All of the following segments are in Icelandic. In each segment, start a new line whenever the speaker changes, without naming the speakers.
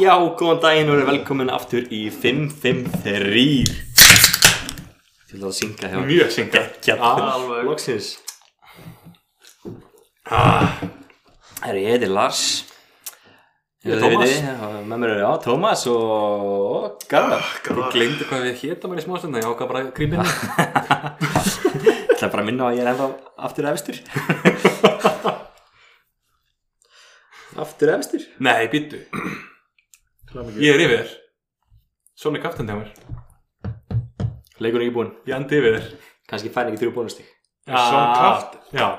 Já, góðan daginn og verið velkomin aftur í 553 Þú ætlaði að syngja hjá
Mjög syngja
Alveg
Alveg.
Loksins Það eru ég heiti Lars
Ég er
Þið
Tómas.
vitið, já, Með mér eru já, Tómas og Garðar
Þú glemdi hvað við hétta mér í smástund Ég ákvað bara að grípa inn í.
Ég ætla bara að minna á að ég er ennþá aftur efstur Aftur efstur
Nei, býttu Ég er yfir þér Svona er kaftan hjá mér
Leikurinn ekki búinn
Ég andi yfir þér
Kanski fær hann ekki þrjú bónustík
Svona kaftan?
Já,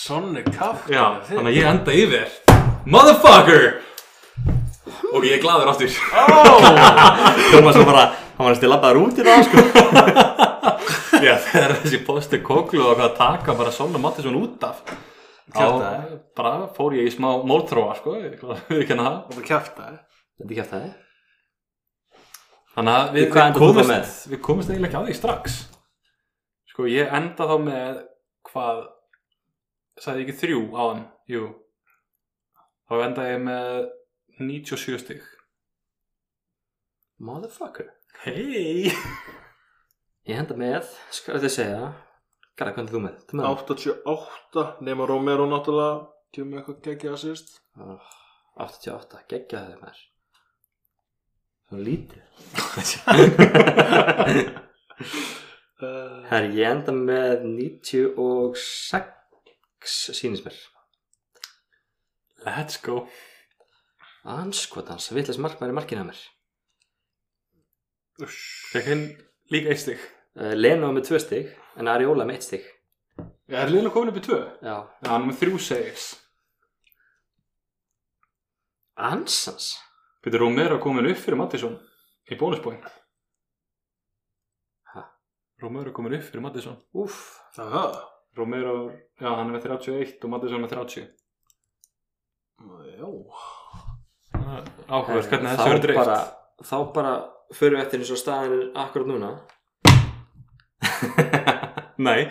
Sonni kaftan
já Þannig að ég enda yfir þér Motherfucker Og ég er gladur aftur
Ah.
Tómas var bara, hann var að stila bara út í það sko
Já, þegar þessi posti kóklu og hvað að taka bara svona mati svona út af
Kjaftaði.
Já, bara fór ég í smá móltróa sko, ég við kenna það
Þetta kæftaði
Þetta ekki eftir það
Þannig að við,
Í hvað
við,
endar þú þá með?
komumst, við komumst eiginlega ekki á því strax Sko ég enda þá með hvað sagði ég ekki þrjú á hann Jú Þá enda ég með 97 stig
Motherfucker
Hei
Ég henda með, skal þið segja Garðar, hvað er þú með? Þú með?
88 nema Romero náttúrulega Kjöfum við eitthvað geggja að sýst
Oh, 88, geggja þau maður Svo lítið
uh,
Herri, ég enda með 96 sýnist mér
Let's go
Anskotans, vitleis markmaður í markinu að mér
Fekk hinn líka eitt stig
uh, Leno með 2 stig, en Ariola með 1 stig
Er Lina komin upp í tvö?
Já,
Já, hann er með þrjú segis
ansans
Peter Romero komin upp fyrir Mattisson í bónusbóin
Ha?
Romero komin upp fyrir Mattisson
Úff,
Það það
Romero, já hann er með 31 og Mattisson með 30
Já
Áhugavert
Þá
hvernig þessu verður dreift
bara, Þá bara förum við eftir eins og staðin er akkurat núna
Nei,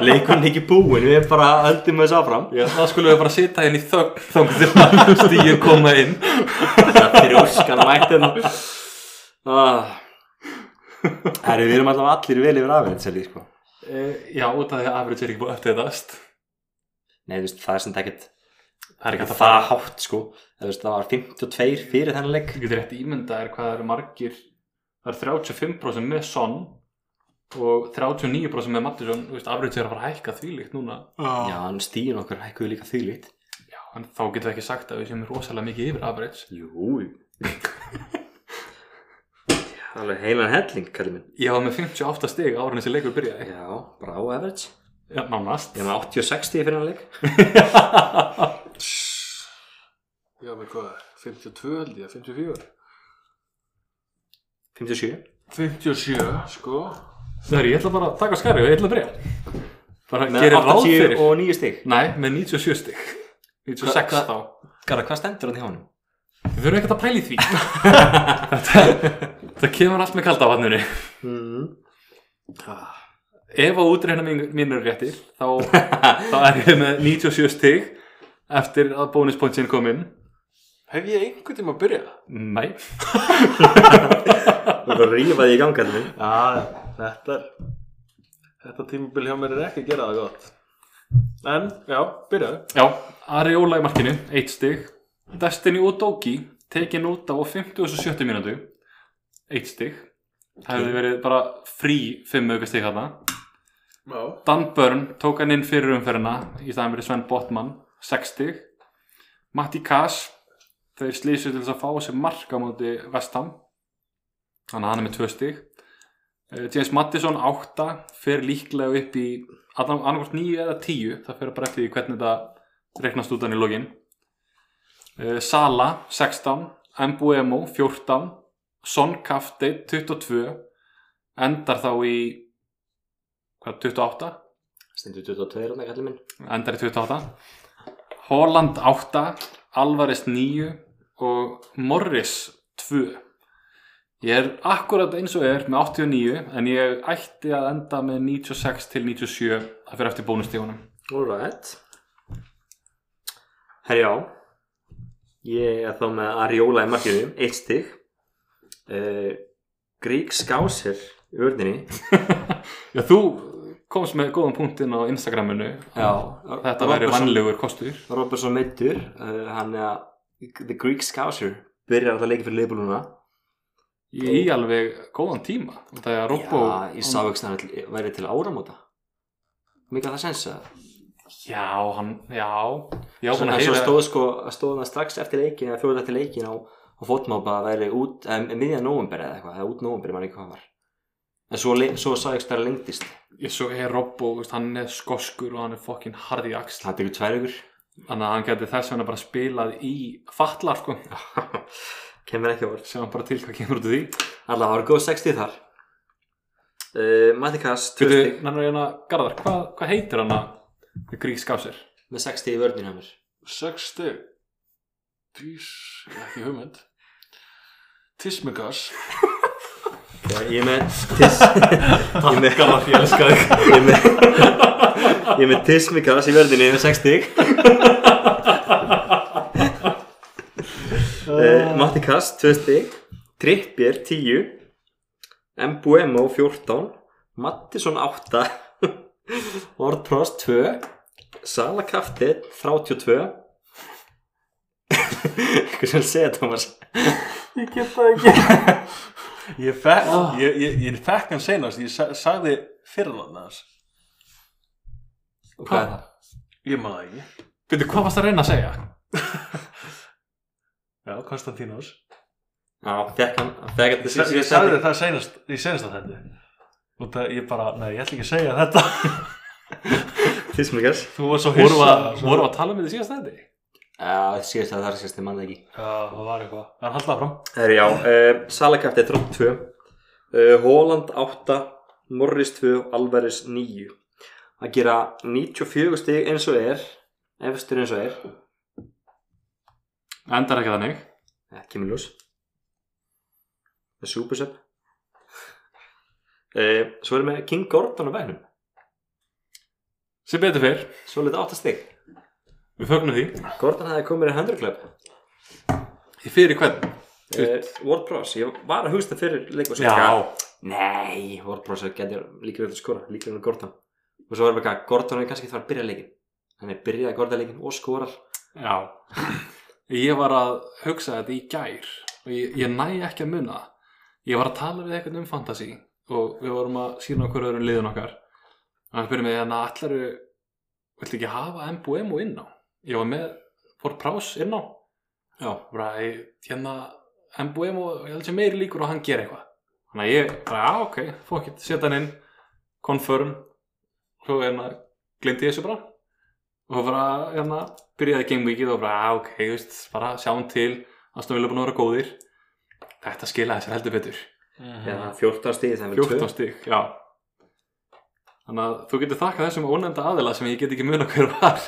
Leikurinn er ekki búinn, við bara höldum þess áfram
já, það skulum við bara sitja inn í þögn þangað til að stíðir koma inn
Það fyrir óskan mættin ah. Herri, við erum allavega allir vel yfir afinn Selvi, sko
e, Já, út af því að Afrits er ekki búið eftir þetta
Nei, þú veist, það er sem ekkert
Það er ekki hægt að
það
fara
hátt, sko Það, veist, það var 52 fyrir þennan leik
Þú getur rétt ímyndað er hvað það eru margir Það eru 35% með Son og 39% með Mattisson Þú veist, Afrits er að fara að hækka þvílíkt núna
Já, hann stíðin okkar hækkuðu líka þvílít
Já, en þá getum við ekki sagt að við séum rosalega mikið yfir Afrits
Jú Alveg heilan helling, kallið minn
Ég var með 58 stig ára en þessi leikur byrjaði
Já, bara á average
Já, nánast
Ég er með 86 stíði fyrir þennan leik
Já með hvað 52 held ég 54
57
57 sko
Það er, ég ætla bara að taka skarið og ég ætla að byrja Bara
Með
gerir ráð
80
fyrir
og 9 stík
Nei, með 97 stig 96
Hva-
þá
Garðar, hvað stendur hann í honum?
Við verðum ekkert að pæla í því þetta, það kemur allt með kalda á vatnunni
Mm.
Ef að útreina mín, mín er réttir þá, þá er ég með 97 stig eftir að bónuspointsin kom inn
Hef ég einhvern tíma að byrja?
Nei,
Það er að rífa því í ganga allir
Já, þetta er Þetta tímabil hjá mér er ekki að gera það gott En, já, byrjaðu
já, Ari Óla í markinu 1 stig, Destiny Udoki tekin út á 57 mínútu 1 stig Það hefði verið bara frí 5 auka stig hana
Já
Dan Byrne tók hann inn fyrir umferðina í staðan fyrir Sven Botman, 60 Matti Kass þeir slýsu til þess að fá sér mark á móti Vestham þannig að hann er með 2 stig Eh, James Mattisson 8 fer líklega upp í annarkvort 9 eða 10 það fer bara eftir því hvernig þetta reiknast út hann í lokin Eh, Sala 16 Mbuemo 14 Son Kafte 22 endar þá í hvað, 28?
Stendur 22 rannig allir minn
endar í 28 Holland 8 Alvarez 9 og Morris 2 ég er akkurat eins og er með 89 en ég ætti að enda með 96 til 97 að fyrir eftir bónustífunum
Alright Herjá Ég er þá með Ariola í markinu, eitt stig. Uh, Grík Skáser í vörninni.
Já, þú komst með góðan punktinn á Instagraminu Þetta væri vannlegur kostur
Robertson meittur, uh, hann er að The Greek Scouser byrjar alltaf að leika fyrir leifbóluna.
í alveg góðan tíma og það er að Robbo
Já, ég sá ekki að hann væri til áramóta. Mikið að það eh? sensa.
Já, hann, já Já,
Svo
hann
svo
heyra
stóð sko, stóð hann strax eftir leikin, eða fjóður eftir leikin á, á fótmápa að væri út, um, miðja nóvumber eða eitthvað, eða út nóvumber, mann ekki hvað hann var. En svo, le- svo sá ekki að lengdist.
Ég svo er Robbo, veist, hann er skoskur og hann er fokkin harði axl
Það tekur tvær ykkur.
Þannig að hann geti þess vegna bara spilað í fatlar, sko
Kemur ekki á orð.
Sjáum bara til hvað kemur út úr því
Alla það var góð 60 þar uh, Matti Kass 2
Byrju,
stík
nannar hérna, Garðar, hvað, hvað heitir hann að Gríks gaf sér?
með 60 í vörðinu hjá mér
6 steg Tís, ekki hugmynd Tismigas
okay, Ég er með tis Ég er með
Garðar, ég elska þig
Ég er með Ég er með tismikas í vörðinu með 6 stík
Ah.
uh, Matti Kass 2 stík Trippier 10 Mbuemo 14 Mattisson 8 Orpros 2 Sala Kaftin 32 Hvað sem segja Thomas
Ég get það ekki Ég fekk, ég, ég, ég fekk hann senast Ég sa, sagði fyrir hann aðeins
Og hvað er það?
Ég maður ekki
Byrju, hvað varst að reyna að segja?
Já, Konstantínos
Já, fekk hann, fekk hann til
Ég, ég sagði það senast, í senast að þetta Út að ég bara, nei, ég ætla ekki að segja þetta
Tísmikars
Þú var svo
Vorum við
hissa
að, vorum við að tala með því síðast þetta?
Já, síðast að það er síðast, ég manna ekki
Já, það var eitthvað En haldið áfram
Herri, já, uh, Salakafti 32 uh, Holland 8 Morris 2, Alvarez 9 Að gera 94 stig eins og er Efstur eins og er
Endar ekki þannig
eh, Kemur ljós Eh, Með Supersub uh, Svo erum við King Gordon á bænum
Sem betur fyrr,
Svo litið 8 stig
við fögnum því
Gordon hefði komið í 100 club
Ég fyrir hvern?
uh, WordPress, ég var að hugsta fyrir leik og svo Nei, Wordpress getur líka verið að skora, líka verið að Gordon og svo erum við hvað, Gordon er kannski það að byrja leikin hann er byrjað að Gordon leikin og skorar
Já Ég var að hugsa þetta í gær og ég, ég næ ekki að muna það. Ég var að tala við eitthvað um fantasy og við vorum að sína okkur öðrum liðun okkar og hann spyrir mig hérna allar viltu ekki hafa MBM og inná? Ég var með Ford Prás inná Já, bara ég- hérna MBM og ég held sem meiri líkur og hann gera eitthvað Þannig að ég, bara já ok, fuck it, setja hann inn confirm svo hérna glemdi ég þessu bara og bara hérna byrjaði game weekið og bara ah, ok, þú veist, bara sjáum til Aston Villa búin að vera góðir þetta skilaði sér heldur betur Mhm. Hérna,
eða 14 stíði þegar við
14 stygg, já þannig að þú getur þakkað þessum ónefnda aðila sem ég get ekki muna hver var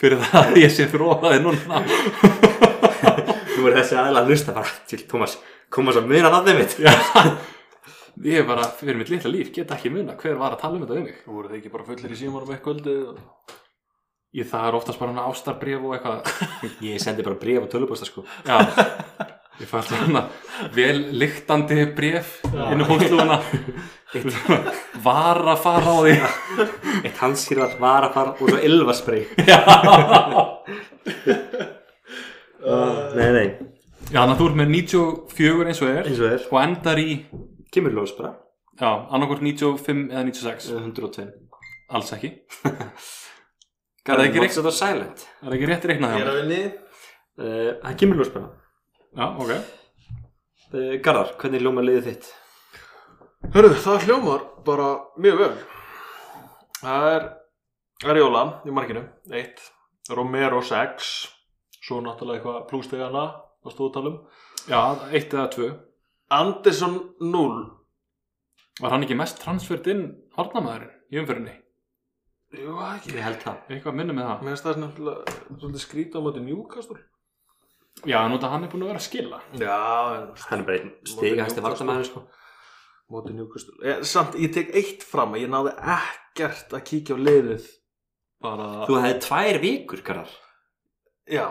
fyrir það að ég sé þróaði núna
tvö nú er þessi aðeins að hlusta bara til Thomas Thomas að muna nafnið mitt
Já. ég er bara fyrir mitt litla líf get ekki muna hver var að tala um þetta við mig
Þú voruð þið ekki bara fullir í símanum eitthvað
ég það er oftast bara hann ástarbrif og eitthvað
ég sendi bara bréf og tölubosta sko
Já, ég fætti hérna vel lyktandi bref inn í hóðslúna Var að fara á því
eitt hanskýrðar var að fara og svo ylvarsprey uh, nei, nei,
Já, þannig að þú ert með 94 eins og er
eins og er
og endar í,
kemur ljós bara,
já, annarkvort 95 eða 96,
eh, 102
alls ekki Er það ekki
Mods þetta silent
Er það ekki rétt reiknað hjá mér?
vinni
Eh, það kemur ljós bara
Já, ok
uh, Garðar, hvernig ljóma liðið þitt?
Hörru, það hljómar bara mjög vel Það er Ariola í markinu, 1 Romero 6 Svo náttúrulega eitthvað plústegana á stóðtalum
Já, eitt eða tvö
um. Anderson 0
Var hann ekki mest transfert inn hornamaðurinn í umfyrinni?
Jú, ekki
Ég held það
Eitthvað minni með það
Mér finnst það náttúrulega svolítið skrýta á móti Newcastle
Já, en út að hann er búin að vera að skila
Já, en
Hann er bara einn stigahæsti vartamæður sko.
móti Newcastle ég, Samt, ég tek eitt fram að ég náði ekkert að kíkja á liðið Bara
Þú hefði tvær vikur, Garðar
Já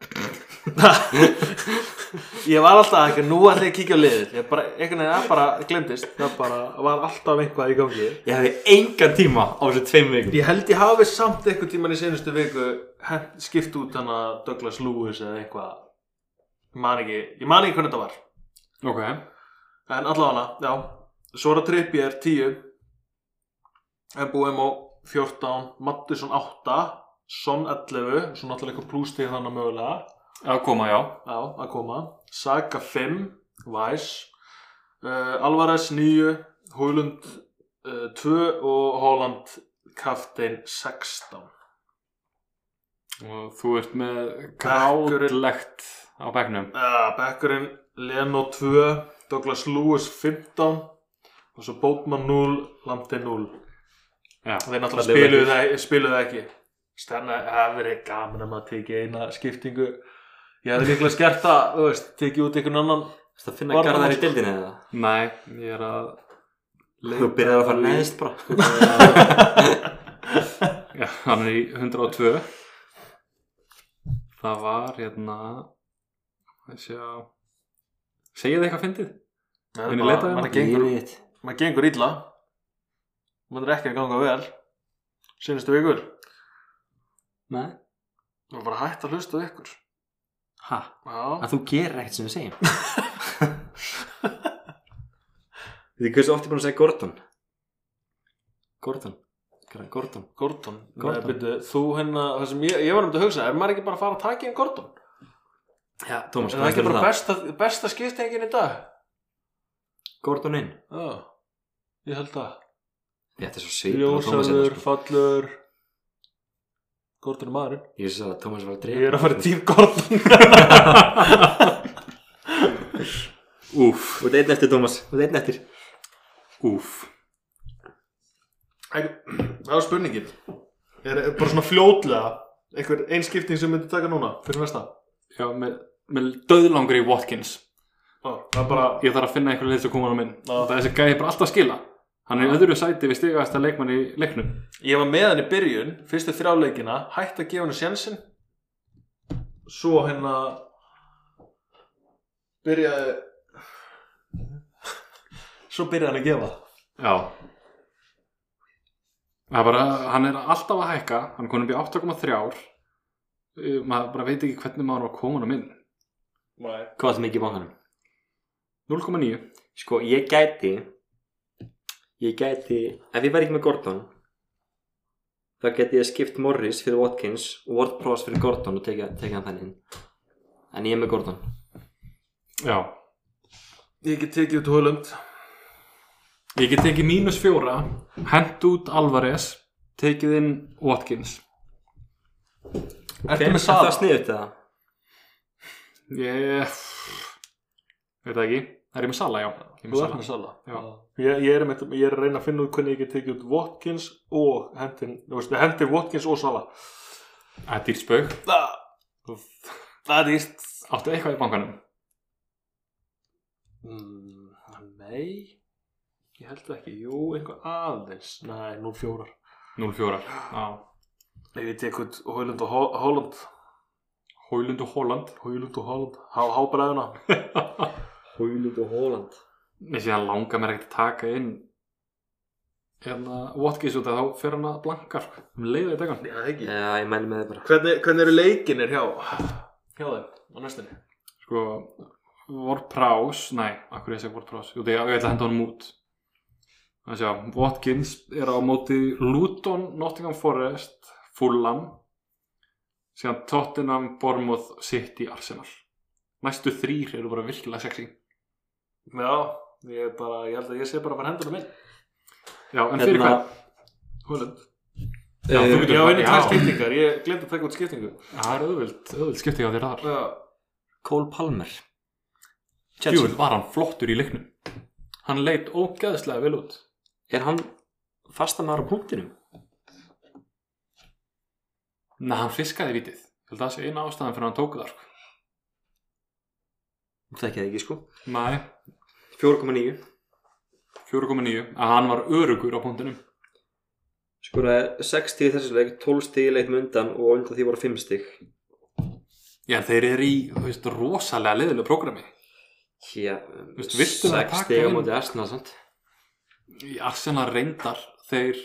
Ég var alltaf ekki, nú ætla ég að kíkja á liðið Ég bara, einhvern veginn, það bara glemdist Það bara var alltaf eitthvað í gangi
Ég hefði engan tíma á þessu tveim vikum
Ég held ég hafi samt einhvern tíman í senustu viku hent- Skipt út hana Douglas Lewis eða eitthvað Ég man ekki, ég man ekki hvernig þetta var
Ok,
En allavega, já Sora Trippier 10 MBMO 14 Mattisson 8 Son 11, svo náttúrulega eitthvað plústig þannig mögulega
að koma, já
Já, að koma Saga 5, Vice uh, Alvarez 9 Hólund uh, 2 og Holland Kaftein 16
og þú ert með gráðlegt á bekknum
uh, Beckurinn Leno 2 Douglas Lewis 15 og svo Bótman 0 Landi 0
Já.
Þeir
Það
náttúrulega
lifir
spiluðu það, spiluðu það ekki Stenna, það hefur verið gaman að maður tekið eina skiptingu Ég hefði líklega skert það, þú veist, tekið út einhvern annan
Það finna
Var það
garðar í
margt?
dildinu eða
Nei, ég er að
Þú byrjar að fara neðist bara
Já, hann er í 102 Það var hérna þessi að segja þið eitthvað fyndið?
Það
Muni
er bara,
leita
mann
hérna?
gengur
Ég veit.
maður gengur illa maður er ekki að ganga vel sínustu vikur
Nei
maður bara hægt að hlusta á ykkur
Ha?
já,
Að þú gerir ekkert sem við segjum Þið hversu oft ég búin að segja Gordon Gordon Hvað er Gordon?
Gordon,
Gordon.
Nei, byrju, þú hérna það sem ég, ég var um þetta að hugsa, er maður ekki bara að fara að taka inn Gordon
Já, Thomas,
er það ekki bara besta, besta skiptingin í dag
Gordon inn
já, ég held það
Þetta er svo sveit hérna,
ljósaður,
sko.
fallur Gordon er maðurinn
Ég vissi að Thomas var að drepa
ég er að fara tím Gordon
Úf,
Þú ert einn eftir Thomas Þú ert einn eftir
úf
En, það var spurningin er, er bara svona fljótlega einhver einskipting sem myndi taka núna fyrir næsta
Já, með, með döðlangri Watkins
Ó, það er bara
Ég þarf að finna einhver leið sem koma á minn
Já.
Það er þessi gæði bara alltaf að skila Hann er í öðru sæti við stigast að leikmann í leiknum
Ég var með hann í byrjun, fyrstu þrjáleikina, hætti að gefa hann sjansinn. Svo hérna byrjaði, svo byrjaði hann að gefa.
Já Það er bara, hann er alltaf að hækka hann er konum upp í 8,3 ár Uh, maður bara veit ekki hvernig maður var komin á minn
Nei.
Hvað er mikið í bankanum?
0,9
Sko, ég gæti Ég gæti Ef ég væri ekki með Gordon þá gæti ég skipt Morris fyrir Watkins og WordPress fyrir Gordon og tekið tekið hann þannig inn. En ég er með Gordon
Já,
Ég get tekið út Hólund.
ég get tekið mínus fjóra hent út Alvarez tekið inn Watkins
Ertu
Ok,
með
Er
Sala?
það sniðut eða?
Ég veit það ekki, það er ég með Sala, já Ég er
Þú
með
ert
Sala.
með Sala.
Já.
Ég, ég, er með, ég er að reyna að finna út hvernig ég get tekið út Watkins og hendin, þú veist, hendin Watkins og Sala.
Það er dýrt spauk,
Það, það er íst.
áttu eitthvað í bankanum
Mm, nei, ég held ekki. Jú, einhver aðeins. Nei, nú fjórar.
0,4 Já
Ef ég tek út Hólund og Hó- Hólund
Hólund og Holland
Hólund og Hólund Há, hábræðuna
Hólund og Hóland
Ég sé að langa mér ekkert að taka inn hérna Watkins út að þá fer hann að blanka sko. um leiða í dagan
Já, ekki
Já, ég mæli með þið bara
Hvernig, hvernig eru leikinir hjá hjá þeim á næstunni?
sko, Warprás nei, akkur ég segi Warprás Jú, þegar ég ætla að henda honum út þannig að Watkins er á móti Luton, Nottingham Forest Fulham síðan Tottenham, Bournemouth, City Arsenal næstu þrýr eru bara virkilega sexy
Já, ég er bara, ég held að ég sé bara að fara hendunum inn
já, en fyrir
Hérna,
hvað?
Hólund
Já, þú
eh,
getur-
Já, einu tvær
já.
skiptingar, ég glemt að taka út skiptingu
það er auðvöld, auðvöld skipti á þér þar
Já,
Cole Palmer
Djúvel var hann flottur í leiknum Hann leit ógeðslega vel út
Er hann fastamæður á punktinum?
Nei, hann fiskaði vítið Ég held að það sé eina ástæðan fyrir hann tók það sko.
Það ekki það ekki sko
Nei,
4,9
4,9 að hann var örugur á punktinum
Skoraði 6 stíð þessu leik 12 stíð leitt með undan og á undan því voru 5 stíð
Já, þeir eru í þú veist, rosalega leiðilega prógrami
Hér,
Veistu, viltu það taka um?
stiga
inn?
móti Arsenal, sant?
í Arsenal reyndar þeir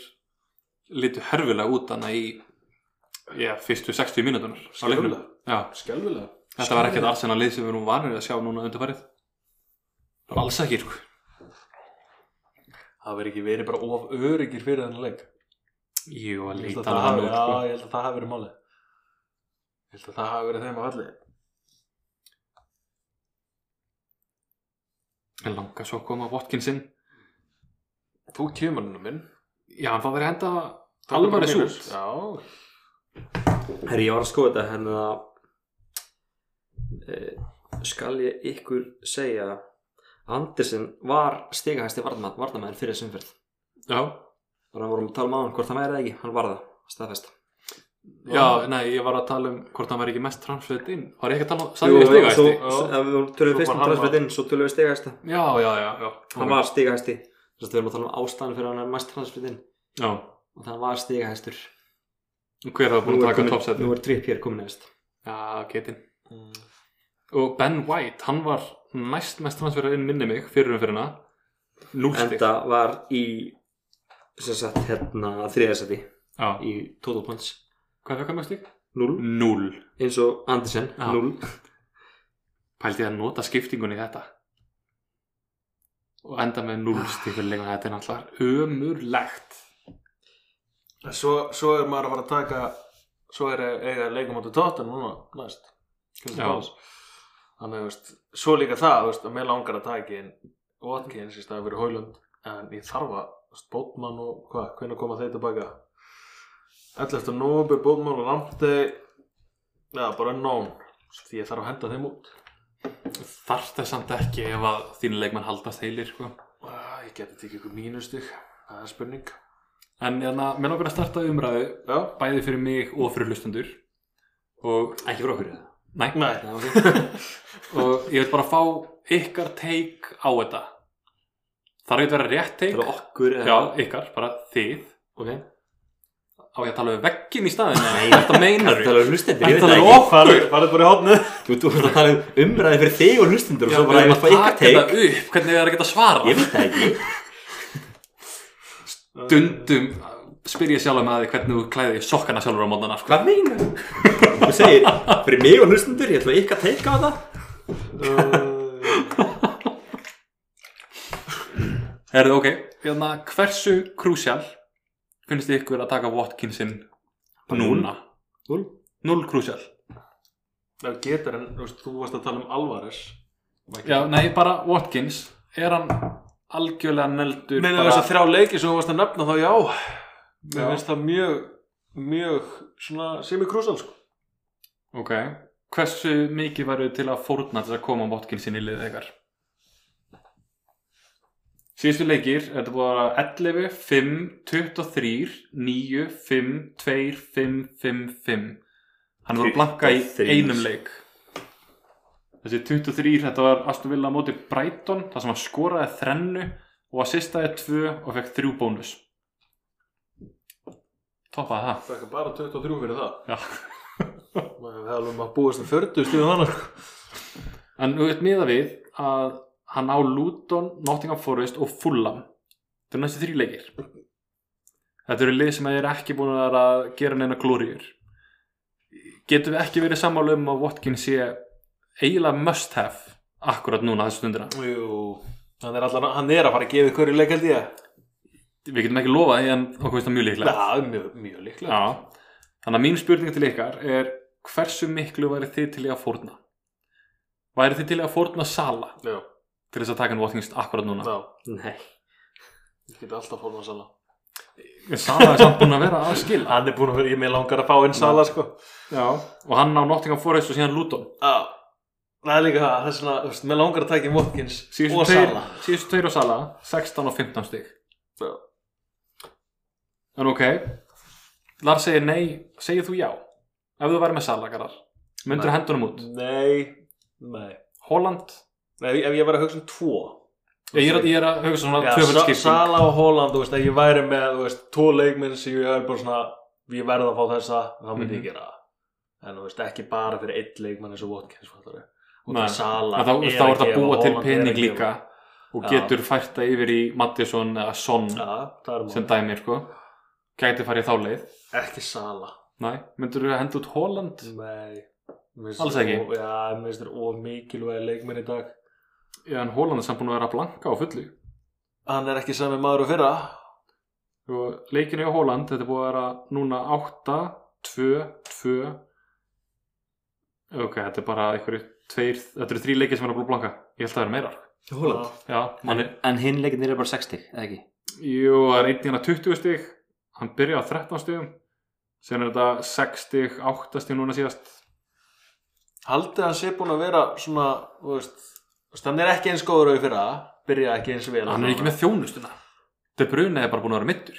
litu herfilega út hana í já, fyrstu 60 mínútunar á leiknum.
Skelfilega.
Já,
Skelvilega
þetta var ekkert Arsenal lið sem við erum vanir að sjá núna undarfærið bara alls ekki sko.
Það verið ekki verið bara of öryggir fyrir þennan leik
jú, að
Ég held
líta
að það
hana hann
hafi-
út
Já,
sko.
ég held að það hafi verið máli Ég held að það hafi verið þeim að allir
en langa svo að koma Watkinsin
Þú kemur hennar minn
já, hann fá verið að henda alvarið
Mínus.
sút
Já,
Herri, ég var að skoða þetta hérna e, skal ég ykkur segja Andersen var stigahæsti varnamæðin fyrir þessum fyrð
já,
og hann vorum að tala um hann hvort hann væri það ekki, hann var það staðfest
já, nei, ég var að tala um hvort hann var ekki mest transfert inn var ég ekki að tala um,
Jú,
sagði ég
jú,
stigahæsti
svo- svo- ef við tölum
Svo
fyrst
var
um
hann
transfert inn, svo tölum við stigahæsta
já, já, já, já,
hann var stigahæsti, þess að við erum að tala um ástæðan fyrir hann er mæst transfert inn
já.
og það var stigahæstur
hver hafa búin að taka
komin-
toppsæti
nú er tripp hér komin eðast
já, getinn
Mm.
og Ben White, hann var næst mest transferað inn minni mig fyrir umfyrirna núlstig
enda var í sem sagt hérna þriðasæti
hvað
í total points
fekk hann mjög stig?
0
0
eins og Andersen
Já.
0
pældi ég að nota skiptingunni í þetta og enda með 0 stig fyrir leikuna þetta er náttúrulega ömurlegt
En Svo, svo er maður að fara að taka Svo er eiga leikum áttu tóttan núna Næst Crystal
Já.
Palace. Þannig þú veist Svo líka það þú veist, að mér langar að taka inn Watkins í staði fyrir Hólund En ég þarf að þú veist, Bótmann og hvað Hvernig koma þeir tilbaka 11. november Bótmann og Ramti Já bara nón Því ég þarf að henda þeim út
þarf það samt ekki ef að þínu leikmann haldast heilir sko.
Ah, Ég geti tekið ykkur mínustig Það er spurning
en jæna, mér langar að starta umræðu
Já
bæði fyrir mig og fyrir hlustundur og,
ekki fyrir okkur eða?
nei,
Nei
Já, ok.
og ég vil bara fá ykkar teik á þetta þarf ekki að vera rétt teik
fyrir um okkur eða?
Já, ykkar, bara þið
ok
Á ég að tala við veggin í staðinu Nei, þetta meinar
Það er um hlustendur, ég veit
Þetta
það
er
ekki
of-
Farðu farðu bara í hotnu
Þú þú ert að tala um umræði fyrir þig og hlustendur og svo bara
við
ég maður fá
erum að
ykkar
taka
teik
þetta upp Hvernig er það að geta svara?
Ég veit það ekki
Dundum spyr ég sjálf um að því hvernig þú klæði sokkana sjálfur á mótana sko.
Hvað meina? Þú segir, fyrir mig og hlustendur, ég ætla ykkar teik á það
Herðu,
Herðu, ok Hérna, hversu krúsjál finnst þið ykkur að taka Watkinsin núna?
Núll.
Núll krúsjál
Það getur en þú veist, þú varst að tala um Alvarez
Já, nei, bara Watkins Er hann algjörlega neldur
Meina
bara...
þess að þrjá leiki sem þú varst að nefna þá já Mér
Já.
finnst það mjög, mjög svona semikrúsal sko
Ok, hversu mikið varu til að fórna til að koma Watkinsin í liðið ykkar? Síðustu leikir, er þetta búið að vera 11, 5, 23, 9, 5, 2, 5, 5, 5. Hann var að blanka í
23.
einum leik. Þessi 23, þetta var Aston Villa á móti Brighton, þar sem hann skoraði þrennu og assistaði tvö og fekk þrjú bónus. Toppaði það.
Það er bara 23 fyrir það
Já.
Maður hefði alveg maður búist að 40 stíðum þannig
En þú veit miða við að hann á Luton, Nottingham Forest og Fulham. Þetta eru næstu þrjú leikir. Þetta eru lið sem er ekki búin að vera að gera neina glóriur. Getum við ekki verið sammála um að Watkins sé eiginlega must have akkurat núna þessu stundina?
Jú, hann er, allan, hann er að fara að gefa hverju leik held ég
Við getum ekki lofað því en okkur finnst það mjög líklega.
Það er mjög, mjög líklega
Já, þannig að mín spurning til ykkar er hversu miklu væri þið til í að fórna? Væri þið til í að fórna Sala
Já,
til þess að taka hann Watkins akkurat núna?
já,
Nei,
ég geti alltaf fórna Sala
Sala er samt búin að vera að skila.
Hann er búin að vera, ég með langar að fá inn Sala sko
Já, og hann á Nottingham Forest og síðan Luton
Já, það er líka það, það er svona, þú veist, mér langar að taka í Watkins
Síðustu
og
tveir-
Sala
Síðustu tveir og Sala, 16 og 15 stig
Já.
En ok Lars segir nei, segir þú já Ef þú væri með Sala, garðar Myndur
Nei.
hendunum út
Nei, nei
Holland,
Nei, ef, ef ég væri að hugsa um tvo
ég er, að- ég er að hugsa svona
Já,
tvöfald
Sa-
skipting
Sala og Holland, þú veist, ef ég væri
Mhm.
með, þú veist, tvo leikminn sem ég er bara svona, ég verð að fá þessa, þá myndi ég gera það en þú veist ekki bara fyrir einn leikmann eins og Watkins fattar og
Nei.
það sala
að þá þú veist, þá er það að búa til pening líka og
Já.
getur fært það yfir í Mattisson eða Son
ja, það er
sem
mál,
dæmi sko gæti farið í þá leið
ekki sala
Nei, myndur þú að henda út Holland?
nei Mér finnst
Alls
þetta
ekki.
of- já, mér finnst þetta of mikilvæg leikmenn í dag
Já, en Holland er samt búin að vera að blanka á fullu
hann er ekki sami maður og fyrra
og leikinu í Sko, Holland, þetta er búið að vera núna 8, 2, 2 ok, þetta er bara einhverju tveir, þetta eru þrý leikir sem er að búið að blanka ég held að það eru meira
Holland
Já,
Ah.
hann er,
En hinn leikinir er bara 60, eða ekki?
jú, það er einnig hann að 20 stig hann byrjaði á 13 stigum sen er þetta 6 stig, 8 stig núna síðast
haldið að hann sé búin að vera svona þú veist, þú veist, hann er ekki eins góður og í fyrra byrja ekki eins vel
hann er ekki með þjónustuna De Bruyne er bara búin að vera mittur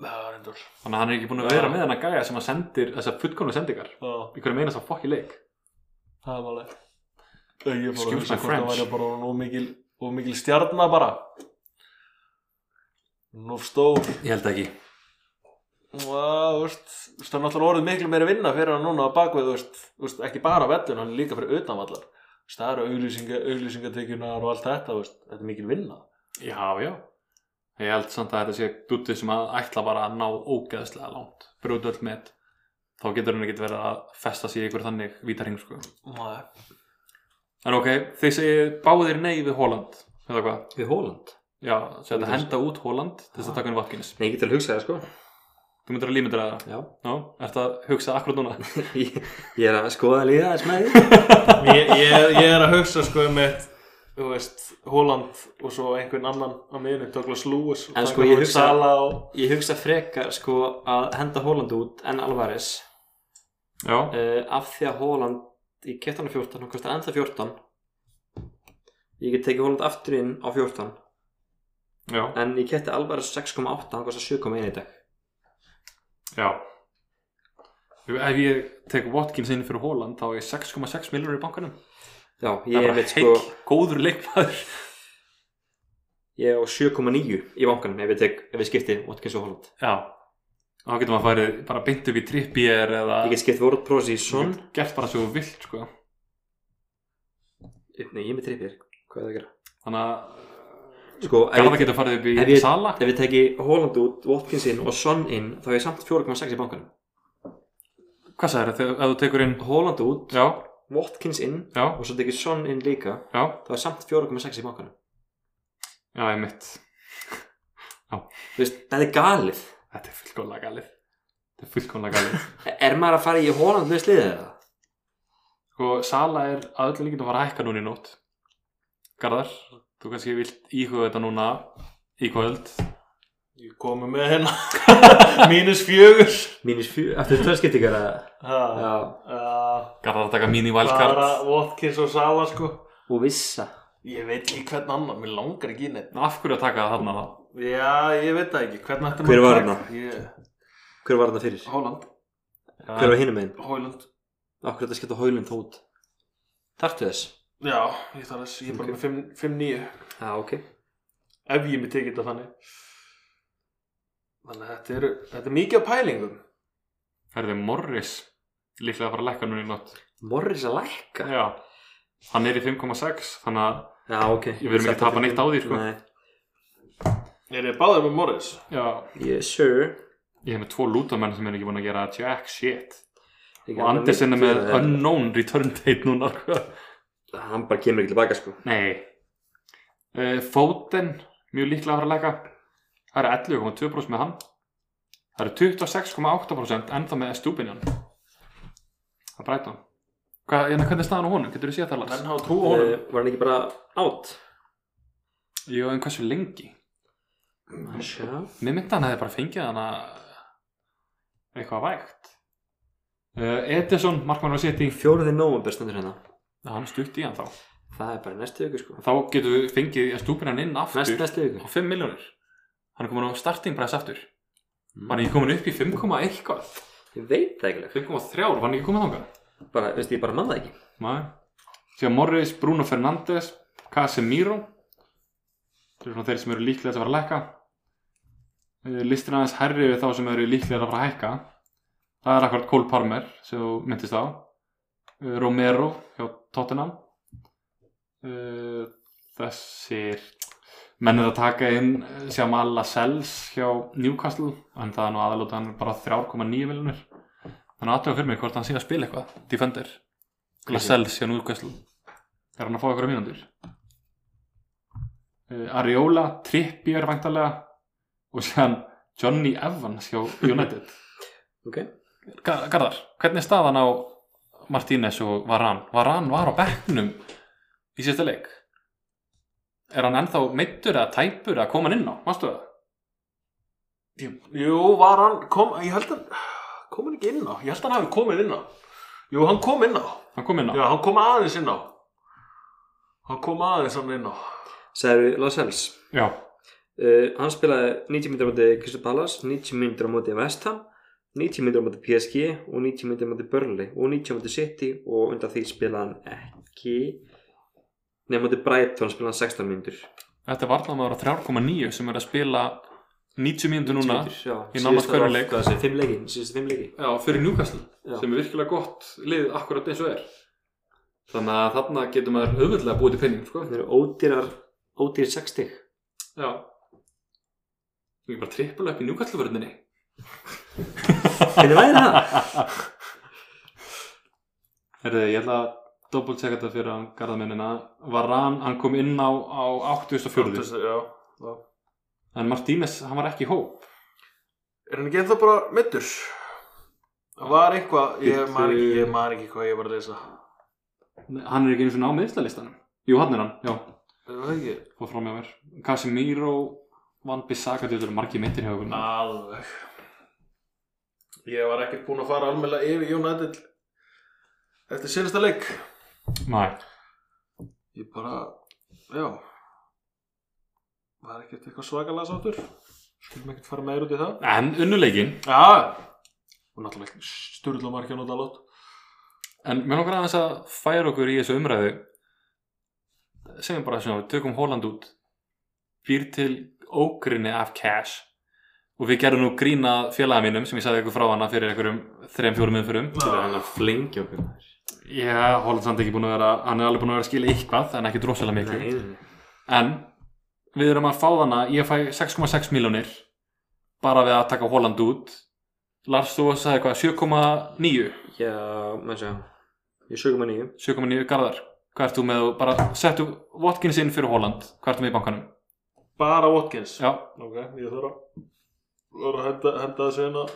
það er endur
þannig að hann er ekki búin að
Já.
vera með hann að gæja sem að sendir þessar fullkonu sendingar
það
í hverju meina þess að fokki leik
er málið ég fór að
Excuse
hugsa
my
hvort það
French.
væri bara nú mikil og mikil stjarnar bara nú stór
ég held ekki
og það þú veist, þú veist, hann er náttúrulega orðið miklu meiri vinna fyrir hann núna á bakvið þú veist, þú veist, ekki bara vellun, hann er líka fyrir utanvallar Þú veist, það eru auglýsinga, auglýsingatekjunar og allt þetta, þú veist, þetta er mikil vinna
Já, já. Ég held samt að þetta sé dútið sem að ætla bara að ná ógeðslega langt. Brjóðu öll með. Þá getur hann ekkert verið að festa sig í ykkur þannig vítaring, sko.
Nei.
En ok, þið segið báðir nei við Holland. Þetta hvað?
Við Holland?
Já, sem þetta henda út Holland til þess að taka henni vatkinis.
Nei, ég getur að hugsa það, sko.
Þú myndir að límyndir að það.
Já.
Já, ert að hugsa akkurat núna.
ég, ég er að skoða líða þess með því.
ég, ég, er- ég er að hugsa sko um eitt þú veist, Holland og svo einhvern annan á miðinu, Douglas Lewis og
En
taka
sko, ég
út
hugsa-
Sala og...
Ég hugsa frekar, sko, að henda Holland út en Alvarez
Já.
uh, af því að Holland í kettan á 14, hann kostar ennþá 14 ég get tekið Holland aftur inn á 14
Já.
en ég ketti Alvarez 6,8 hann kostar 7,1 í dag
Já. Ef ég tek Watkins inn fyrir Holland, þá er ég 6,6 miljónur í bankanum.
já,
Það
ég er
bara
mitt sko
heill, góður leikmaður.
ég er á 7,9 í vanganum ef ég tek, ef ég skipti Watkins og Holland
Já Þá getur maður farið bara beint upp í trippjér eða
ég get skipti World Pros í
Þú
Son
getur gert bara svo vilt sko
nei, ég er með trippir, hvað er það að gera
Þannig að
sko, ef
Garða
ég,
getur farið upp í
ef ég-
sala
ef ég teki Holland út, Watkins inn og Son inn þá er ég samt 4,6 í bankanum
Hvað sagði þetta? Ef þú tekur inn
Holland út,
Já,
Watkins inn
já,
og svo tekið Son inn líka
já
þá er samt 4,6 í bankanum
Já, ég mitt
þú veist, það er galið
Þetta er fullkomlega galið Þetta er fullkomlega galið
Er maður að fara í hólandlega sliðið eða?
Sko, sala er að öllu líkinn að fara að hækka núna í nótt Garðar, þú kannski vilt íhuga þetta núna í kvöld
ég komi með hérna mínus fjögur
Mínus fjö, eftir törskiptingar eða?
ha,
Já.
uh,
Garðar að taka mín í
bara
valkart
Watkins og Sala sko
Og vissa.
ég veit ekki hvern annan, mér langar ekki í neitt
Af hverju að taka það þarna þá?
já, ég veit það ekki, hvern ætti
Hver
maður
var hérna?
að
hann
taka? Ég-
Hver var þetta fyrir?
Holland,
Hver var hinum einn?
Holland
Akkur þetta skipta hólund út. Tartu þess?
já, ég þarf þess, ég er bara
Ok.
með fimm- fimm nýju
Já, ok.
ef ég mér tekið þetta þannig þannig að þetta, eru, þetta er mikið af pælingum
Herði Morris líklega að fara að lækka núna í nótt
Morris að lækka?
Já, hann er í 5,6 þannig að
Já, ok.
Ég verðum ekki að tapa neitt á því, sko.
Nei.
er ég báðið með Morris
já.
Yes, sir.
ég hef með tvo lútamenn sem er ekki búin að gera jack shit
Ég
og
er
Anders er
mikið
með
fyrir það.
unknown return date núna sko.
Hann bara kemur ekki tilbaka, sko.
Nei uh, Foden, mjög líklega að fara að læka það eru 11,2% með hann það eru 26,8% ennþá með Stúbinjan það breyta hann Hva, hérna, hvernig er staðan á honum, getur þú séð það Lars?
menn hafa trú á honum
Uh, var hann ekki bara átt?
Jú, en hversu lengi?
Sjá.
Mér myndi að hann hefði bara fengið hann að eitthvað vægt uh, Edison, Markmann var seti
Fjóruði nóvember stundur hérna.
hann stutt í hann þá
Það er bara næstu viku, sko.
þá getum við fengið að stúpina hann inn aftur
Næst, næstu
á
viku.
5 miljónir hann er komin á starting price aftur var hann ekki komin upp í 5,1 hvað?
Ég veit það ekki.
5,3 var hann ekki komin þangað
Bara, veist, ég bara mann það ekki.
síðan Morris, Bruno Fernandes Casemiro þeir eru svona þeir sem eru líklega að fara að lækka Eh, listin aðeins herri við þá sem eru líklega að fara að hækka það er akkurat Cole Palmer sem þú myndist á Eh, Romero hjá Tottenham Eh, þessir menn er að taka inn Sjamala Sells hjá Newcastle en það er nú aðalóta hann er bara 3,9 miljonir þannig aðtöga fyrir mig hvort hann sé að spila eitthvað Defender La Sells hjá Newcastle er hann að fá eitthvað mínútur uh, Ariola Trippier væntalega og séðan Johnny Evans hjá United
Ok.
Gar- Garðar, hvernig er staðan á Martínez og Varan? Varan var á bekknum í sérsta leik. Er hann ennþá meittur eða tæpur eða kom hann inn á? Mástu það?
Jú, var hann, kom, ég held hann, kom hann ekki inn á? Ég held hann hafi komið inn á. Jú, hann kom inn á.
Hann kom inn á?
Já, hann kom aðeins inn á. Hann kom aðeins hann inn á.
Særu Lascelles
Já.
uh, Hann spilaði 90 myndir á móti Crystal Palace 90 myndir á móti West Ham 90 myndir á móti PSG og 90 myndir á móti Burnley og 90 á móti City og undan því spilaði hann ekki Nei, á móti Brighton spilaði hann 16 myndir
Þetta er varnamaður á 3,9 sem er að spila 90 mínútur núna
Já,
Í nánast
síðasta
hverjum
var-
leik.
Hvað þessi, fimm leiki, síðustu fimm leiki
Já, fyrir Newcastle
Já.
sem er virkilega gott lið akkurat eins og er Þannig að þarna getur maður auðvöldlega búið til penning sko.
Það eru ódýrar, ódýr 6 stig
Já Ég er bara trippulega upp í Newcastle-vörðinni
Hvernig væri það?
Herðu, ég ætla að doppeltjekka þetta fyrir hann garðamennina. Varan, hann kom inn á, á 84.
Já, já.
En Martínez, hann var ekki í hóp.
Er hann ekki ennþá bara middur? Það var eitthvað, ég man ekki, ég man ekki hvað ég var að lesa.
Hann er ekki einu svona á miðslalistanum. Jú, hann er hann, já.
Er það ekki?
Fór fram hjá mér. Casemiro vann Bissaka til þetta margi myndir hjá okkur.
Alveg. Ég var ekkert búinn að fara almennlega yfir United eftir senasta leik.
Næ.
Ég bara, já, var ekkert eitthvað svakalega sáttur. Skulum ekkert fara meir út í það.
En unnuleikin.
Já, og náttúrulega styrla margja nota lót.
En mér langar aðeins að færa okkur í þessu umræðu. Segjum bara svona, við tökum Holland út. Býr til ógrinni af cash. Og við gerum nú grína félaga mínum sem ég sagði ykkur frá hana fyrir einhverjum þrejum fjórum umfyrum.
Það er hann að flengja okkur maður.
Já, Holland samt ekki búin að vera hann er alveg búin að vera að skila eitthvað, en ekki drosalega miklu
Nei, nei, nei.
en við erum að fá þarna ég fæ 6,6 miljónir bara við að taka Holland út Lars, þú sagði hvað, 7,9
Já, maður sjá Ég sögum að nýju
7,9 garðar, hvað ert þú með og bara settu Watkins inn fyrir Holland hvað ertu með í bankanum?
Bara Watkins.
Já,
Ok, ég þarf að, þarf að henda, henda þessu hérna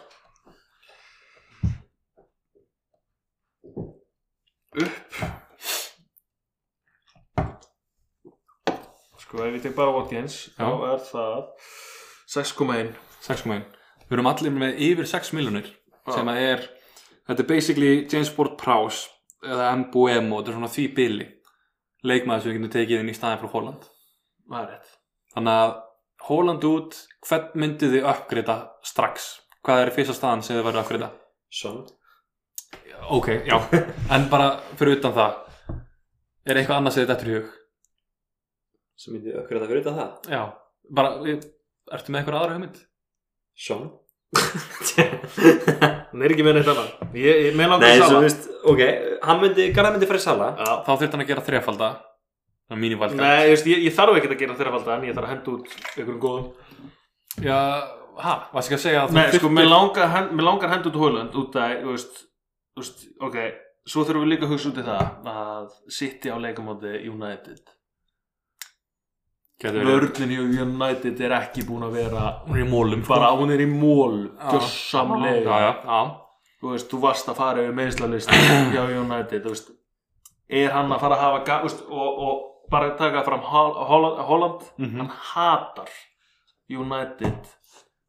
upp Sko, ef ég tek bara Watkins
Já.
þá er það 6,1
6,1 við erum allir með yfir 6 miljónir sem að er, þetta er basically James Ward Prowse eða Mbuemo, þetta er svona því billi leikmaður sem við getum tekið inn í staðin frá Holland
Það er rétt
Þannig að Holland út, hvern myndið þið uppgreita strax? Hvað er fyrsta staðan sem þið verður að uppgreita?
Son
Ok, já, en bara fyrir utan það, er eitthvað annað sem þið dettur í hug?
sem myndi okkur að það fyrir utan það
Já, bara, við- ertu með eitthvað aðra hugmynd?
Son
Hún er ekki með neitt annað Ég, ég með langar
Nei,
að
svo
sala
veist, ok Hann myndi, Garðar myndi fyrir sala
Já.
Þá þurft hann að gera þrefalda, það er mínu valkar.
Nei, ég, veist, ég, ég þarf ekkert að gera þeirra falda en ég þarf að henda út einhverjum góðum
Já, hæ, varst ekki að segja að þú
Nei,
þyrftir-
sko, mér langar, hen- mig langar hendur til Holland út að, þú veist, þú veist, ok, svo þurfum við líka að hugsa út í það að City á leikamóti United.
Gæti verið-
Vörlinn í United er ekki búin að vera,
Hún er í mólum, sko.
bara hún er í mól,
Já.
gjörsamlega.
Já, já, já.
Þú veist, þú varst að fara yfir meðslalist hjá United, þú veist, er hann að fara að hafa, ga- þú veist, og, og bara taka fram Hol- Holland, Holland
Mhm.
hann hatar United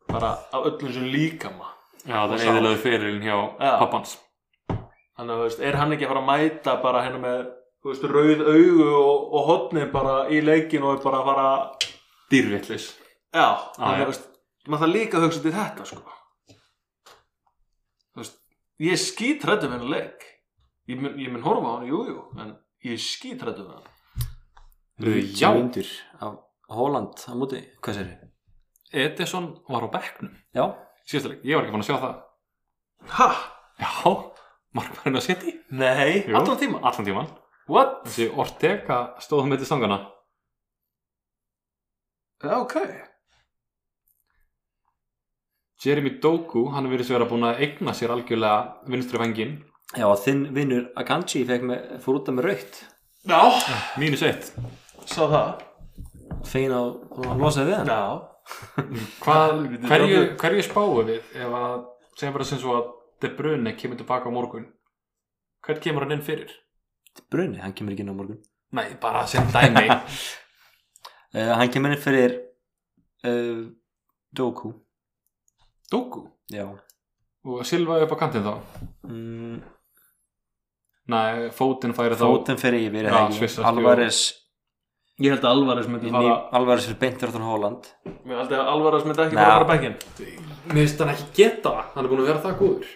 bara af öllum sem líkama.
Já, það
Og
er
sá.
eðilegu fyrirlin hjá
Já.
pappans.
Þannig að, þú veist, er hann ekki að fara að mæta bara hérna með, þú veist, rauð augu og, og hotni bara í leikin og er bara að fara,
Dýrvillis.
Ah, já,
já.
þannig að, þú veist, maður það líka að hugsa til þetta, sko. Þú veist, ég er skítrættu við hann leik. Ég mun, ég mun horfa á hann, jú, jú, en ég er skítrættu við hann.
Já.
myndir af Holland á móti Hvað sér þið?
Edison var á bekknum.
Já
síðasta leik, ég var ekki fann að sjá það
Ha?
Já, markmærin að setja
Nei,
Jú.
allan tíma
Allan tíman
What?
Þessi Ortega stóð með til stangana
Já, ok
Jeremy Doku, hann verið sér að búin að eigna sér algjörlega vinstri vengin
Já, og þinn vinnur Akanji fekk með, fór út af með raukt
Já,
Mínus eitt
sá það
Fein á, hún losaði við hann
Já
Hvað,
Helviti,
hverju,
Robert.
hverju spáum við ef að segjum bara sem svo að De Bruyne kemur tilbaka á morgun Hvern kemur hann inn fyrir?
Bruni, hann kemur ekki inn á morgun
Nei, bara sem dæmi
uh, Hann kemur inn fyrir uh, Doku
Doku
Já
og Silva upp á kantinn þá
mm,
Nei, fótinn færi þá
Fótum fyrir yfir er
Já,
það ekki?
Sviss,
Alvarez
Ég held að Alvarez myndi
inn í Alvarez fyrir beintaráttan Holland
Mér held að Alvarez myndi ekki
Já.
bara fara bækinn
Mér finnst hann ekki geta það, hann er búin að vera það góður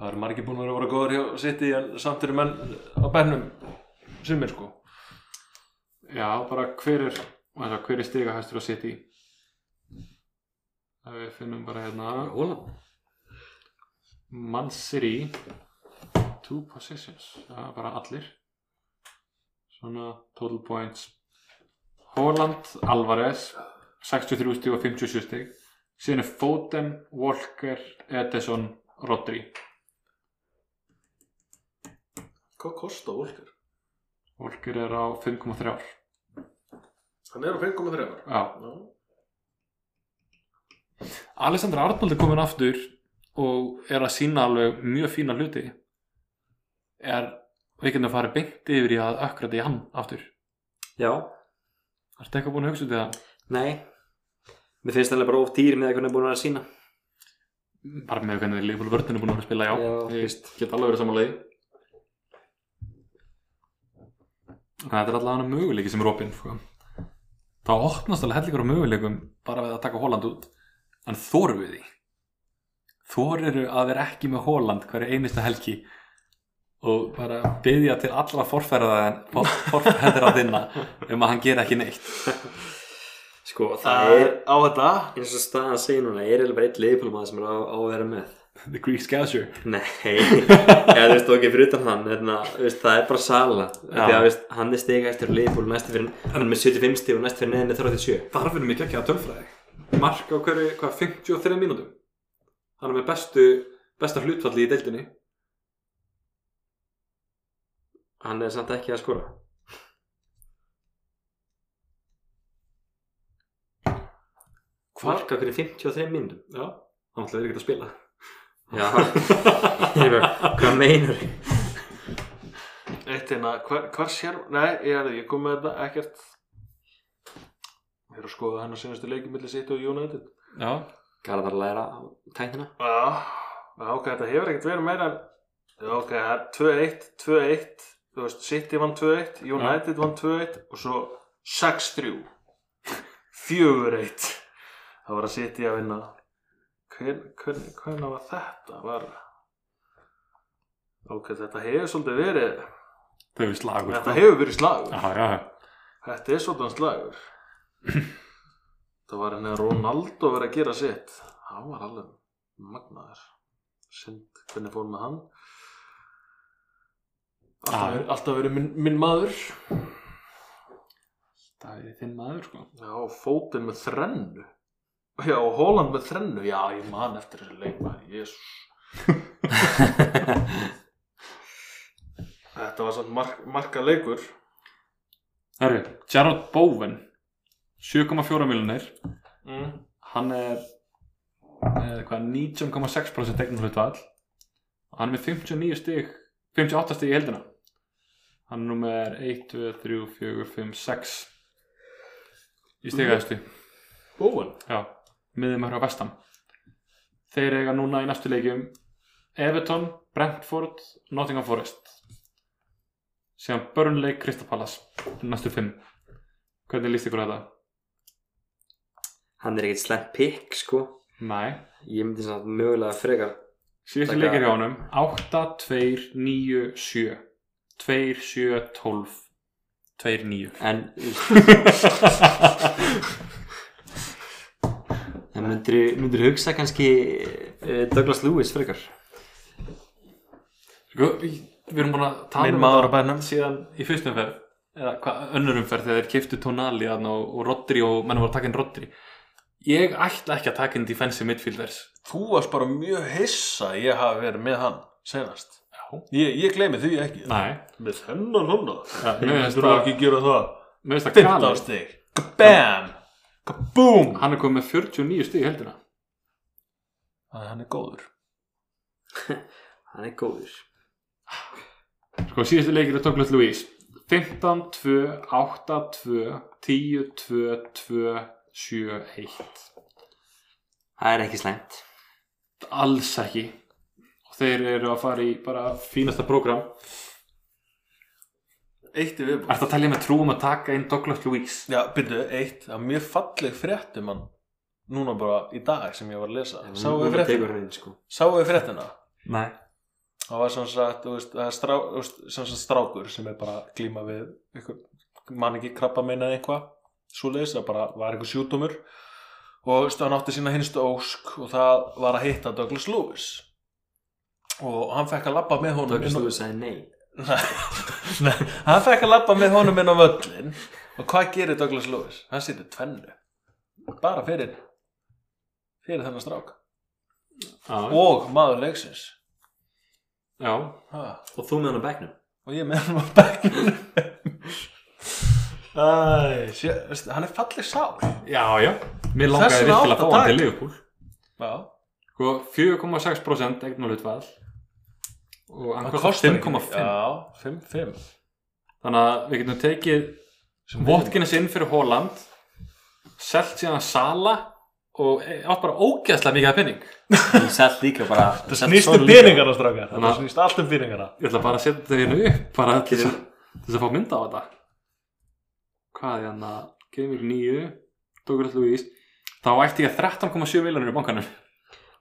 Það eru margir búin að vera að vera góður hjá City en samt eru menn á bennum sumir sko
Já, bara hver er og það, hver er stiga hæstur að setja í Ef við finnum bara hérna
Holland?
Man City Two positions Já, bara allir Svona total points Holland, Alvarez 63 stíg og 57 stíg síðan er Foden, Walker Edison, Rodri
Hvað kostar Volker?
Walker er á 5,3
Hann er á 5,3 ára
Já, Alessandra Arnold er komin aftur og er að sína alveg mjög fína hluti er við getum að fara beint yfir í að ökkrati í hann aftur
Já,
Ertu eitthvað búin að hugsa út í það?
nei Mér finnst það bara of dýr með að hvernig er búin að vera að sína
Bara með hvernig leifbúl vörðin er búin að vera að spila, já,
Já,
ég get alveg verið samanlega Þetta er allavega hann möguleiki sem er opinn sko. Það opnast alveg hellingur á möguleikum bara við að taka Holland út en þóru við því þóriru að vera ekki með Holland hverju einasta helgi og bara byggja til allra forferðaðin forferðaðinna um að hann gera ekki neitt
Sko, það
Það
er
er á þetta
eins og staðan segir núna, er eiginlega bara einn liðpólmaður sem er á, á að vera með
The Greek Scouser
Nei, eða þú veist þú ekki fyrir utan hann hérna, þú veist, það er bara Sala
Já.
því að þú veist, hann er stiga eftir liðpól næstu fyrir, hann er með 75 stig og næstu fyrir neðinni 37
Þar finnum við ekki að tölfræði Mark á hverju, hvað, 53 mínútum Hann er með bestu besta hlutfalli í deildinni
hann er samt ekki að skora Marka hverju 53 mínútum
Já, hann ætlaði ekki að spila
Já, Ég er bara, hvað meinar
Eitt hérna, hver, hver sér Nei, ég er ég kom með þetta ekkert Ég er að skoða hennar sínastu leiki millir City og United
Já,
Garðar að læra á tæknina
Já, já, ok, þetta hefur ekkert verið meira en Já, ok, það er 2-1, 2-1 Þú veist, City vann 2-1 United vann 2-1 og svo 6-3 4-1 Það var að City að vinna Hvern, hvern, Hvernig var þetta? Var... Ok, þetta hefur svolítið verið
þau eru slagur sko.
Þetta hefur verið slagur
Já, já,
Þetta er svolítið slagur Það var henni að Ronaldo verið að gera sitt Hann var alveg magnaður Sind hvernig fór með hann Alltaf,
Já.
verið, alltaf verið minn, minn maður
það er þinn maður sko
Já, og fótinn með þrennu Já, og Holland með þrennu Já, ég man eftir þessu leikmaður Jésús Þetta var samt mark, marka leikur
Herru, Gerard Bowen 7,4 miljonir
mm.
Hann er eh, hvað, 19,6% eignum hlutfall Hann er með 59 stig 58 stig í heldina Hann er nummer 1, 2, 3, 4, 5, 6 í stigæðustu
Búin
Já, miðumörður á vestam Þeir eiga núna í næstu leikjum Everton, Brentford, Nottingham Forest síðan Burnley, Crystal Palace næstu fimm Hvernig líst ykkur á þetta?
hann er ekkert slemt pikk sko
Nei
ég myndi samt mögulega frekar
Síðastu
Taka-
leikir hjá honum 8, 2, 9, 7 2, 7, 12 2, 9
en, en myndir, myndir hugsa kannski eh, Douglas Lewis frekar
Sko, í- við erum búin að tala
Minn
um
maður
þetta
á bænum.
síðan í fyrstu umferð eða hvað önnur umferð þegar þeir keiftu tónali og, og Rodri og menn voru að taka inn Rodri ég ætla ekki að taka inn defensive midfielders
Þú varst bara mjög hissa að ég hafi verið með hann senast.
Já.
Ég, ég gleymi því ekki.
Nei,
Með þennan honna?
Ja,
Ég
mér finnst
myndur
það-
ekki gera það.
mér finnst það
15
galið
stig. Kabam! Kaboom!
Hann er komið með 49 stíð í heldina
Þannig að hann er góður.
Hann er góður
Sko, síðustu leikir er Douglas Lewis 15, 2, 8, 2 10, 2, 2 7, 1
Það er ekki slæmt
Alls ekki og þeir eru að fara í bara fínasta prógram
Eitt er viðbúin.
Er það að telja með trúum að taka inn Douglas Lewis?
Já, byrju, eitt. Það er mjög falleg fréttum hann núna bara í dag sem ég var að lesa. Sáu við
Núna
fréttina?
tekur hann inn, sko.
Sáu við fréttina?
Nei
Það var sem sagt, þú veist, það er strá, þú veist, sem sagt strákur sem er bara að glíma við einhver, man ekki krabba meina eða eitthvað, svoleiðis, það bara var einhver sjúdómur og þú veist, hann átti sína hinstu ósk og það var að hitta Douglas Lewis og hann fekk að labba með honum
Douglas
inn á-
Lewis sagði nei
Nei, nei, hann fekk að labba með honum inn á völlin og hvað gerir Douglas Lewis? Hann situr tvennu bara fyrir fyrir þennan strák
Já,
og maður leiksins
já.
ha.
Og þú með hann á bekknum
og ég með hann á bekkinu Æ, sjö, veistu, hann er falleg sál
já, já. Mér
Þess
langaði
vegna
virkilega að fá
átti að
hann
taka.
til Liverpool
Já,
Sko, 4,6% eignalutfall og hann
hann
kostar
kostar
5,5
Já, 5,5
Þannig að við getum tekið
Sem
Votkins inn fyrir Holland selt síðan Sala og e, átt bara ógeðslega mikið af penning
Ég sætt líka bara
Það
selt
snýst
svona
um
líka.
peningana strákar
Þannig
Það
að-
snýst allt um peningana
Ég ætla bara að setja þetta hérna upp bara til þess að, til þess að fá mynda á þetta Hvað er hérna? hann að Gaming 9, Douglas Lewis þá ætti ég 13,7 miljonur í bankanum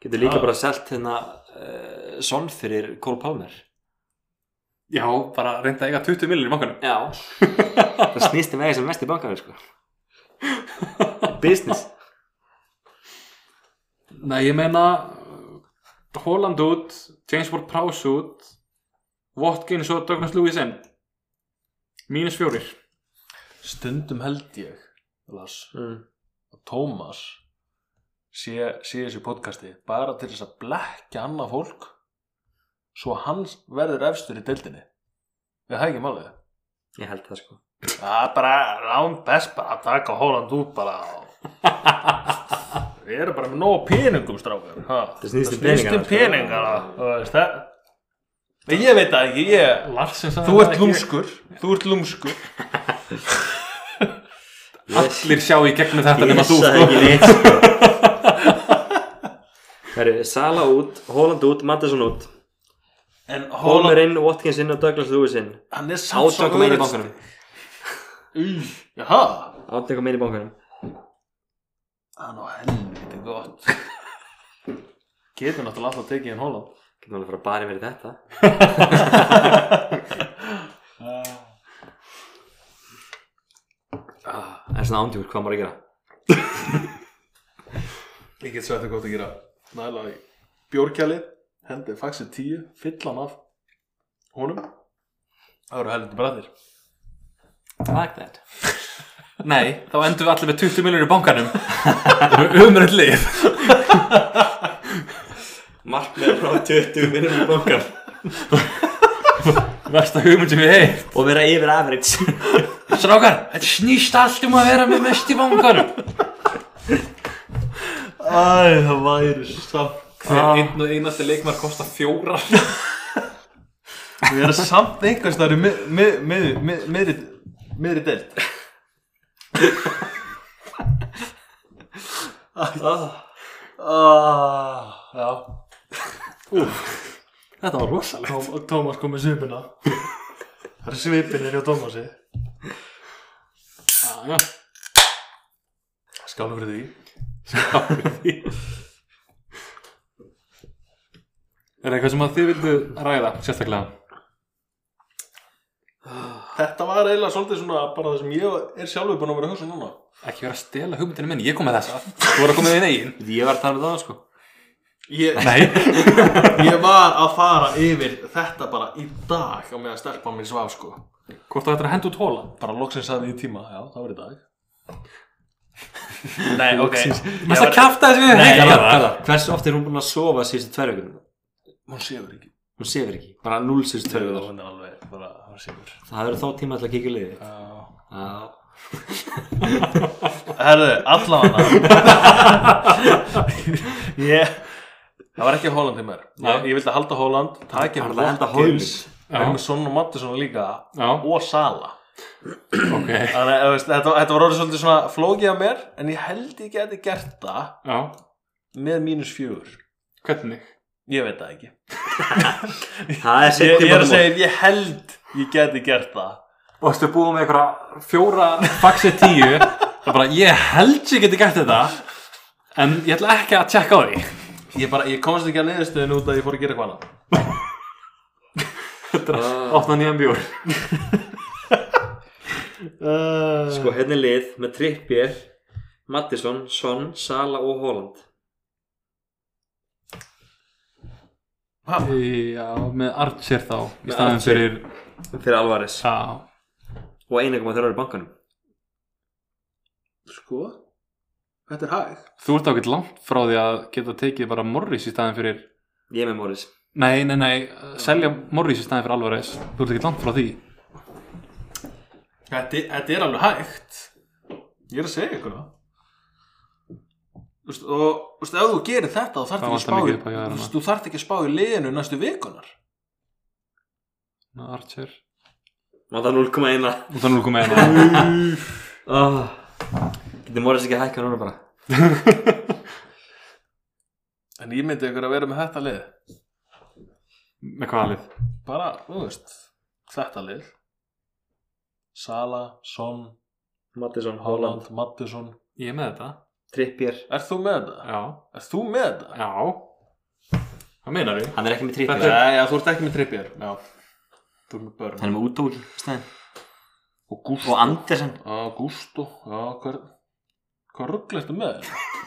Getur líka
Já.
bara sælt hérna uh, Son fyrir Cole Palmer
Já, bara reynda að eiga 20 miljonur í bankanum
Já Það snýst um eiga sem mest í bankaður sko Business
Nei, ég meina uh, Holland út, James Ward Prowse út Watkins og Douglas Lewis inn Mínus fjórir
Stundum held ég Lars,
mm.
að Tómas sé, sé þessu podcasti bara til þess að blekja annað fólk svo hann verður efstur í deildinni við hægjum alveg
Ég held það sko
það er bara lán best bara að taka Holland út bara og... við erum bara með nóg peningum strákar ha.
Það snýst um peningana, sko.
peningana þú veist það Nei, ég veit það ekki, ég
Larsen sagði
þú
það
ert
ekki.
lúmskur, þú ert lúmskur
Allir sjá í gegnum þetta
Ég
nema þú
sagði ekki
sko.
sko. neitt sko Herru, Sala út, Holland út, Mattisson út
en
Palmer
Holland,
inn, Watkins inn og Douglas Lewis inn
hann er samt svo
Áttökum inn í
öruggt-
bankanum
Í, Jaha,
Áttökum inn í bankanum
hann á helviti gott Getur náttúrulega alltaf tekið en Holland
Getur alveg að fara bara yfir í þetta Ah, En svona ándjúr, hvað maður að gera?
Ég get svætti gott að gera Næla í bjórkjali Hendi faxið tíu, fylla hann af Honum Það eru helviti bræðir
Like that
Nei, þá endum við allir með 20 miljonur í bankanum Það er umrönd lið
Markmið frá 20 minnum í bankan
Versta hugmynd sem ég hef
Og vera yfir average
Strákar, þetta snýst allt um að vera með mest í bankanum
Æ, það væri samt
Hver einn og einasti leikmar kostar fjórar
Við erum samt einhvers það eru mið- mið- mið- mið- miðri- miðri deild Ah, Já
Þetta var rosalega
Tó- Tómas kom með svipina Það er svipinir hjá Tómasi
Já, já
Skálum fyrir því
Er eitthvað sem að þið vildu ræða sérstaklega?
þetta var eiginlega svolítið svona bara það sem ég er sjálfur búin að vera að hugsa um núna
Ekki vera að stela hugmyndinu minni, ég kom með þessa Þú voru að koma með þinn eigin
Ég var að tala með það sko
ég,
Nei,
ég var að fara yfir þetta bara í dag á meðan stelpa mér svaf sko
hvort það ættir að henda út hóla
bara loksins að því tíma, já það var í dag nei, ok
Mest að kæfta þessu við
Nei,
Nei,
já,
já,
já. Hversu oft er hún búin að sofa síðustu tvær vikur?
hún séur ekki
Hún sefur ekki, bara null síðustu tvær vikur
hún er alveg, bara, hún séur
Það eru þá tíma til að kíkja liði Já,
herðu, allavega ég það var ekki Holland í mér
Nei.
ég, ég vildi halda Holland, takja
Hann vildi halda Holland.
það er með Son og Mattisson líka
já,
og Sala
ok
Þannig, að, þú veist, þetta, þetta var orðið svolítið svona flókið af mér en ég held ég geti gert það
Já,
með mínus fjögur
hvernig?
ég veit það ekki
það er
ég,
seinni
ég er að
bara
segja, ég held ég geti gert það
Og þú búið með einhverja fjóra faxi tíu Það bara, ég held ég geti gert þetta En ég ætla ekki að tjekka á því
ég, bara, ég komst ekki að niðurstöðin út að ég fór að gera eitthvað annað
Ah.
Opna nýjan bjór
mót. Sko, hérna er lið með Trippier, Mattisson, Son, Sala og Holland
Já, með Archer þá Í
Með
staðin
Archer.
fyrir
Fyrir Alvarez
Já,
Og 1,3 í bankanum
sko, þetta er hæg
þú ert ákveld langt frá því að geta tekið bara Morris í staðin fyrir
Ég er með Morris
Nei, nei, nei, selja Morris í staðin fyrir Alvarez Þú ert ekki langt frá því
þetta, þetta er alveg hægt ég er að segja ykkur það Þú veist, og þú veist, ef þú gerir þetta þá þarf
Það
ekki að
vantar
spá
mikið
í-
upp á hjá þér
þú veist,
þarna.
þú þarf ekki að spá í liðinu næstu vikunar
Ná, Archer
Mata 0,1
Og þannig kom með hérna
oh. Getur Morris ekki að hækka núna bara
en ég myndi ykkur að vera með þetta lið
Með kvalið
bara, þú veist, þetta lið Sala, Son,
Mattisson, Holland,
Holland, Mattisson
Ég er með þetta
Trippier
Er þú með þetta?
Já,
Er þú með þetta?
já Hvað meinar við?
Hann er ekki með
Þetta
Trippier
er-
Nei, já, þú ert ekki með trippjör Já Þú ert með börn
Hann er með Útóki stæðin
Og Gúst
Og Andersen
Já, Gúst og Já, hvað Hvað ruggla ertu með þetta?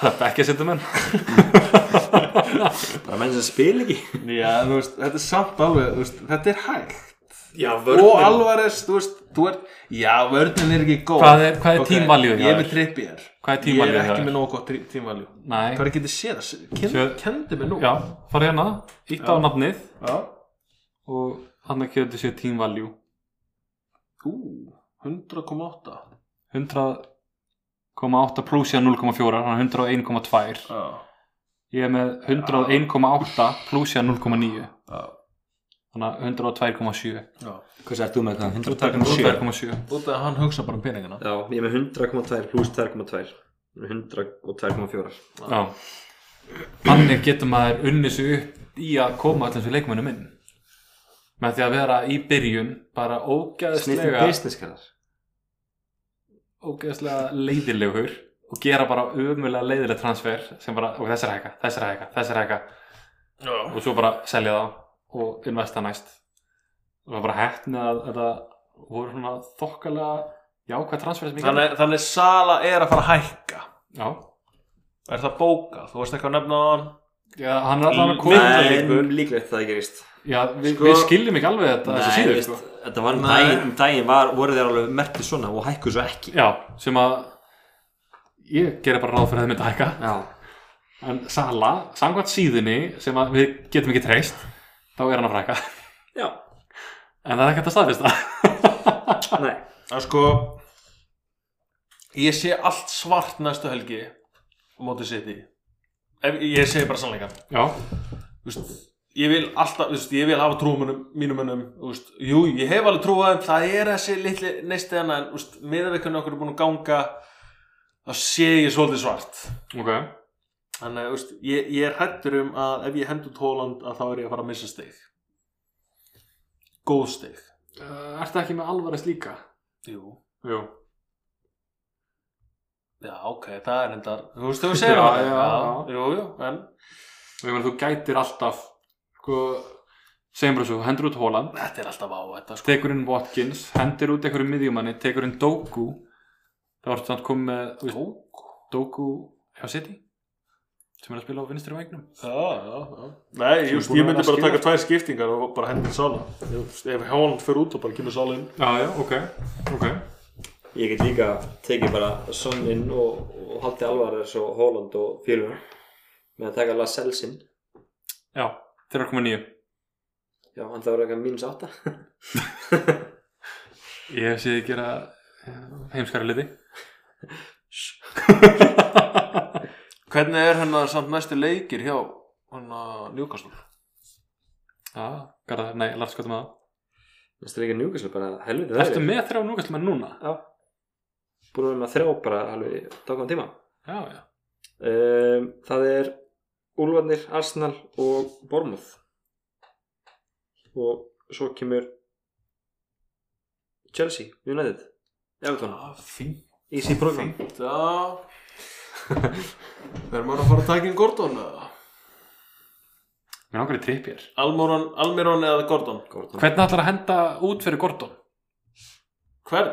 Það er ekki að setja menn
Bara menn sem spil ekki
Já, þú veist, þetta er samt alveg þú veist, Þetta er hægt
Já,
Og Alvarez, þú veist, þú ert Já, vörðin er ekki góð
Hvað er- hvað er
Ok,
team value hjá
Ég er
þér?
með trippjör
Hvað er team value
Ég er
hjá
ekki
þér?
með nógu gott tri- team value
Nei
Hvað er getið séð það? Ken-
Séð-
Kendi mig nú
Já, fara hérna Ítta á
Já.
nafnið
Já.
Og hann að kjöðu sér team value
Ú, 100,8
100,8 pluss ég 0,4 Hann er 101,2
Já,
Ég er með 101,8 pluss ég 0,9
já,
Þannig að 102,7
já
Hvað er þú með það? 102,7
102,7
Út af að hann hugsa bara um peningana
Já, ég er með 100,2 pluss 2,2 102,4
Já Þannig getur maður unnið svo upp í að koma allir þessu leikmönnum inn með því að vera í byrjun bara
Snýttum
ógæðslega
business kallar
ógæðslega leiðilegur og gera bara ömulega leiðileg transfer sem bara, ok, þessar hækka, þessar hækka, þessar hækka
Já
og svo bara selja það og investa næst og það var bara hættni að þetta voru svona þokkalega jákvæð transfer sem ég gerði.
þannig, þannig Sala er að fara að hækka
Já,
Er það bókað? Þú veist eitthvað að nefna hann
Já, hann er allan að
Nei.
koma
En líklegt það gerist
Já, við,
Sko-
við skiljum ekki alveg þetta þessu
Nei,
síður
veist,
sko.
þetta var um
Nei.
daginn, um daginn var, voru þeir alveg mertið svona og hækkuð svo ekki
Já, sem að ég gerir bara ráð fyrir að það myndi hækka
Já,
en Sala, samkvæmt síðunni sem að við getum ekki treyst þá er hann að frækka
já,
en það er ekki hægt að staðfesta
nei
Það sko Ég sé allt svart næstu helgi á móti City Ef, Ég segi bara sannleikann
Já,
Þú veist, Ég vil alltaf, þú veist, ég vil hafa trúmunum mínum önum, veist, jú, ég hef alveg trúaðum það er þessi litli neisti hana en þú veist, meðan við hvernig okkur er búin að ganga þá sé ég svolítið svart
ok
þannig að þú veist, ég, ég er hættur um að ef ég hendur tóland að þá er ég að fara að missa stig góð stig
Ertu ekki með alvarist líka?
Jú.
Jú
Já, ok, það er hendar Þú veist, þú segir
Já,
það
já, já.
Jú, jú, en
Þú gætir alltaf sko, segjum bara svo, hendur út Holland
Þetta er alltaf á þetta sko
tekur inn Watkins, hendir út einhverju miðjumanni tekur inn Doku þá ertu samt komið með þú veist, Doku hjá City sem er að spila á vinstri vægnum
Já, já, já Nei, ég,
Sem
just,
búin
ég
að
myndi
vera
bara
að
taka tvær skiptingar og bara hendur sála Ef Hjóland fyrir út og bara kemur sála inn
já, já, ok, ok
Ég get líka tekið bara Son inn og, og haldi Alvarez og Holland og Fílun með að taka Lascelles inn
já, þeir eru komið nýju
Já, hann það voru eitthvað mínus átta
ég sé þið gera eh, heimskara liði
Hvernig er hennar samt næstu leikir hjá hennar Newcastle?
já, garða, nei, Lars gott með
Næstu líka Newcastle bara helviti
það ertu
erfitt.
með þrjá núkast með núna
Já Búin að vera með þrjá bara alveg tókum tíma
já, já,
um, Það er Úlfarnir, Arsenal og Bournemouth og svo kemur Chelsea, United Everton,
fínt
easy program
Já Verður maður að fara að taka inn Gordon eða?
mér langar í trippjér
Almiron, Almiron eða Gordon?
Gordon
hvernig ætlar að henda út fyrir Gordon?
Hvern?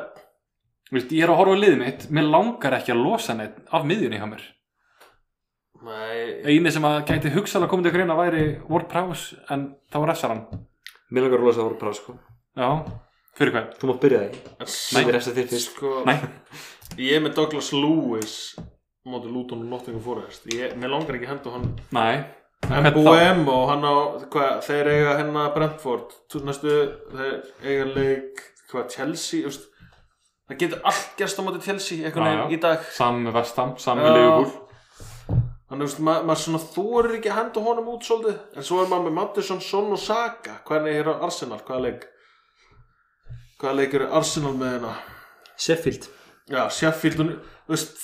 Þú veist, ég er að horfa á liðið mitt, mér langar ekki að losa neitt af miðjunni hjá mér.
Nei,
Einu sem að gæti hugsalega komið til greina væri Ward Prowse, en þá refsar hann.
Mér langar að losa það voru bara sko
Já, fyrir hvað?
Þú mátt byrja því
Nei,
Sæði resta þér fyrst
sko
Nei,
Ég er með Douglas Lewis Móti Luton og Nottingham Forest Ég, Mér langar ekki að henda hann
nei,
En
Hvern þá?
Boem og hann á hvað, Þeir eiga hennar Brentford Þú næstu, þeir eiga leik Hvað, Chelsea þú veist. Það getur allt gerst á móti Chelsea Eitthvað
Já,
neginn
já.
í dag
saman með Vestam, saman
Já.
með Leifur.
Þannig að veist, ma maður svona þorir ekki að henda honum út svolítið En svo er maður með Mattisson, Son og Saka Hvernig er á Arsenal, hvaða leik Hvaða leik eru Arsenal með hérna
Sheffield
Já, Sheffield og- Þú veist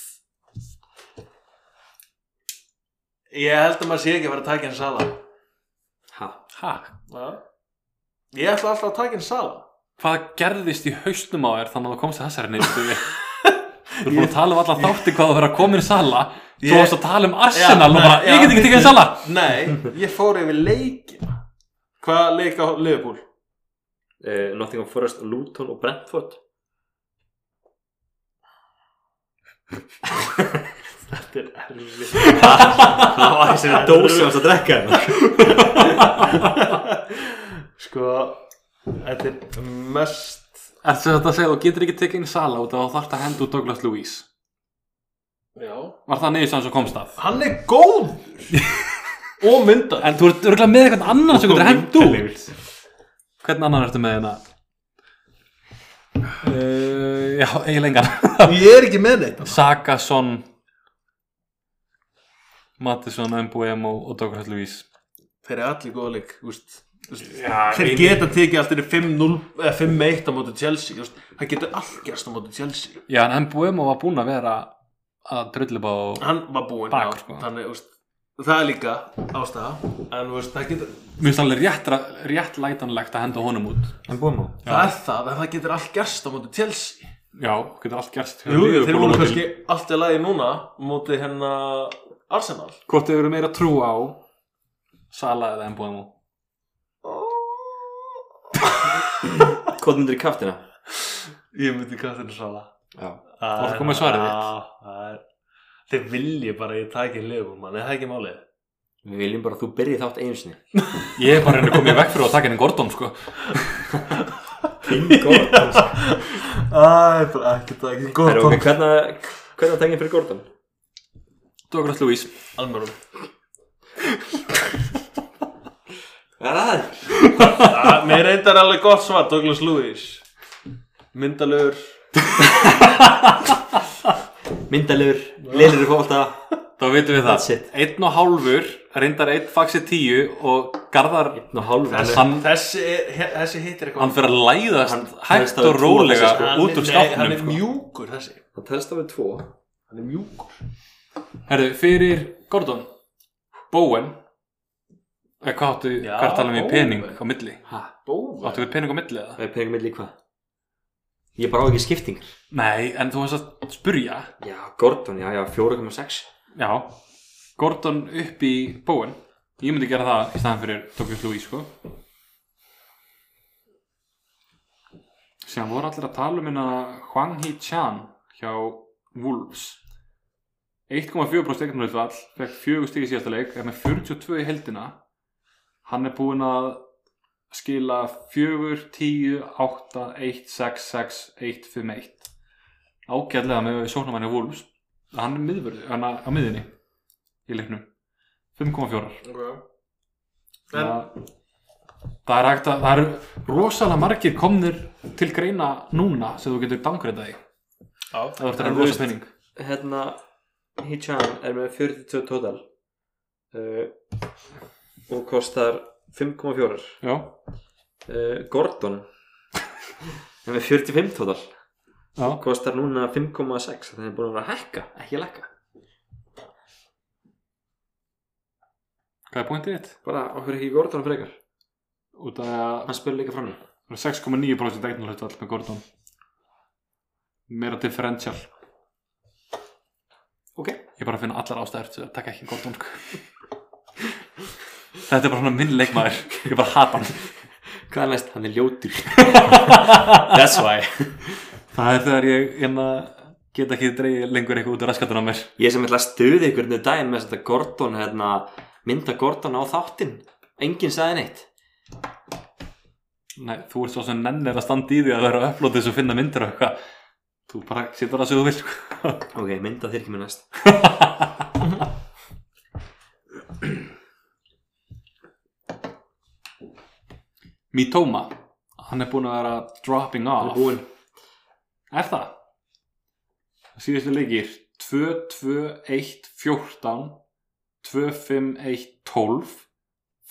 Ég held að maður sé ekki að vera að taka henni sala
Ha,
Ha,
Já Ég ætla alltaf að taka henni sala
hvað gerðist í haustum á þér þannig að þú komst að þessari nýttu? Þú erum búin að tala um alla þátti hvað þú verður að koma inn í sala. Þú
Ég-
varst að tala um Arsenal
Já,
og bara,
nei,
ég
já.
get ekki tekið inn sala.
Nei, ég fór yfir leikina Hvaða leik á Liverpool?
uh, Nottingham Forest, Luton og Brentford
Þetta er erfið
Það var þessi dósi hans að drekka hérna.
Sko, þetta er mest
Ertu þetta að segja þú getur ekki tekið inn sala út af þú þarft að henda út Douglas Lewis?
Já
Var það niðurstaðan sem komst að?
Hann er góð Og myndað
En þú ert örgulega með eitthvað annan sem getur hengt út Hvern annan ertu með hérna? Uh, já, eiginlega engan
Ég er ekki með neitt
Saka, Son Mattisson, Mbuemo og Douglas Lewis
Þeir eru allir góða leik úst.
Já,
Þeir geta tekið allt þeirri 5-0 eða 5-1 á móti Chelsea úst. Hann getur allt gerst á móti Chelsea
Já, en Mbuemo var búinn að vera að drullupa og
Hann var búinn
Bak,
já.
sko.
Þannig, úst, það er líka ástæða En úst, það, getur,
Mér finnst alveg rétt, rétt lætanlegt að henda honum út
En búin á
Já.
það er það en það getur allt gerst á móti Chelsea
Já, getur allt gerst hjá
Jú,
Liverpool á
Þeir voru
móti-
kannski allt í lagi núna á móti hennar Arsenal
Hvort þau eru meira trú á Sala eða Mbuemo
Hvað myndir í kraftina?
Ég myndi kastinu sala
Já
Það
ertu kominn með svarið
þitt Þeir vilja bara að ég taki liðbúl mann, er það ekki málið?
Við viljum bara að þú byrjið þátt einu sinni
Ég er bara henni komið vekk fyrir að taka henni Gordon sko
King Gordon
Það er bara ekki takið
Herra, ok, hvernig Hvernig tengið fyrir Gordon?
Douglas Lewis
Almörun
Er það?
Ah, Mér reyndar alveg gott svar, Douglas Lewis Myndalur
Myndalegur, leilur í fólta
Þá veitum við
That's
það
it.
Einn og hálfur, reyndar einn faxi tíu og Garðar,
Nú hálf
Þessi-
hann
Hann-
Þessi, er- he- þessi hittir eitthvað
hann fyrir að læðast
Hann-
hægt
hann er sko.
og rólega
staðið
Hann er-
út úr
Nei, hann
skápnum
er
sko.
mjúkur þessi
Hann telst af við tvo
Hann er mjúkur
Herðu, fyrir Gordon Bowen eða hvað áttu,
Já,
hvað talaðum við
Bowen.
pening á milli?
Hæ?
Bóða
Áttu við pening á milli eða?
Það er peningum minn líka Ég bara á ekki skiptingar
Nei, en þú varst að spurja
Já, Gordon, já, já, 4,6
Já, Gordon upp í Bowen Ég myndi gera það í staðan fyrir Douglas Lewis sko Síðan voru allir að tala um hérna Hwang Hee Chan hjá Wolves 1,4% eignarhaldvall fekk 4 stig í síðasta leik er með 42 í heldina hann er búinn að skila 4, 10, 8, 1, 6, 6, 1, 5, 1 ágæðlega með sóknarmanni Wolves hann er miðvörð, hann er á miðinni í leiknum 5,4
Ok En,
það, það er hægt að það eru rosalega margir komnir til greina núna sem þú getur dangreitað í ef
já,
þú ert að
En
vera
þú
rosa
veist-
penning
hérna Hichan er með 42 total uh, og kostar 5,4 uh,
já,
Eh, Gordon er með 45 total
já,
kostar núna 5,6 þannig er búin að vera að hækka, ekki að lækka
hvað er pointið þitt?
bara okkur ekki Gordon frekar
út af að
hann spilur líka fram í.
það er 6,9% eignalhautvall með Gordon meira differential
ok,
ég er bara að finna allar ástæður til að taka ekki Gordon sko. þetta er bara svona minn leikmaður ég bara hata hann
hvað er næst? hann er ljótur that's why
það er þegar ég hérna, get ekki dreigið lengur eitthvað út af raskatunum á mér
ég sem ætla að stuði ykkur nú daginn með þetta Gordon hérna, mynda Gordon á þáttinn enginn sagði neitt
Nei, þú ert svo sem nennir að standa í því að vera að upplóta þessu og finna myndir og eitthvað Þú bara setur það sem þú vil sko.
ok, mynda þér ekki með næst
Mitoma, hann er búinn að vera dropping
hann
off
er búinn
Er það? Síðustu leikir 2, 2, 1, 14 2, 5, 1, 12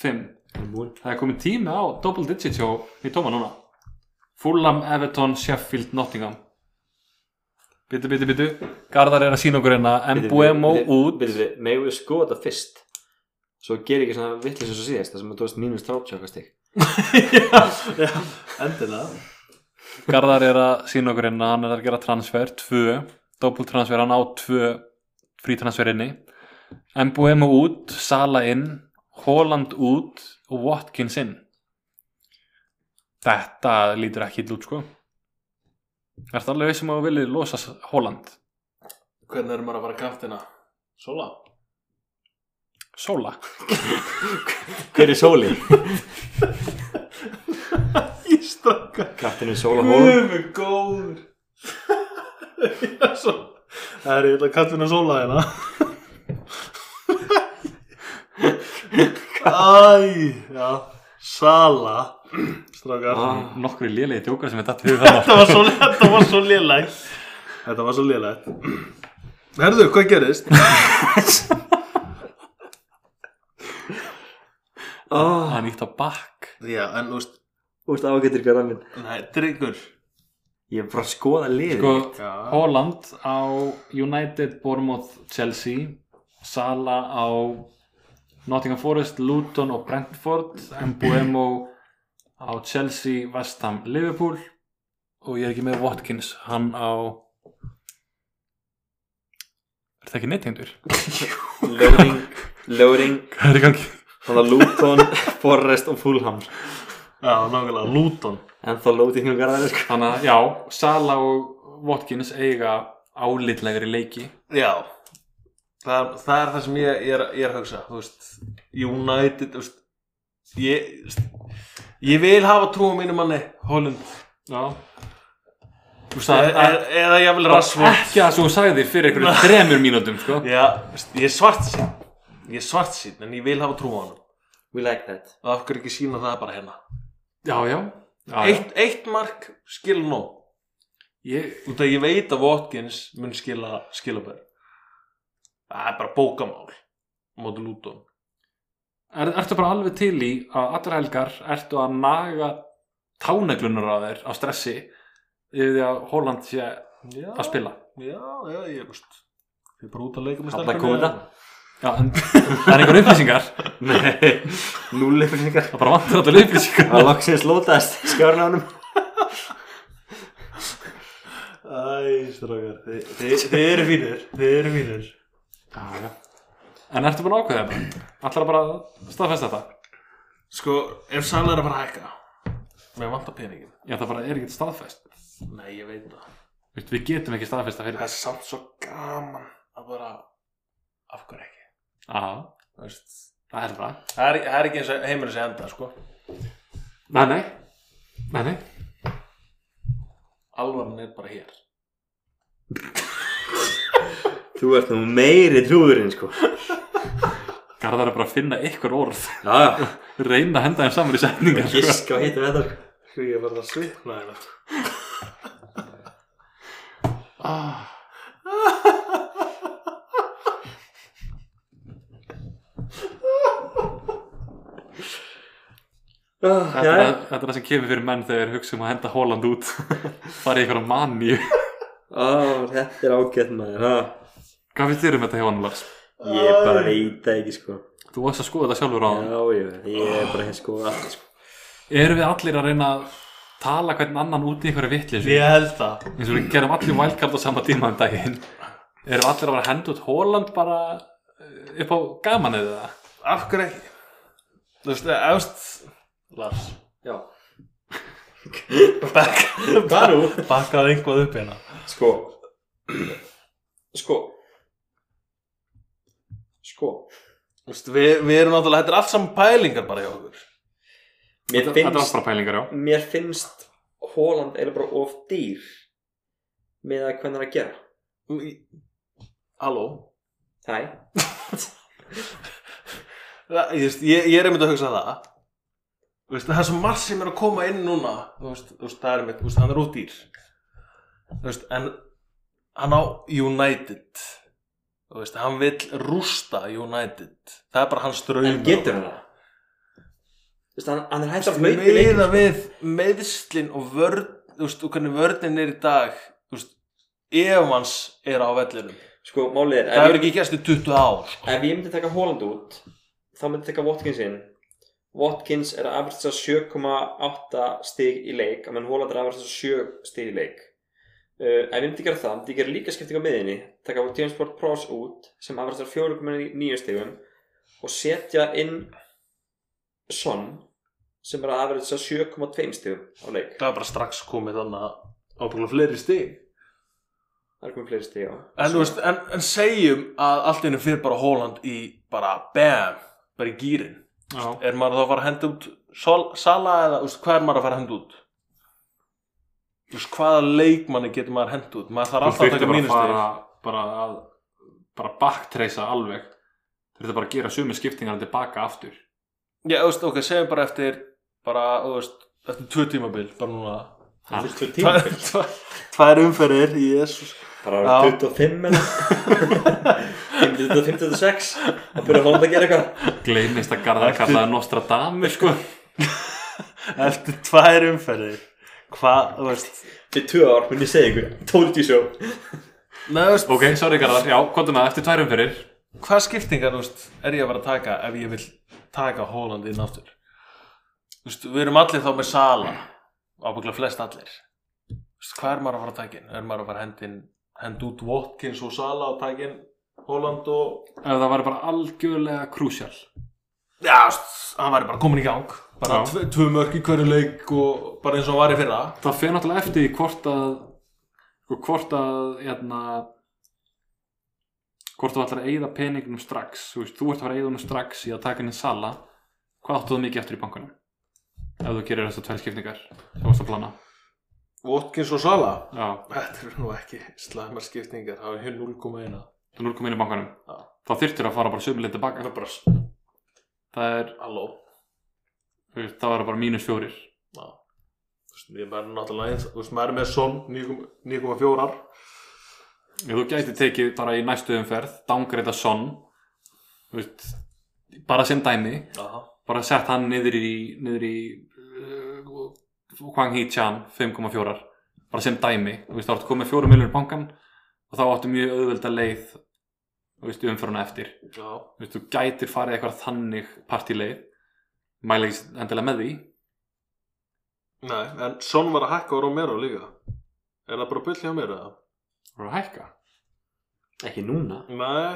5
hann er búinn
Það er komið tími á double digits hjá Mitoma núna Fulham, Everton, Sheffield, Nottingham Bitu, bitu, bitu Garðar er að sína okkur hérna Mbuemo út
Megum við skoða þetta fyrst Svo ger ekki svona vittlis eins og síðast Það sem að þú veist mínus 30 okkar stig
já, endilega
Garðar er að sína okkur inn að hann er að gera transfer, tvö doppult transfer, hann á tvö frítransfer inni Mbuemo út, Sala inn Holland út og Watkins inn Þetta lítur ekki illa út sko Er það alveg veist sem að þú viljið losa S- Holland?
Hvernig er maður að hérna? fara kantina? Sola?
Sóla?
Hver er sóli?
Ég strakka
Kaptinu Sóla Hólm
mig góður Já, svo Það er ég ætla að kalla hennar sola hérna Æ, já Sala Strákar
Ah.
Nokkri lélegi tjókar sem er datt í hug þarna.
Þetta var svo, þetta var svo lélægt Þetta var svo lélægt Herðu, hvað gerist?
Þú
Hann ítt á bakk
Já, en þú veist
Ah. veist ágættur hvað minn
Nei, dryggur
Ég er bara að skoða liði
Sko,
Já.
Holland á United, Bournemouth, Chelsea Sala á Nottingham Forest, Luton og Brentford Mbuemo á Chelsea, West Ham, Liverpool og ég er ekki með Watkins hann á Er það ekki neittendur?
Sko, Loading, loading
Hvað er í gangi?
Þannig að Luton, Forrest og Fulham
Já, nákvæmlega, Luton
En þá loading um garðar sko.
Þannig að já, Sala og Watkins eiga álitlegri leiki
Já Það, það er það sem ég, ég, er, ég er að hugsa þú veist, United þú veist, ég, þú veist, ég vil hafa trú á mínu manni Holland
Já Þú veist það
það, er,
er
eða ég vil Rashford
Eh, ekki að svo sagði fyrir einhverjum þremur mínútum sko.
Já, þú veist, ég er svart sín ég er svart sín en ég vil hafa trú á hann
We like that
og af hverju ekki sína það bara hérna
Já, já, já, já.
eitt, eitt mark skil nóg
Ég,
út af ég veit að Watkins mun skila skilabær það er bara bókamál móti Luton
er, ertu bara alveg til í að allra helgar ertu að naga táneglunar á þér á stressi yfir því að Holland sé
Já,
að spila
já, já, ég veist ég er bara út að leika með
Alla
stelpunni
góða.
og-
Já, en það er einhver upplýsingar
Nei, núli fyrir ykkur
það bara vantar alltaf upplýsingar
Það loksins lótaðist skjárna honum
Æ, strákar, þið, þið, þið eru fínir, þið eru fínir.
já, já. En ertu búin að ákveða þetta? Allra bara að staðfesta þetta
Sko, ef Sala er að fara að hækka, Mér vantar peningin.
Já, það bara er ekkert staðfest.
Nei, ég veit það.
Veist, Við getum ekki staðfesta fyrir
Það er samt svo gaman að bara, af hverju ekki?
Já,
Þú veist,
það er það.
það er, það er ekki eins og heimurinn sé enda, sko.
Nei, nei. Nei, nei.
Alvaran er bara hér.
Þú ert nú meiri trúðurinn sko
Garðar er bara að finna ykkur orð.
Já, já,
Reyna að henda þeim saman í setningar. sko.
giska og hitta þetta sko
Því ég verða að svitna hérna.
Ah.
Ah,
Þetta er,
Já,
það- þetta er það sem kemur fyrir menn þegar þeir hugsa um að henda Holland út fara í einhverja manni
Ó, þetta er ágætt maður ha.
Hvað finnst þér um þetta hjá hann Lars?
Ég bara veit það ekki sko
Þú varst að skoða þetta sjálfur á hann
Já, ég, ég er bara hér sko allt sko
Erum við allir að reyna að tala hvern annan út í einhverja vitlis
Ég held það.
eins og við gerum allir wildcard á sama tíma um daginn Erum við allir að vera að henda út Holland bara eh, upp á gaman eða það?
Af hverju ekki? Þú veist, efst... Lars.
Já
Back.
Hvað nú?
Bakkaði einhvað upp hérna.
Sko Sko Sko
Þú veist, við, við erum náttúrulega, þetta er allt saman pælingar bara hjá okkur.
Mér
Þetta er allt
finnst
bara pælingar já
Mér finnst Holland er bara of dýr með að hvernig hann er að gera
Í- Halló?
Hæ
Það- Ég, veist, ég, ég er einmitt að hugsa það. Þú veist, það er svo margt sem er að koma inn núna. Þú veist, þú veist það er einmitt, þú veist, hann er út dýr. Þú veist, en hann á United. Þú veist, hann vill rústa United. Það er bara hans draumur.
En getur hann það? Þú veist, hann, hann er hægt að hlaupa í leikin
meða við meðslin og vörn þú veist, og hvernig vörnin er í dag þú veist, ef hans er á vellinum
Sko, málið er,
það
ef
hefur
ég,
ekki gerst í 20 ár sko.
ef ég myndi taka Holland út þá myndi ég taka Watkins inn Watkins er að afræsta 7,8 stig í leik menn Holland er að afræsta 7 stig í leik uh, ef ég myndi gera það, myndi ég gera líka skipting á miðinni taka James Ward Prowse út sem afræsta 4,9 stigum og setja inn Son sem er að afræsta 7,2 stigum á leik
það er bara strax komið þannig að ábyggla fleiri stig
það er komið fleiri stig á
en, þú veist, en, en segjum að allt einu fyrir bara Holland í bara bam, bara í gýrin
Já,
er maður þá að fara að henda út sol, sala eða þú veist, hvað er maður að fara að henda út Þú veist, hvaða leikmanni getur maður að henda út maður þarf
þú
alltaf að
þurfti
taka
bara að
mínustig
fara bara að bara backtreysa alveg Þurfti bara að gera sömu skiptingar tilbaka aftur
Já, þú veist, ok, segjum bara eftir bara, þú veist, eftir tvö tímabil bara núna
Ha?
Þurftu tíma?
Tvær- tvær- Tvær umferðir, jésus
bara
Já.
25 eða 25-26 að byrja Holland að gera eitthvað
Gleimist að Garðar
Eftir-
kallaði Nostradamus sko
Eftir tvær umferðir Hvað, þú veist
til 2 ár mun ég segja ykkur 12 sjó
Nei, þú veist,
Ok, sorry Garðar, já, komdu með það eftir tværum fyrir
hvað skiptingar, þú veist, er ég að vera að taka ef ég vil taka Holland inn aftur Þú veist, við erum allir þá með Sala ábyggla flest allir Þú veist, hvað er maður að fara að taka inn? Er maður að fara að henda inn, henda út Watkins og Sala og taka inn Holland og
Ef það væri bara algjörlega krúsjál
Já, st- hann væri bara komin í gang bara
Já.
tve, tvö mörk í hverju leik og bara eins og hann var í fyrra
Það fer náttúrulega eftir því hvort að sko, hvort að hérna, hvort þú ætlar að eyða peningnum strax þú, veist, þú ert að fara að eyða honum strax í að taka henni sala hvað áttu það mikið eftir í bankunum ef þú gerir þessar tvær skipningar sem varst að plana
Watkins og Sala
Já,
Þetta eru nú ekki slæmar skiptingar það er hér 0,1
þú núl kom inn í bankunum
Já.
þá þyrftir að fara bara sömuleið tilbaka
er bara,
það er,
halló
þú veist, það var bara mínus fjórir
Já. Þú veist, ég verður náttúrulega eins þú veist, maður er með Son 9,4
Ef þú gæti tekið bara í næstu umferð downgreita Son þú veist, bara sem dæmi bara sett hann niður í niður í uh, Hwang Hee Chan 5,4 bara sem dæmi, þú veist, þá ertu komið fjórum miljonur bankan og þá áttu mjög auðvelda leið þú veist, umfyruna eftir
Já,
þú veist, þú gætir farið eitthvað þannig partileið, mæla ekki endilega með því
nei, en Son var að hækka á Romero líka Er það bara byll hjá mér eða?
þú voru að hækka
ekki núna
Nei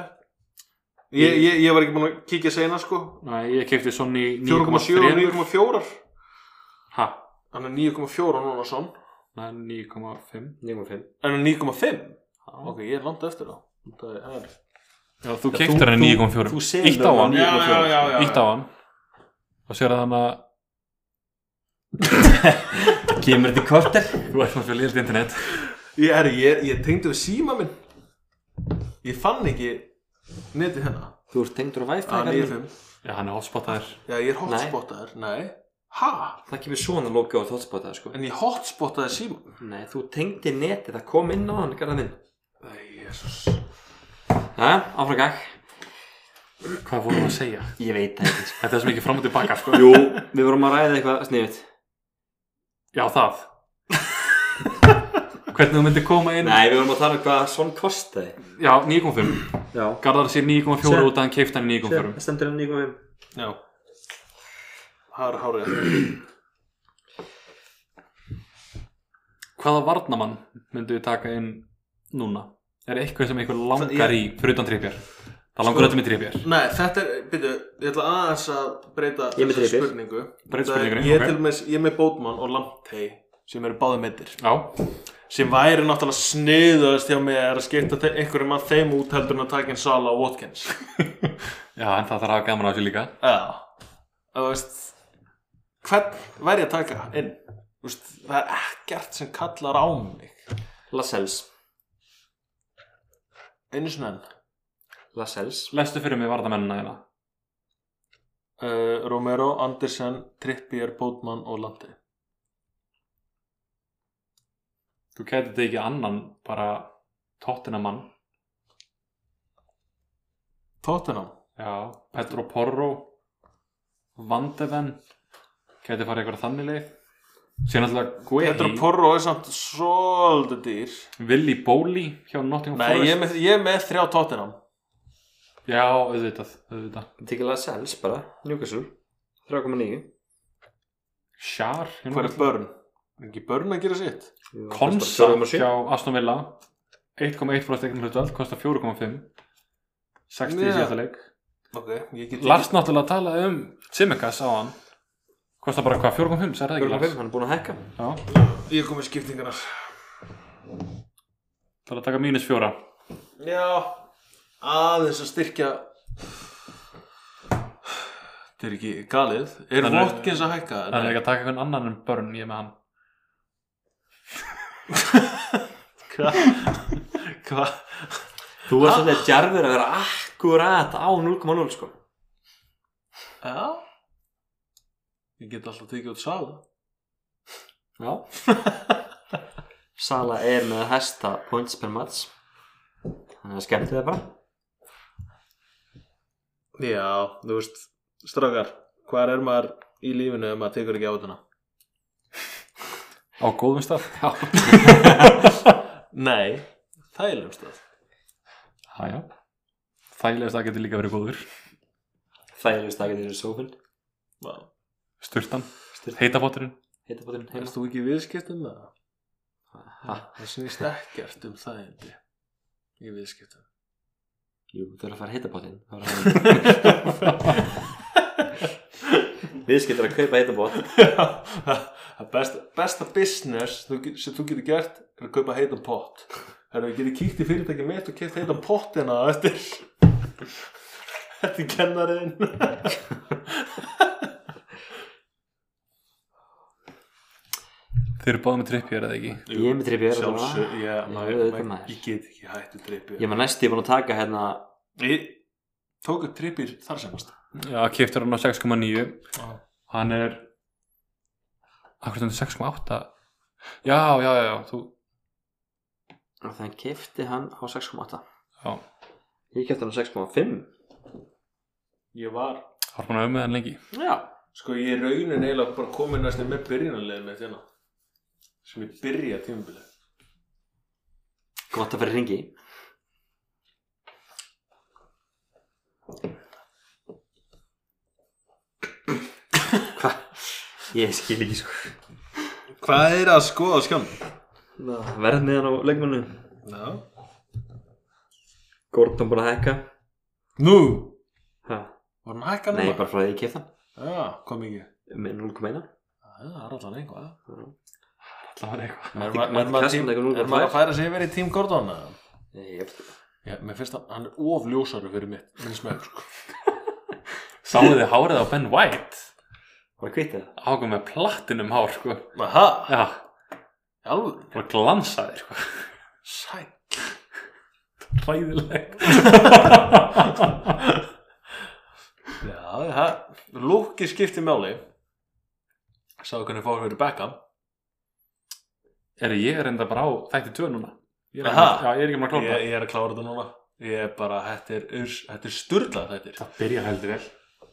Ég, ég, ég var ekki búin að kíkja sena sko
Nei, ég kefti Son í
4,7 og
9,3
9,4
ha,
hann er 9,4 á Nónason
Nei, 9,5
9,5
en hann er 9,5
Já.
ok, ég er langt eftir þá það er- það er
Já, þú
Já, þú-
keiptir hann í 9.4
þú selur
Ítt á
hann
hann,
í-
ítt á hann og sér að hann að
Kemur þetta í korter?
þú ert náttúrulega liðt internet
Ég, er, ég, ég tengdi við síma minn Ég fann ekki netið hérna. hennar
Þú ert tengdur á Wi-Fi
að
kallinn.
95
Já, hann er hotspotaður
Já, ég er hotspotaður, nei Ha?
Það kemur svona logo á þóttspotað sko
En ég hotspotaði síma
Nei, þú tengdi netið, það kom inn á hann, garðan minn
Æ, jésus
Jæja, áfram gag
Hvað vorum við að segja?
Ég veit það ekki sko.
Þetta er svo mikið fram og tilbaka sko.
Jú, við vorum að ræða eitthvað sniðut
Já, það Hvernig þú myndir koma inn
Nei, við vorum að tala um hvað svon kostaði
Já, 9.5
Já
Garðar sér 9.4
Sér.
út að hann keipta hann í 9.4
stendur hann 9,5
Já Það er hárið hérna.
Hvaða varnamann myndu við taka inn núna? Er eitthvað sem eitthvað
Það-
langar í fyrir utan trippjar? Það
Sko-
langar öllum í trippjar
Nei, þetta er, byrju, ég ætla aðeins að breyta
Ég er með
þessari
drifið.
spurningu
Breyta
Það er-
spurningunni,
Ég
ok.
er til með, ég er með Bótmann og Lamptey sem eru báði meittir
Já,
sem væri náttúrulega sniðast hjá mig er að skipta þe- einhverjum af þeim út heldur en að taka inn Sala og Watkins
já, en það þarf að hafa gaman á sér líka
Já Þú veist Hvern væri ég að taka inn? Þú veist, það er ekkert sem kallar á mig
Lascelles
Einu sinni enn
Lascelles
Lestu fyrir mig varnamennina þína
uh, Romero, Andersen, Trippier, Bótmann og Landi
Þú kætið þetta ekki annan bara tóttina mann
Tottenham
Já, Petro Porro Vandeven Kætið farið eitthvað þannig leið Sér náttúrulega
Petro
Guehi
Porro er samt svolítið dýr
Willi Bóli hjá Nottingham
Nei, ég er
Forest
með, ég er með þrjá Tottenham
Já, auðvitað, auðvitað
Tekið Lascelles bara, Newcastle 3,9
Sjár
Hver er börn? Er ekki börn að gera sitt?
Konsa hjá Aston Villa 1,1 frá steknum hlutvöld kostar 4,5 60 í
Yeah.
síðasta leik
Ok, ég get
Lars náttúrulega talaði um Simikas á hann kostar bara hvað, 4,5, sér það ekki Lars
4,5, hann er búin að hekka
Já,
Ég kom með skiptingarnar
það er að taka mínus fjóra
Já Aðeins að styrkja Þetta er ekki galið Er
Hann er-
Watkins að hækka?
Það er ekki að taka einhvern annan en börn ég er með hann
Hvað? Hvað?
Þú varst svolítið djarfur að vera akkurat á 0,0 sko
Já Ég get alltaf tekið út sala
Já Sala er með hæsta points per match Þannig að skemmti það bara
Já, þú veist Strákar, hvar er maður í lífinu ef maður tekur ekki á þetta?
Á góðum stað Já,
Nei, þælum stöð
já Þægilegast að getur líka verið góður
Þægilegust að geta þér sófinn
Vá.
Sturtan,
Styrta
heitapotturinn
hitabótinn
Erst
heima
þú ekki í viðskiptum með það?
Ha,
Það snýst ekkert um þægindi Í viðskiptum
Jú, þú er að fara hitabótinn Við skiptir að kaupa hitabót
Það besta, besta business þú get- sem þú getur gert er að kaupa heitan pott Það er að geta kíkt í fyrirtæki mitt og keitt heitan pott hérna á eftir Þetta er kennarinn
Þeir eru báðum með trippjör eða ekki
Ég er með trippið er
Sjálfsög,
þetta
ég, maður,
auðvitað
maður,
maður.
ég get ekki hættu trippir
Ég var næstu búin að taka hérna
Ég tók upp trippir þar semast
Já, keiptur hann á 6,9 hann er akkur stundur 6,8 já, já, já, já, þú
og þannig kefti hann á 6,8
já,
Ég kefti hann á 6,5
Ég var,
það er búin að um með hann lengi
Já
sko ég er raunin eiginlega bara komin næstu með byrjunarlegin með þérna sem ég byrja tímabilið
Gott að vera ringi Hva? Ég skil ekki sko
Hvað er að skoða á skjánum?
Verð með hann á leikmannu
Já
Gordon búin að hekka
Nú,
ha.
var hann hækkan
Nei, bara frá því að ég kefti hann
Já, hvað mikið?
Með 0,1
það er allan einhvað
Það var eitthvað
Er
Mætti- mætti
maður
Kastner leikur
tím-
núll
er
og
maður
tvær?
að færa sig yfir í tím Gordon? eða?
Jep.
Já, mér finnst að hann er ofljósaru fyrir mitt, minn smeg, sko.
Sáðu þið hárið á Ben White
Var það kvítið það?
Hákum með platinum hár sko
Aha,
Já,
alveg,
bara glansaði sko
sæl.
Ræðilegt
Já, það, lúki skipti máli. Sáðu hvernig fór fyrir Beckham.
Er ég reynda bara á þætti tvö núna? Ég er,
Aha.
já, ég er ekki maður að
Ég,
klára
ég er að klára þetta núna. Ég er bara, þetta er, urs- þetta er sturlað þetta er.
Það byrja heldur vel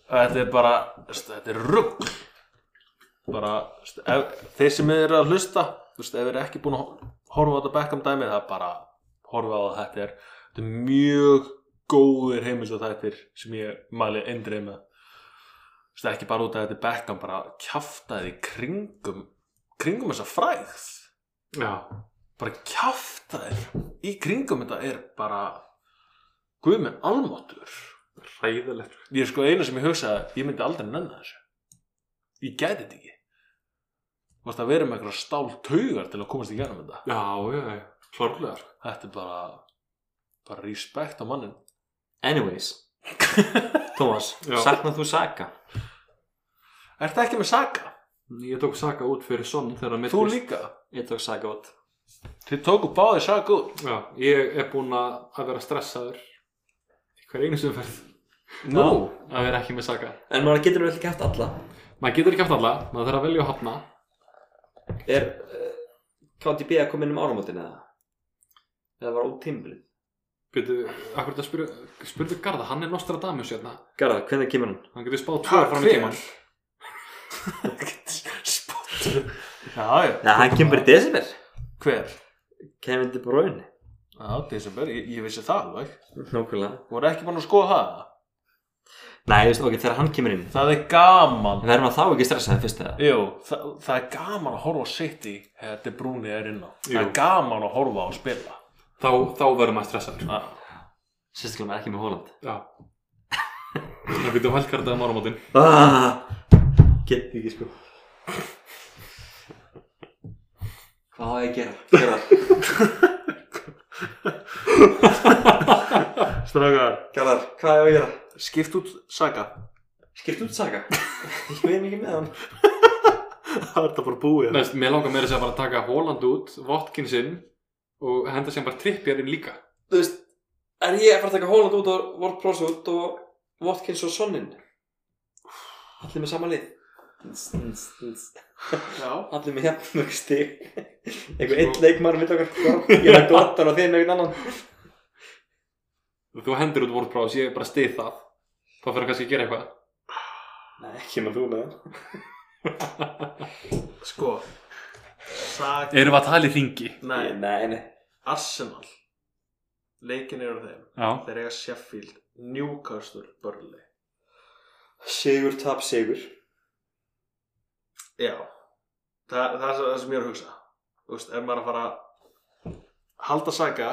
Þetta er bara, þetta er rugg. Bara, ef, þeir sem eru að hlusta, þú veist, ef þeir eru ekki búin að horfa á þetta Beckham dæmið, það er bara, horfa á það, þetta er, þetta er mjög góðir heimildatættir sem ég mæli eindreið með. Þú veist, ekki bara út af þetta er Beckham, bara kjaftaði í kringum, kringum þessa fræð.
Já,
Bara kjaftaði í kringum þetta er bara, guð með almáttur.
ræðilegt
Ég er sko einu sem ég hugsaði að ég myndi aldrei nenni þessu. Ég gæti þetta ekki. Þú veist að vera með einhverja stál taugar til að komast í gerum þetta.
Já, já, já, sko. klárlegar
Þetta er bara, bara respekt á mannin.
Anyways Thomas,
Já.
saknað þú Saka?
Er þetta ekki með saga?
Ég tók Saka út fyrir Son þegar að
Þú líka?
Ég tók Saka út
Þið tóku báði saga út.
Já, ég er búinn að að vera stressaður í hver einu sem ferð
Nú?
að vera ekki með Saka
En maður getur vel ekki haft alla
Maður getur ekki haft alla, maður þarf að velja að hafna
Er uh, KDB að koma inn um áramótin eða? Eða var út tímbilið?
Byrju, akkur þetta spyrðu, spyrðu Garða, hann er Nostradamus hérna
Garðar, hvernig kemur hann?
Hann getur spáð tvö
Hvað
fram í tímann
hver? Spottur. Já, já.
Já, hann kemur í desember
Hver?
Kevin De Bruyne
Já, December, ég, ég vissi það alveg.
Nókulega
Þú voru ekki búin að skoða það?
Nei, þú veist, ok, þegar hann kemur inn
Það er gaman.
Verður maður þá ekki stressaði fyrst eða?
Jú, það, það er gaman að horfa á City þegar De Bruyne er inn á. Það er
Jú.
gaman að horfa á að spila.
Þá, þá verður maður stressaður
Ah.
Sérstaklega maður ekki með Holland
Já Það byrju hælkarta um áramótin
ah, Get ekki sko Hvað á ég að gera? Gerðar,
Strákar,
Gerðar, hvað á ég að gera?
skipt út Saga.
Skipt út Saka Ég veit ekki með hann
það er það bara búið.
Næst, mér langar meira þess að bara taka Holland út, Watkins inn og henda sem bara trippjar inn líka
Þú veist, er ég að fara að taka Holland út og Ward Prowse út og Watkins og Sonnin Allir með sama lið Ns, ns, ns.
Já.
Allir með jafnmörg stig Einhver einn leikmann vill okkar skora. Ég er að glottar og þið með einhvern annan
Þú hendur út WordPress, ég bara stið það Þá fyrir kannski að gera eitthvað
Nei, ekki með þú með hann
Sko, Saga,
Erum við að tala í ringi?
nei,
Nei, nei
Arsenal. Leikin eru þeim.
Já
Þeir eiga Sheffield, Newcastle, Burnley.
Sigur, tap, sigur
Já, Þa, það er það sem ég er að hugsa Þú veist, er maður að fara að halda saga,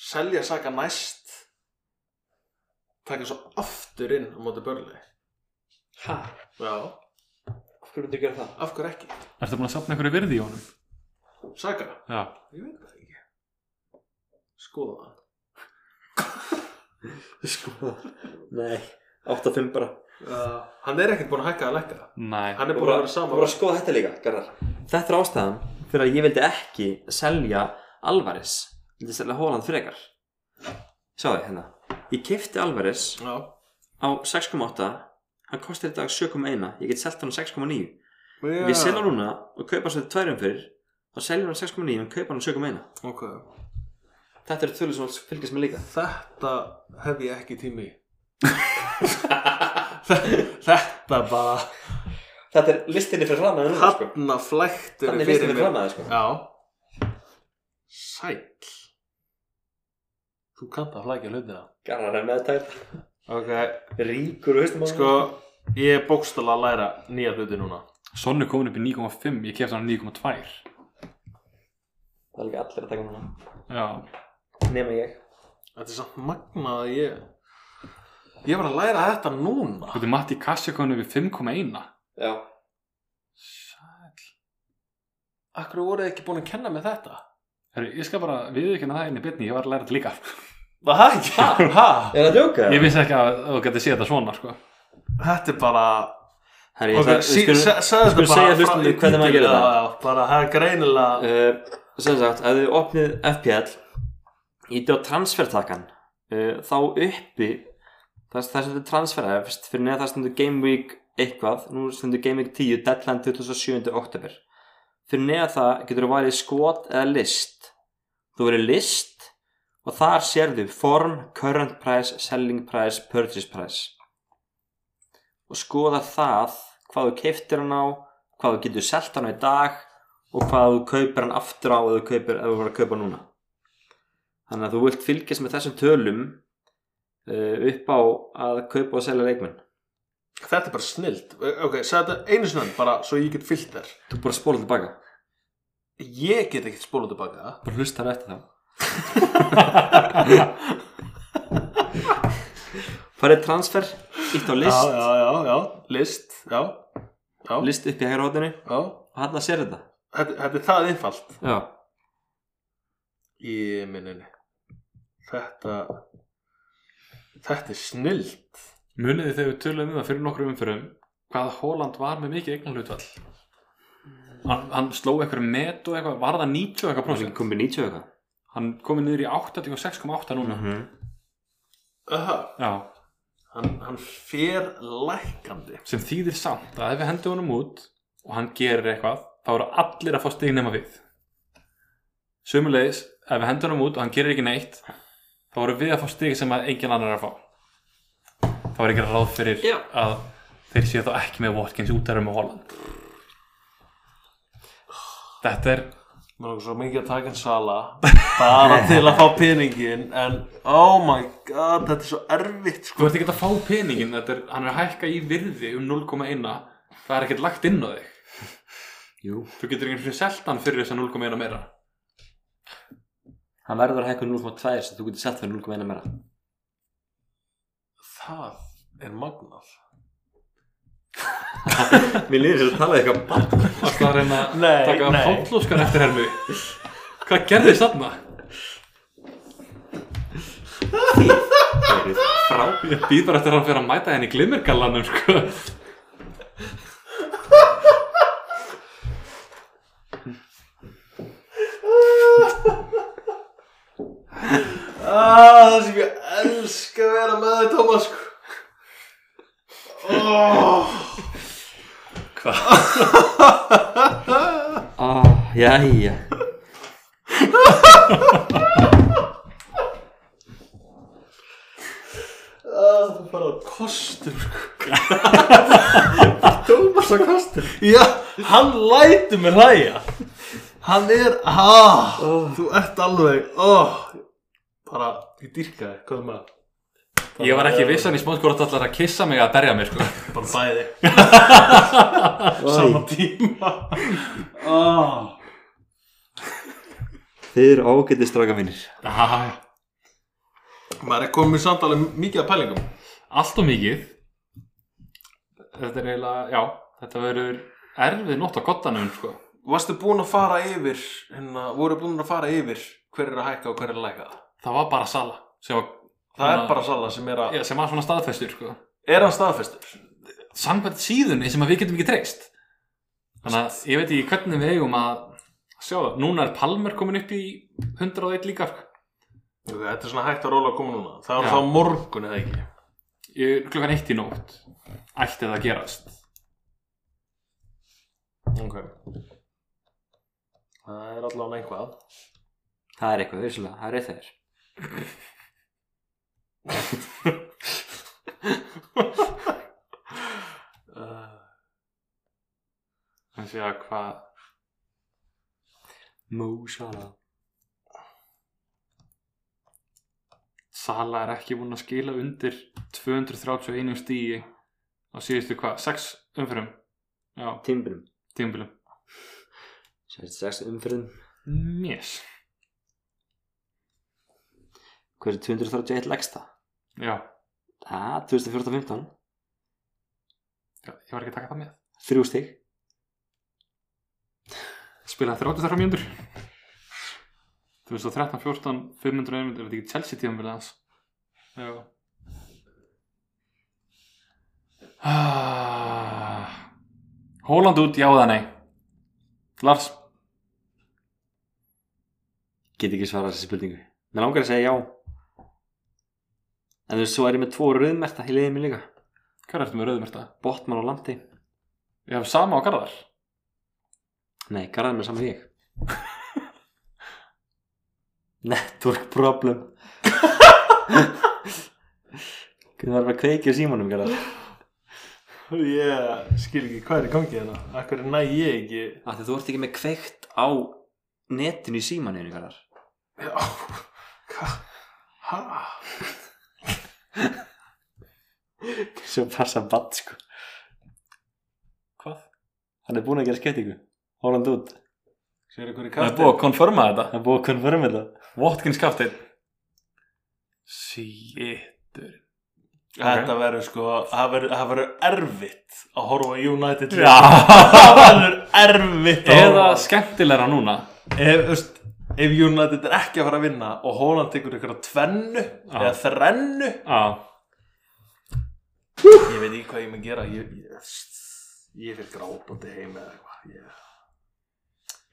selja saga næst taka svo aftur inn á móti börli
Hæ?
Já,
Af hverju myndir gera það?
af hverju ekki?
Ertu búin að safna einhverju virði í honum?
Saga?
Já
Ég veit það ekki Skoða
Sko, nei 8-5 bara
það uh, Hann er ekkert búinn að hækka að leggja
Nei
Hann er
Þú voru
búinn að
að,
vera
þú
saman
voru að skoða þetta líka, Garðar Þetta er ástæðan fyrir að ég vildi ekki selja Alvarez Ég vildi selja Holland frekar Sjáðu, hérna Ég kefti Alvarez
Já,
á 6,8 Hann kostir í dag 7,1 Ég get selt hann á 6,9
Já.
Við selja hann núna og kaupa svo tværum fyrir Þá seljum hann á 6,9 og kaupa hann á 7,1
Ok,
Þetta eru tölur sem fylgjast með líka
þetta hef ég ekki tími í. Þetta bara
Þetta er listinni fyrir framaði núna, sko
Hanna flæktur
Þannig listinni fyrir framaði, sko
Já Sæll Þú kannt að flækja hlutina
Garðar er meðtæl
Ok
Ríkur, veistu maður
Sko, ég er bókstala að læra nýja hluti núna
Sonnu komin upp í 9,5, ég kefti hann á 9,2
Það er líka allir að taka hann
Já
Nema ég
Þetta er samt magnað að ég Ég var að læra þetta núna
Þú veitir Matti Kassi komin upp í 5,1
Já
Sæt
Akkur voruð þið ekki búin að kenna með þetta?
Herru, ég skal bara viðurkenna það einni byrni, ég var að læra þetta líka.
Það er ekki Ha?
Er það að djóka?
Ég vissi ekki að að þú getur séð þetta svona, sko.
Þetta er bara
Herri, ég
Ok,
ætla- við
sí-
skulum-
se- segðu þetta
skulum
bara
segja hlustandi hvernig maður gerir það.
það Bara, það er greinilega
uh, sem sagt, ef þið opnið FPL ítið á transfertakkan uh, þá uppi þar þar sem þið transfera efst fyrir neða þar stundu Game Week eitthvað nú stundu Game Week 10, deadline 27. oktober fyrir neða það getur þú værið skot eða list þú verið list og þar sérðu form, current price, selling price, purchase price og skoða það hvað þú keiftir hann á hvað þú getur selt hann á í dag og hvað þú kaupir hann aftur á eða þú kaupir, ef þú voru að kaupa núna þannig að þú vilt fylgjast með þessum tölum uh, upp á að kaupa og selja leikmenn
Þetta er bara snilt Ok, segðu þetta einu snönd bara svo ég get fyllt þér
þú bara spóla tilbaka,
Ég get ekkert spólað tilbaka
bara hlustar eftir þá farið transfer ítt á list,
Já, já, já, já, list Já, já,
list upp í hægra hóttinni
já.
og hann að sér þetta
Þetta, þetta er það einfalt
já,
Í minninni Þetta Þetta er snilt
Muniði þegar við töluðum um það fyrir nokkru umfyrum hvað Holland var með mikið eignan hlutfall hann, hann sló eitthvað met og eitthvað, var það 90 og eitthvað
hann
prósent
komið 90 og eitthvað
hann komið niður í 86,8 núna
-hmm.
Aha,
Mhm. já,
hann, hann fer lækandi
sem þýðir samt að ef við hendum honum út og hann gerir eitthvað þá eru allir að fá stig nema við sömulegis ef við hendum honum út og hann gerir ekki neitt þá eru við að fá stig sem að engin annar er að fá þá er ekki ráð fyrir
Já.
að þeir séu þá ekki með Watkins út erum með Holland þetta er
Mér langar svo mikið að taka en sala bara til að fá peningin en oh my god, þetta er svo erfitt sko.
Þú ert ekki að fá peningin, þetta er, hann er að hækka í virði um 0,1 Það er ekkert lagt inn á þig
jú,
Þú getur einhvern veginn selt hann fyrir þess að 0,1 meira
hann verður að hækka 0.2 sem þú getur sett fyrir 0.1 meira
Það er magnað
mér líður þess að tala eitthvað bann
Það er reyna að
Nei,
taka
nei.
hálflóskar eftir hermi Hvað gerðist þarna?
frá
Ég býð bara eftir að hann fyrir að mæta henni í glimmergallanum sko.
ah, Það sem ég elska að vera með þig Tómas sko. oh.
Ah, jæja
ah, Það er bara kostur sko.
Tómas að kostur
Já, hann lætur mér hlæja Hann er ah, Þú ert alveg oh. bara, ég dýrka þig hvað er maður
Ég var ekki vissan í smótt hvort allar að kissa mig að berja mig sko.
bara bæði sama tíma ah.
Þið eru ágætið stráka mínir
Allt
maður er komið samt alveg mikið að pælingum
og mikið Þetta er eiginlega, já Þetta verður erfið nótt á kottanum sko.
varstu búin að fara yfir hérna, voru búin að fara yfir hver er að hækka og hver er að lækka
Það var bara sala sem var
það er
Svona-
bara sala sem er að
Já, sem var svona staðfestur sko.
er hann staðfestur
Samkvæmt síðunni sem að við getum ekki treyst Þannig að ég veit ekki hvernig við eigum að sjá það Núna er Palmer komin upp í 101 líka sko.
okay, þetta er svona hægt að róla að koma núna það
Já.
er þá morgun eða ekki
Ég- Klukkan eitt í nótt Ætti það að gerast
ok það er allavega einhvað
Það er eitthvað, vissulega, það er eitt þegar
uh,
Þannig að segja hvað
Mósala
Sala er ekki búin að skila undir 231 stíi á síðustu hvað, 6 umfyrum Já,
Timbrum
tímbilum
Sérst sex umfyrðum
Mjess
Hver er 231 legsta?
Já,
Það, 2014-15
Já, ég var ekki að taka það með
Þrjú stig
spilaði 33 mínútur 2013, 14, 500 mínútur er þetta ekki Chelsea tíðan vilja hans já Ah. Hóland út, já eða nei Lars,
Get ekki svarað þessi spurningu Mér langar að segja já En þú veist, svo er ég með tvo rauðmerta í liðið mér líka
hver ertu með rauðmerta?
Botman og Landi
Ég hef sama á Garðar
Nei, garðan með saman ég Network problem Hvernig var bara að kveikja í símanum, garðar
Ég skil ekki hvað er í gangi hérna Akkur næ ég ekki
Af því þú ert ekki með kveikt á netinu í símaninu, garðar
Já hva- Ha?
Svo passa bad, sko
Hvað?
Hann er búinn að gera skettingu Hóland út
Sér ykkur í
Það er
kasti
búið að konfirma þetta
Hann er búið að konfirma þetta
Watkins kaftin Sýttur
Þetta verður sko Það verður- það verður erfitt að horfa á United hérna.
Já.
Það verður erfitt að
Eða
horfa á-
skemmtilegra núna
ef, þú veist, ef United er ekki að fara að vinna og Holland tekur ykkur að tvennu eða þrennu
Já,
ég veit ekki hvað ég mun gera ég, ég, ég fyrir grátandi heim eða eitthvað ég,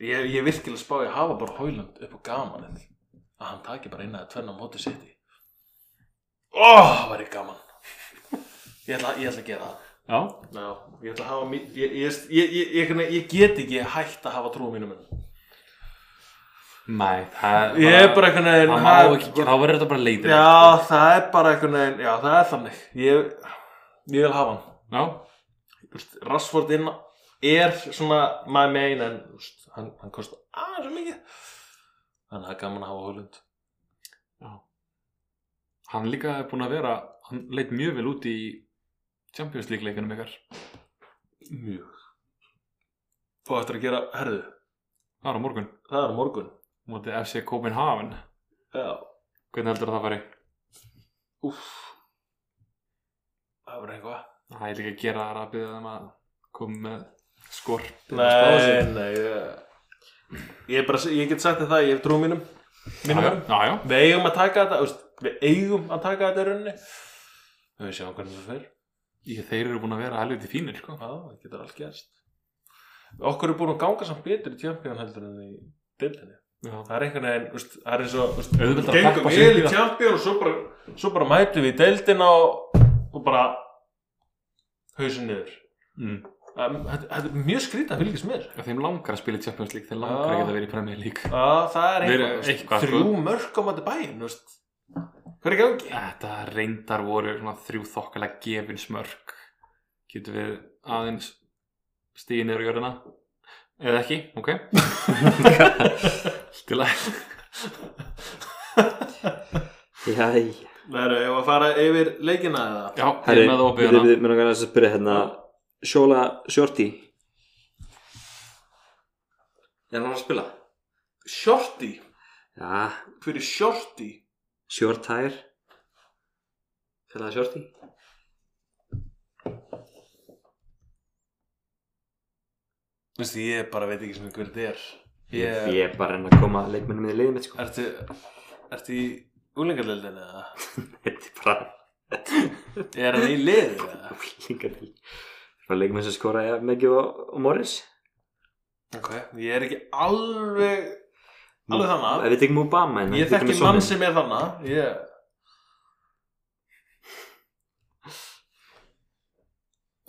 ég, ég er virkilega spá ég að hafa bara Holland upp á gaman en að hann taki bara inn að tvenna á móti sitt í oh, var ég gaman ég ætla, ég ætla að gera það
já,
Já, ég ætla að hafa mí- ég, ég, ég, ég, ég, ég get ekki hægt að hafa trú á mínum mönnum.
nei það
ég er bara einhvern veginn
Það má ekki gera, þá verður þetta bara leitir
Já, það er bara einhvern veginn, já, það er þannig. Ég, ég vil hafa hann.
Já,
Þú veist, Rashford inn er svona my main, en þú veist, hann, hann kostar aðeins of mikið. Þannig að það er gaman að hafa Holland.
hann líka er búin að vera Hann leit mjög vel út í Champions League leikunum ykkar
Mjög. Og eftir að gera, herðu,
Það er á morgun,
það er á morgun.
mótið FC Copenhagen
Já,
Hvernig heldur það fari?
úff. Það verður eitthvað.
Það er líka að gera það að byrja þeim að koma með skor
Nei, nei, ég, ég, er bara, ég get sagt þér það, ég hef trú á mínum. Mínum mönnum.
Já, já, já.
Við eigum að taka þetta, þú veist, við eigum að taka þetta í rauninni. Við sjáum hvernig það fer.
Ég, þeir eru búin að vera helviti fínir sko.
Já, það getur allt gerst. Okkur er búin að ganga samt betur í Champion heldur en í deildinni.
Já.
Það er einhvern veginn, þú veist, það er eins og, þú veist,
Auðveldara að
gengum
peppa sig
við
upp í
í
það.
Champion og svo bara, svo bara mætum við í deildina og, og bara hausin niður.
Mm.
Um, Þetta þetta er mjög skrítið að fylgjast mér.
Já, Þeim langar að spila í Champions League Þeim langar
Já.
ekki að vera í Premier League
Já, það er
Verið
eitthvað, þú veist,
eitthvað, sko.
þrjú mörg á mæti bæinn, þú veist. Hvað er í gangi?
Þetta reyndar voru svona þrjú þokkalega gefin smörk Getum við aðeins stíði niður í jörðina Eða ekki, ok Til að
Jæja
Það eru, ef að fara yfir leikina eða?
Já, ég
Herri,
er með opið hérna.
við
hana
erum að að spyrja hérna Sjóla Shorty Er hann að spila?
Shorty
Já,
Hver er Shorty?
Short Tire Félagi Shorty
Þú veist, ég bara veit ekki sem hver þetta er
Ég
Ég
ég er bara að reyna að koma leikmennum í liðið mitt sko
Ertu Ertu í úlingarleildin eða?
Þetta er bara
Er hann í lið eða?
líka til Það er leikmenn sem skoraði mikið og, og Morris
Ok Ég er ekki alveg Alveg
Ég
þannig
veit ekki múið Obama hérna, en
Ég þekki mann sem er þannig Ég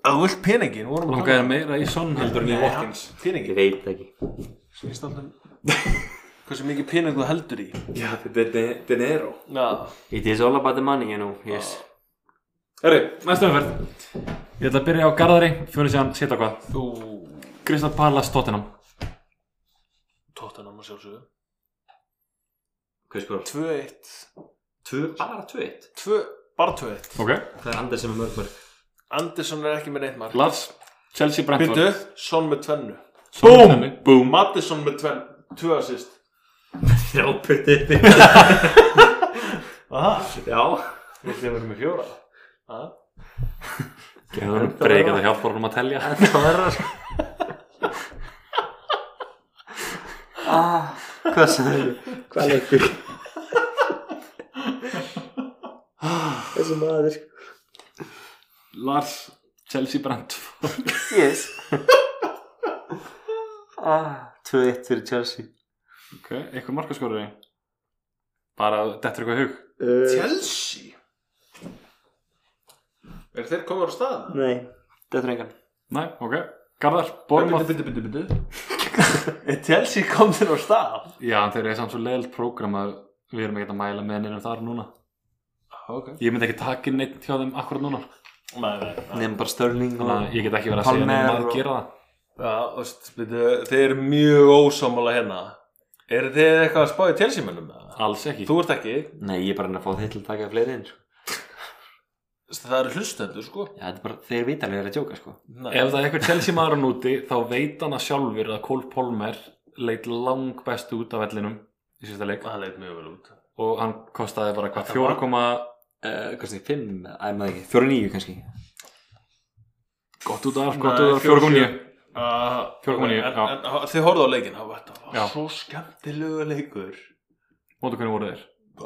Að þú vilt peningin vorum að
Langar
tala- um-
meira í Son heldur en í
Nei,
Watkins
hann-
Ég
Peningin
veit ekki
Snýst alltaf um- Hversu mikið pening þú heldur í
Já, þetta er Denero
Já
It is all about the money, you know Yes
Herri, næstu umferð Ég ætla að byrja á Garðari, fyrir síðan setja hvað
Þú
Kristall Palace Tottenham
Tottenham að sjálfsögðu
Hvað skorar?
2-1
Tvö, bara tvö eitt
2 Bara 2-1
Ok
Það er Anders sem er mörg mörg
Andersson er ekki með neitt mark
Lars, Chelsea Brentford
Bindu, Son með tvennu
Búm Búm
Mattisson með tvennu, tvö assist
Þrjá putti uppi
Aha,
Já
viltu að vera með fjóra? Aha.
Geður hann breykað að hjálpa honum að telja
Það er það sko ah, Hvað sagði Hvað leikur Þessi maður
Lars Chelsea Brentford
Yes ah, 2-1 fyrir Chelsea
ok, eitthvað markaskorari bara dettur eitthvað í hug
uh,
Chelsea Er þeir komið á staðan?
Nei, þetta er engan
nei, ok, Garðar,
Byrju,
Bormað
byrju, byrju, byrju Er Chelsea komið á staðan?
já, en þeir eru samt svo leiðilt prógram að við erum ekkert að mæla með neinum þar núna
Ok
ég myndi ekki taka inn neitt hjá þeim akkurat núna
Nei, nei, nei
Nefn bara Störling
þannig
og
að ég get ekki verið að segja
Palmer
neinum að
og-
gera það
Já, þú veist, byrju, þeir eru mjög ósámála hérna Er þið eitthvað að spá í Chelsea-mönnum? eða?
alls ekki,
Þú ert ekki
Nei, ég er bara að reyna að fá þeir til að taka fleiri inn sko.
Það eru hlustendur, sko
Já, þetta er bara, þeir vita alveg að vera að djóka sko.
Nei.
ef það er eitthvað Chelsea maður á núti þá veit hann að sjálfur að Cole Palmer leit lang best út af vellinum í sísta leik
Það leit mjög vel út
og hann kostaði bara hvað
Þetta
4,
var-
koma-
uh, Hversu, 5, æ, maður ekki, 4-9 kannski
gott út af
Nei,
gott út af 4.9
4,9. Uh,
4,9,
en,
já.
en, Þið horfðu á leikin Það var, það var
Já.
svo skemmtilegu leikur
mótu hvernig voru þeir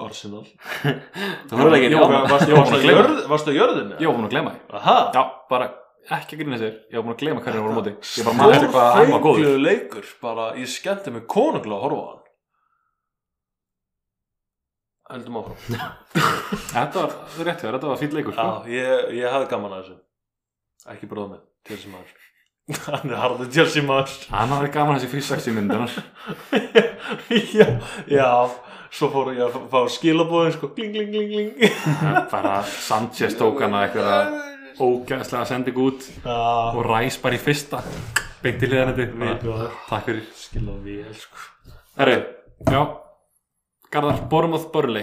Arsenal
Það voru ekki
Já,
Já,
Varstu
ég var búinn að
varstu á
gleyma.
jörð- varstu á jörðinu?
ég var búin að glema því
Aha
Já, bara ekki að grýna sér Ég var búin að glema hvernig voru á móti Ég bara maður eftir hvað hann var góður
Stórfenglegu leikur bara, ég skemmti mig konunglega að horfa á hann Heldum áfram
Þetta var þetta er rétt hér, þetta var fýll leikur sko.
Já, ég, ég hafði gaman að þessu Ekki bróða mig, Chelsea maður Hann er harður Chelsea maður
Hann hafði gaman að þessi fyrst 60 myndunar
já, já, svo fór ég að fá skilabóðin sko Gling, gling, gling, gling
Bara Sanchez tók hana eitthvað ógæðslega sending út
Já,
og ræs bara í fyrsta beint í hliðan
Veit
þetta
hvað það
Takk fyrir
Skila vel sko
Herru, já Garðar, Bormoth Börli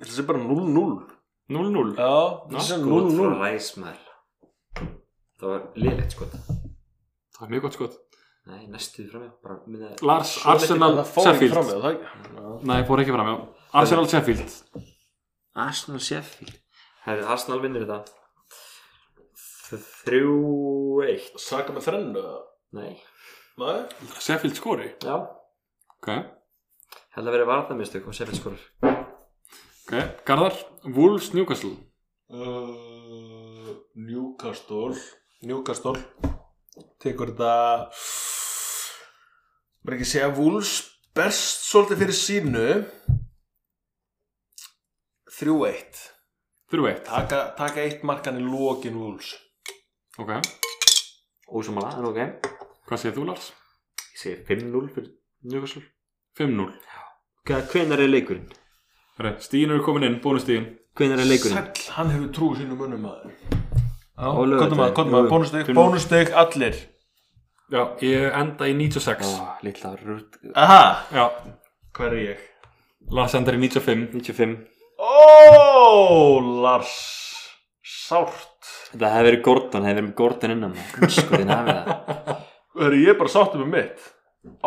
Þetta er bara 0-0
0-0
Já, þetta er 0-0
Ræs Sko, maður Það var liðlegt sko
Það er mjög gott skot
Nei, næstu framjá bara minna
Lars,
Svo
Arsenal,
Það fór ekki fram
Sheffield
með það ekki Já.
Nei, fór ekki fram, já Arsenal, Sheffield
Arsenal Sheffield Herri, Arsenal vinnur þetta Þrjú eitt
Saka með þrennu eða?
Nei,
Nei
Sheffield skori
já
Ok,
Held að vera varðamistök og Sheffield skorar
ok Garðar, Wolves, Newcastle
uh, Newcastle Newcastle Tekur þetta Bara ekki segja Wolves Berst svolítið fyrir sínu 3-1
3-1
taka, taka eitt markan í lokin Wolves
Ok,
Ósumála, en ok
hvað segir þú Lars?
Ég segi 5-0 fyrir Newcastle
5-0
Hvenær er leikurinn?
Herre, Stíin eru komin inn, bónustíin
Hvenær er leikurinn?
Sæll, hann hefur trú sínu mönnum aður
Á laugardaginn.
Kottum að, kottum að,
Jú,
bónusteg,
fimm-
bónusteg allir
Já, ég enda í 96
Ó, litla rútt
Aha,
Já,
hver er ég?
Lars endar í 95
95
Ó, Lars Sárt
Þetta hefði verið Gordon, hefði verið með Gordon innan um maður Skoðin hafið sko, það
Hörru, ég er bara sáttum með mitt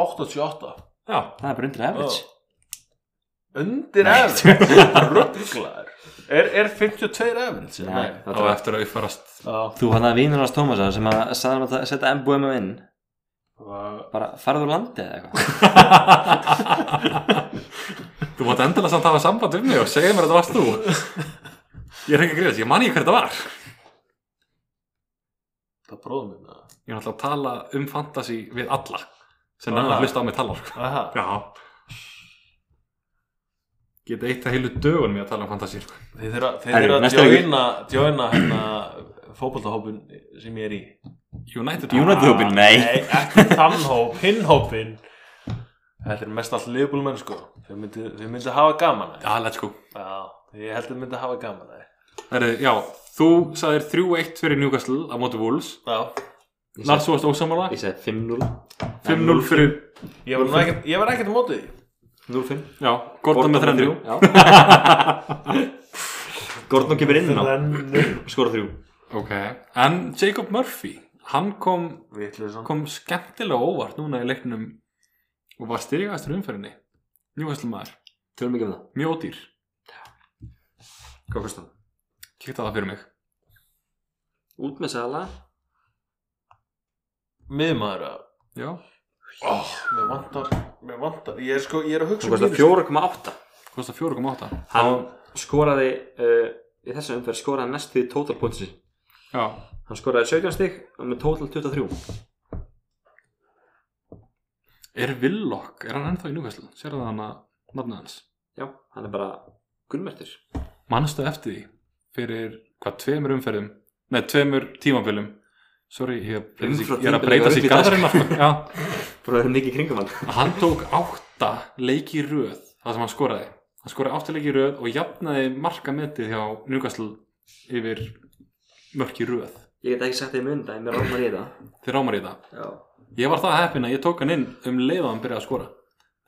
88
Já,
Það er bara undir average
Undir efn Rugglar er, er 52 efn?
Nei,
þá
það var
eftir að uppfarast
Það
Þú hann að vinur hans Tómasa sem að sagði hann að setja MBM inn
var
bara farðu úr landi eða eitthvað
Þú mátt endilega samt hafa samband um mig og segja mér að þetta varst þú Ég er ekki að greiðast, ég man ekki hver þetta var
Það bróðum við það
Ég er alltaf að tala um fantasy við alla sem
Aha.
nefnir að hlusta á mig tala sko.
Aha
Já Ég Geta eitt að heilu dögun með að tala um fantasy sko.
Þeir þurfa þeir
Herru,
þurfa að
næsta leikur.
djóina djóina hérna fótboltahópin sem ég er í
United
United hópinn, nei
Nei, ekki þann hóp, hinn hópin Þetta er mest allt liðbúlmenn sko Þau myndi, þau myndi hafa gaman að því.
Já, let's go
Já, ég held að þau myndi hafa gaman að því.
Herri, já, þú sagðir 3-1 fyrir Newcastle á móti Wolves
Já,
Ég seg-
Lars, þú varst ósamála
Ég segi 5-0
5-0 fyrir,
ég var nú ekkert- ég var ekkert á mótið því
0-5
já, Gordon með 3-3
3 Gordon kemur inn á
Þrennu
og skora 3
Ok, en Jacob Murphy hann kom,
Vitleysan
kom skemmtilega óvart núna í leiknum og var styrigastur umferðinni Newcastle maður,
Tölum ekki um það
mjög ódýr
Hvað kostar það?
Kíkta það fyrir mig
Út með Sala
Miðmaður að
já,
oh, Mér vantar, mér vantar Ég er, sko, ég er að hugsa
Hann kostar 4,8
kostar 4,8
Hann skoraði uh, í þessu umferð skoraði næst því total pointsi
já,
Hann skoraði 17 stig og með total 23
er Villok, er hann ennþá í núkvæslu sérðu það hann að nafnið hans
Já, hann er bara gulmertur
manstu eftir því fyrir hvað tveimur umferðum nei, tveimur tímafélum sorry, ég, er að breyta sig- ég er að breyta sér gaðarinn já,
Bara verið mikið í kringum hann
hann tók átta leiki í röð það sem hann skoraði hann skoraði átta leiki í röð og jafnaði marka metið hjá Newcastle yfir mörk í röð
Ég get ekki sagt því mynd að ég mér rámar í þetta
þegar ámar í það
Já
ég var það heppin að ég tók hann inn um leið að hann byrjaði að skora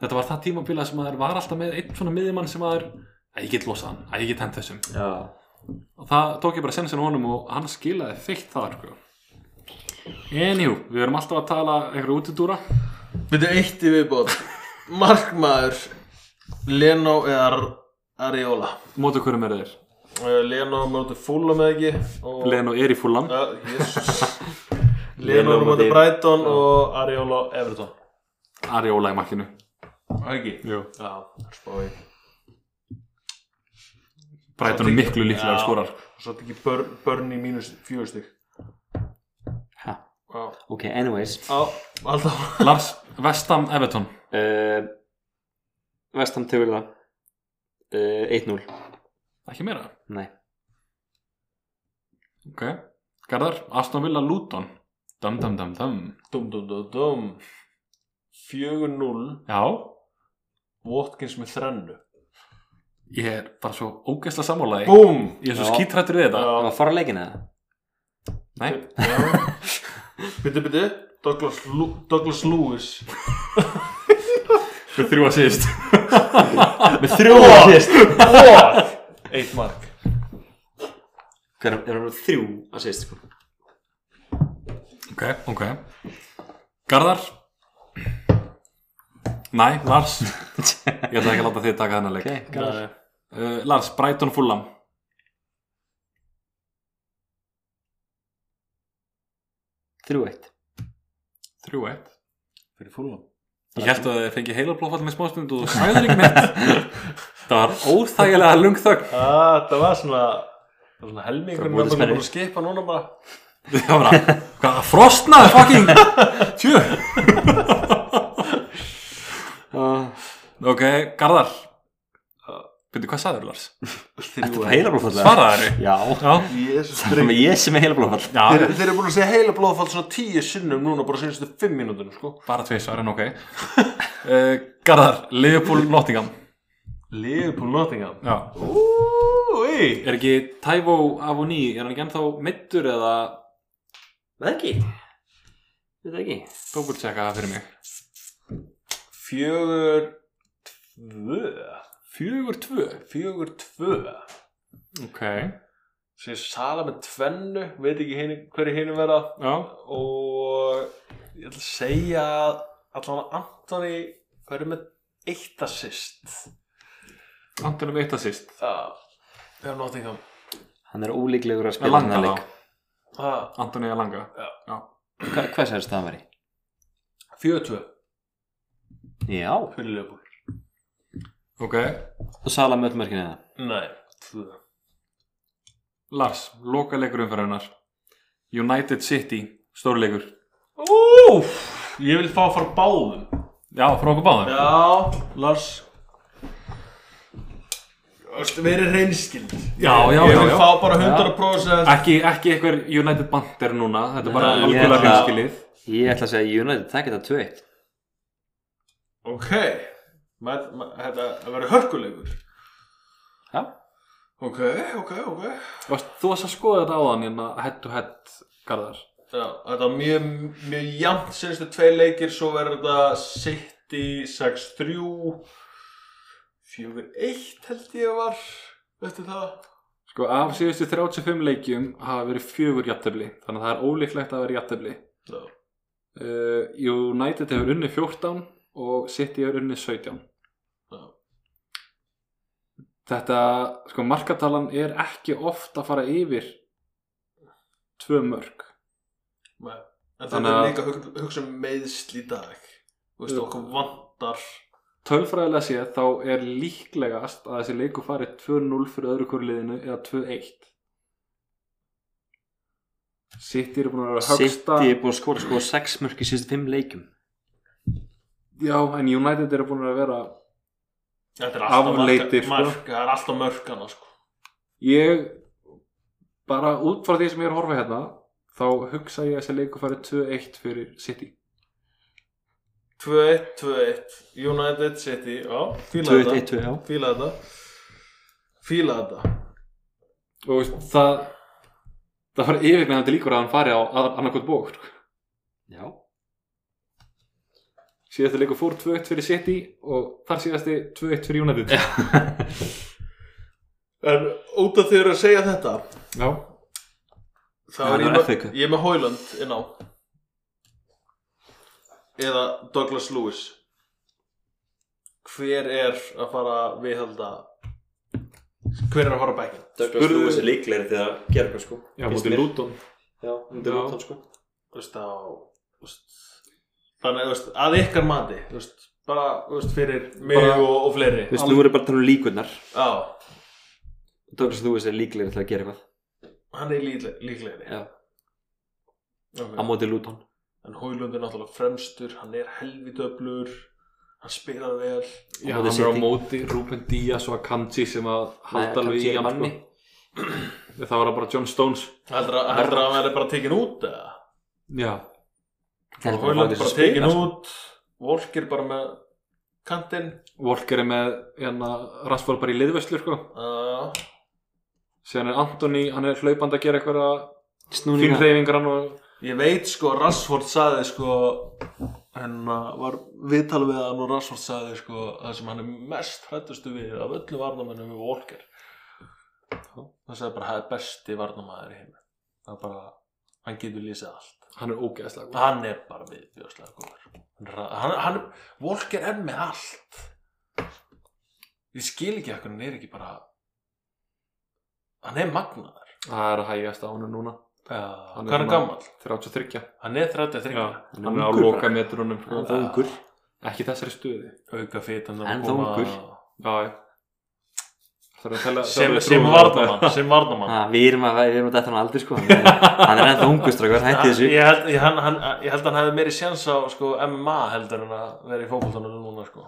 þetta var það tímabila sem maður var alltaf með einn svona miðjumann sem maður að ég get losa hann, að ég get hent þessum
Já
og það tók ég bara sensin á honum og hann skilaði feitt það sko. Enjú, við erum alltaf að tala einhverju útidúra
Við erum eitt í viðbót Markmaður Leno eða Ariola
mótu hverjum eru þeir?
uh, Leno mjóti fúla með ekki og...
Leno er í fullan
uh, Jesus
Leno
Leno
á
mjóti
móti-
Brighton og Ariola Everton
Ari Óla í makkinu
Það ekki?
Jú.
Já, spáði
Brighton er miklu líklega að skorar
Svo þetta ekki börn, börn í mínus fjögur stík
Ha.
Já,
Ok, anyways
Já, alltaf
Lars, Vestam, Everton
uh, Vestam tegur það uh, 1-0
ekki meira,
Nei
ok Garðar, Aston Villa, Luton dum dum dum dum
Dum, dum, dum, dum 4-0
já,
Watkins með þrennu
ég er bara svo ógeðsla sammálaði
Búm
ég er svo
Já.
skítrættur við þetta
Já.
Það var fara leikin eða?
nei,
Bitti, bitti Douglas, Lu Douglas Lewis
við þrjú að síðist
Með þrjú að sýst
Eitt mark
Hver er það þrjú að sýst sko?
ok, ok Garðar nei, Lars ég ætla ekki að láta þið taka þennan leik
Ok,
Garðar.
uh, Lars, Brighton, Fulham
Þrjú eitt
3-1
Fyrir fúlan
Ég held að þið fengi heilablóðfall með smástund og þú sagðir ekki neitt Það var óþægilega lungþögn
ah, Það var svona það var Svona
Það
helmingur
voru
Mér er
spennu.
búin að skipa núna bara
Það var bara, hvað, frostnaði fucking Tjö
uh,
Ok, Garðar Uh, Byrju, hvað sagður Lars?
Þetta
Þrjú
var heila blóðfall
Svaraðarðu?
Já
Já,
Jesus
Það er með ég sem er heila blóðfall
já
Þeir, þeir eru búin að segja heila blóðfald svona tíu sinnum núna bara senstu fimm mínútur sko.
bara tvið svar en ok uh, Garðar, Liverpool, Nottingham
Liverpool Nottingham
Já
Úi
Er ekki Taivo Avoni, er hann ekki ennþá meittur eða
Það ekki Þetta ekki
Dobbultseka það fyrir mig
Fjögur Tvö
Fjögur tvö
Fjögur tvö
Ok,
Sér Sala með tvennu Veit ekki hinu, hverju hinu verða
já
Og Ég ætla að segja að Allan Antoni verður með Eitt assist
Antonum eitt að síst
Það Það er Nottingham
Hann er ólíklegur að spila
Langa
þennan
þá,
leik
Það
Antoni að langa
Hva, Hvað sagði þetta að veri?
Fjögur tvö
Já
Fyrir Liverpool
Ok,
Og Sala með öll mörkinu eða?
Nei Tvö
Lars, loka leikur umferðunar United City, stórleikur
Úf Ég vil fá að fara báðum
Já, frá okkur báðum
Já, Lars Þú verið reynskild
Já, já,
Ég
já,
vil
já.
fá bara 100%
Ekki, ekki eitthvað United bandir núna Þetta er bara
Nei, ég
algjörlega
ætla-
hreinskilið
Ég ætla að segja United, það geta 2-1
Ok með, með, Þetta verður hörkulegur
Já
Ok, ok, ok
Varst- Þú varst að skoða þetta áðan hérna head to head garðar
Já, Þetta er mjög, mjög jæmt senstu tvei leikir Svo verður þetta City 6-3 4-1 held ég að var Þetta það
Sko, af síðustu 35 leikjum hafa verið fjögur jafntefli Þannig að það er ólíklegt að vera jafntefli
Já.
uh, United hefur unni 14 og City hefur unni 17
Já.
Þetta, sko, markatalan er ekki oft að fara yfir tvö mörg
Nei. En
Þannig
þannig
að-
að líka hug, hugsa um meiðsl í dag Þú veist,
Jú.
okkur vantar
Tölfræðilega séð þá er líklegast að þessi leiku farið 2-0 fyrir öðru hverju liðinu eða 2-1 City eru búin að vera að högsta
City er búin að skora sko 6 mörg í síðustu 5 leikum
Já, en United eru búin að vera
Þetta er alltaf
Afleitir,
mörk,
sko.
mörk Það er alltaf mörk annars sko.
Ég bara út frá því sem ég er að horfa hérna þá hugsa ég að þessi leiku farið 2-1 fyrir City
2-1, 2-1 United City, já, fíla
2-1,
þetta
2 já
Fíla þetta Fíla þetta
og veist, það það var yfirgnæðandi líkur að hann fari á annarkot bók sko.
Já,
síðasta leikur fór 2-1 fyrir City og þar síðasti 2-1 fyrir United Já,
En út af því að segja þetta
Já.
þá
Það
er
er
ég, með,
FA-cup.
ég er með Hoyland inn á Eða Douglas Lewis Hver er að fara að viðhalda Hver er að fara að bækja?
Douglas
Spurðu-
Lewis er líklegri til að gera eitthvað sko
Já,
Finnst
mútið
mér.
Luton
Já,
Já.
undir Luton sko
Þú veist á þú veist, Þannig þú veist, að ykkar mati þú veist, Bara þú veist, fyrir mig
Bara-
og, og fleiri
Þú veist, nú erum bara að tala um líkunar
Já,
Douglas Lewis er líklegri til að gera eitthvað
hann er líkle- líklegri
Já, á
okay.
móti Luton
En Hoylund er náttúrulega fremstur Hann er helvitöflur Hann spilar vel
móti
Já, hann er á
City.
móti Ruben Díaz og Akanji sem að halda alveg í hann sko. það var bara John Stones
Heldur að heldur að hann verði bara tekin út eða?
Já,
Hoylund bara tekin út Volker bara með kantinn
Walker er með hérna, Rashford bara í liðveslu sko.
uh,
síðan er Anthony, hann er hlaupand að gera eitthvað
Snúninga
fínreyfingar hann og
Ég veit sko Rashford saði sko En uh, var viðtal við hann og Rashford saði sko Það sem hann er mest hrættustu við Af öllu varnamennum við Volker Það sagði bara Það er besti varnamæður í heimi Það er bara Hann getur lýsið allt
hann er ógeðslega góður.
Hann er bara við Bjóðslega góður Hann er- hann, hann, Volker er með allt Ég skil ekki að hann er ekki bara Hann er magnaður
Það er að hægjast á hann núna
Hvað
Hann
er
er
hann
svona-
gamall?
33
Hann er 33
Hann
Já,
er
hann er á
ungur bara.
loka metrunum
Hann er ungur
ekki þessari stuði
auka fitan
En þá ungur.
já, já. Það er að tella- það
sem,
er að
sem
trúa-
varnamann sem varnamann
Ha, Við erum að, við erum að detta hann aldrei sko Hann er, hann er ennþá ungur strákar, hætti þessu
ég held, ég, hann, hann, ég held að hann hefði meiri séns á sko, MMA heldur en að vera í fókbóltunum núna sko.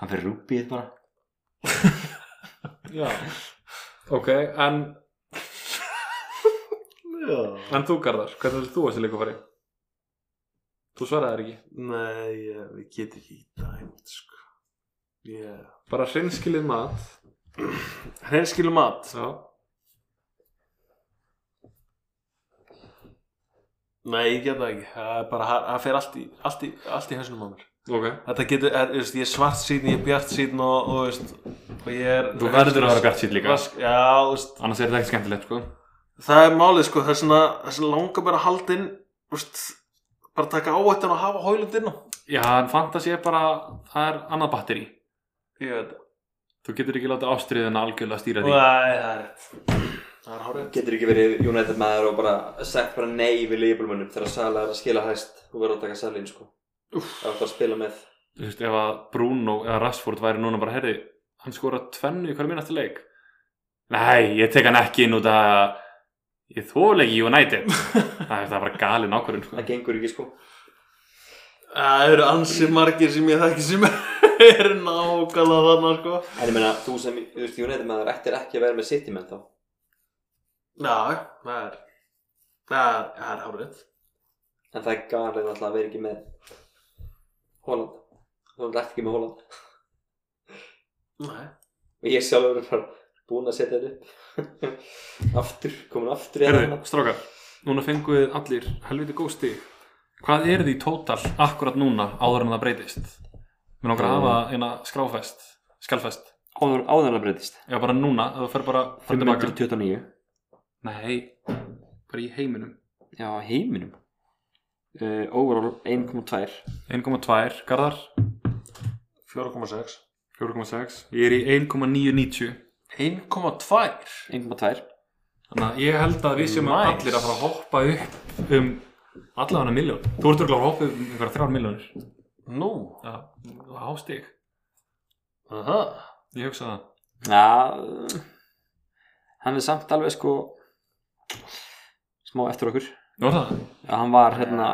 Hann fyrir rúbið bara
Já. ok, en, en þú Garðar hvernig heldur þú að þessi leiku fari? þú svaraðir ekki
nei, ég, við getum ekki dæmt sko. yeah.
bara hreinskilið mat
hreinskilu mat
já.
nei, ég get það ekki það er bara, það- það fer allt í, allt í, allt í hausinum á mér
ok,
þetta getur, er, veist, ég er svart sín, ég er bjart sín og, og, veist, og ég er
Þú verður að vera bjartsýnn líka.
Rask- já, þú veist
annars er þetta ekki skemmtilegt sko
það er málið sko það er svona, það er svona langar bara að halda inn úst, bara taka áættan og hafa hólund inn á
já, en fantasi er bara það er annað batteri
ég veit
þú getur ekki láta ástriðina algjörlega stýra því
það er rétt það er hárið
Getur ekki verið United maður og bara sagt bara nei við leifbólmönnum þegar Sala er að skila hæst og verður að taka Salin sko Það er alltaf að spila með
þú veist, ef að Bruno eða Rashford væri núna bara, herri, hann skora tvennu í hverju minnasta leik nei, ég tek hann ekki inn út að ég þóla ekki United það er það er bara galin ákvörðun sko.
Það gengur ekki sko
það eru ansið margir sem ég þekki sem er nákvæmlega þarna sko
En ég meina, þú sem, þú veist, United maður ættir ekki að vera með City menn þá
já, það er það er, það er hárið
En það er galið alltaf að vera ekki með Holland Þú ert ekki með Holland
nei
Og ég sjálfur er bara búinn að setja þetta upp Aftur, komin aftur í
Herðu,
þetta.
strákar, núna fengum við allir helviti góð stig hvað er því tótal akkurat núna áður en það breytist við langar að hafa eina skráfest skalfest,
Áður, áður en það breytist
já bara núna ef þú fer bara fer tilbaka.
529
nei, bara í heiminum
Já, heiminum uh, Overall 1,2
1,2, Garðar
4,6
4,6 ég er í 1,990
1,2
1,2
Þannig að ég held að við sem
Nice.
allir að fara að hoppa upp um allavega hana miljón þú ert örgulega að hoppa um einhverja þrjár miljónir
Nú,
já, hástig,
aha
ég hugsa það
Já, hann er samt alveg sko smá eftir okkur.
Nú er það?
Já, hann var hérna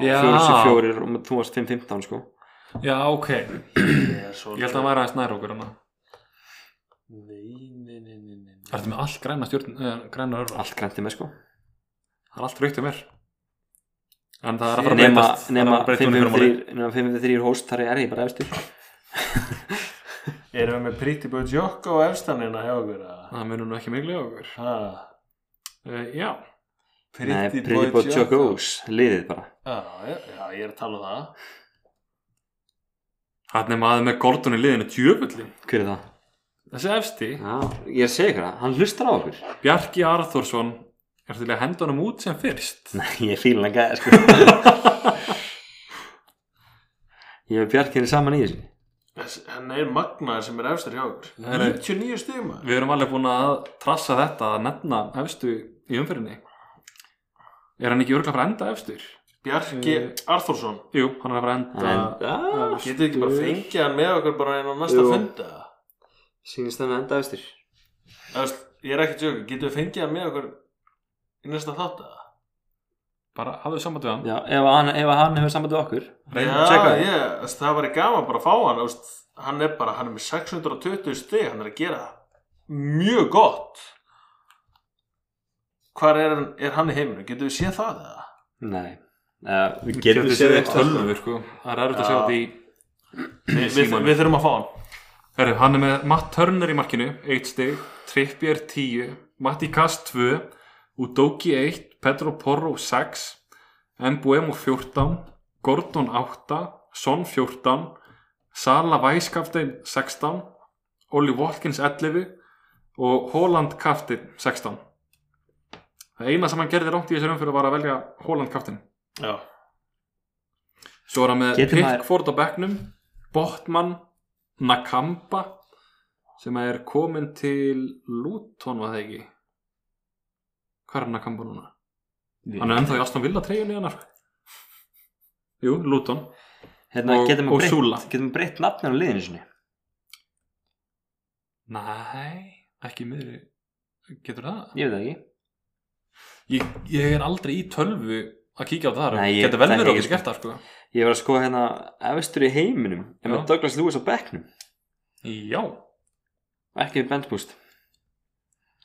Já,
Já.
44 og þú varst 5-15 sko.
Já, ok,
ég er svolítið
ég held að hann væri aðeins nær okkur hérna. hana
Nei, nei, nei, nei, nei, nei.
Ertu með allt græna stjórn, eh, græna örvar
Allt grænti með sko.
Það er allt raukt um mér En það er að fara að
Nema,
breytast Það er
nema
að breyta honum í fyrra máli.
5-3 nema 5-3 hóst þar er ég bara efstur.
Erum við með Pretty Boy Jokko og efstanina hjá okkur að
Það munum nú ekki miklu á okkur
Ha,
uh, Já,
Nei, Pretty Boy Jokos, liðið bara.
Já, já, já, ég er að tala um það
hann er maður með Gordon í liðinu tjöfulli
Hver er það?
Þessi efsti,
Já, ég er að segja ykkur það, hann hlustar á okkur.
Bjarki Arþórsson Er til að henda honum út sem fyrst
Nei, ég fíla hann gæði sko. ég hef Bjarkinni saman í þessu.
Þess- Hann er magnaður sem er efstur hjá okkur
Nei, nei.
99 stigum maður.
Við erum alveg búin að trassa þetta að nefna efstu í umferðinni Er hann ekki örgla að fara að enda efstur?
Bjarki
Eh.
Arþórsson
Jú, hann er að fara að enda
En,
Getið
já,
þið ekki bara fengið hann með okkur bara einn á næsta
Jú.
funda
sínist hann enda efstur.
Þess, Ég er ekki tjóka, getum við fengið hann með okkur í næsta þátt að
Bara hafðu samband við hann
Já, ef hann, ef hann hefur samband við okkur
Reynum
að checka
Já,
það.
ég, þess, það væri gaman bara að fá hann þess, hann er bara, hann er með 620 stig hann er að gera mjög gott Hvar er, hann- er hann í heiminu? Getum við séð það eða?
Nei uh, Við
Getur séð þetta tölvu sko Það er erfitt að segja
Já.
þetta í
Vi, við,
símanum.
við þurfum að fá hann
Herru, hann er með Matt Turner í markinu, 1 stig, Trippier 10, Matti Kass 2, Udoki 1, Pedro Porro 6, Mbuemo 14, Gordon 8, Son 14, Sala Væskaftein 16, Oli Watkins 11 og Holland Kaftin 16. Það eina sem hann gerði rátt í þessu umfyrir var að velja Holland Kaftin.
Já,
Svo er hann með
Getur maður-
Pickford á bekknum Botman Nakamba sem er komin til Luton var það ekki Hvað er Nakamba núna? Hann er ennþá í Aston Villa treyjunni hennar Jú, Luton
Hérna,
Og-
getum
og
við
Súla.
breytt, getum við breytt nafnir á liðinu sinni
Nei, ekki í miðri Getur það?
Ég veit það ekki
Ég, ég er aldrei í tölvu að kíkja á það
Nei, ég-
Getur vel
það
verið
er
okkur
ekki-
skert það sko
Ég var að skoða hérna efstur í heiminum En með
Já.
Douglas Lewis á bekknum
Já,
Ekki við Bendboost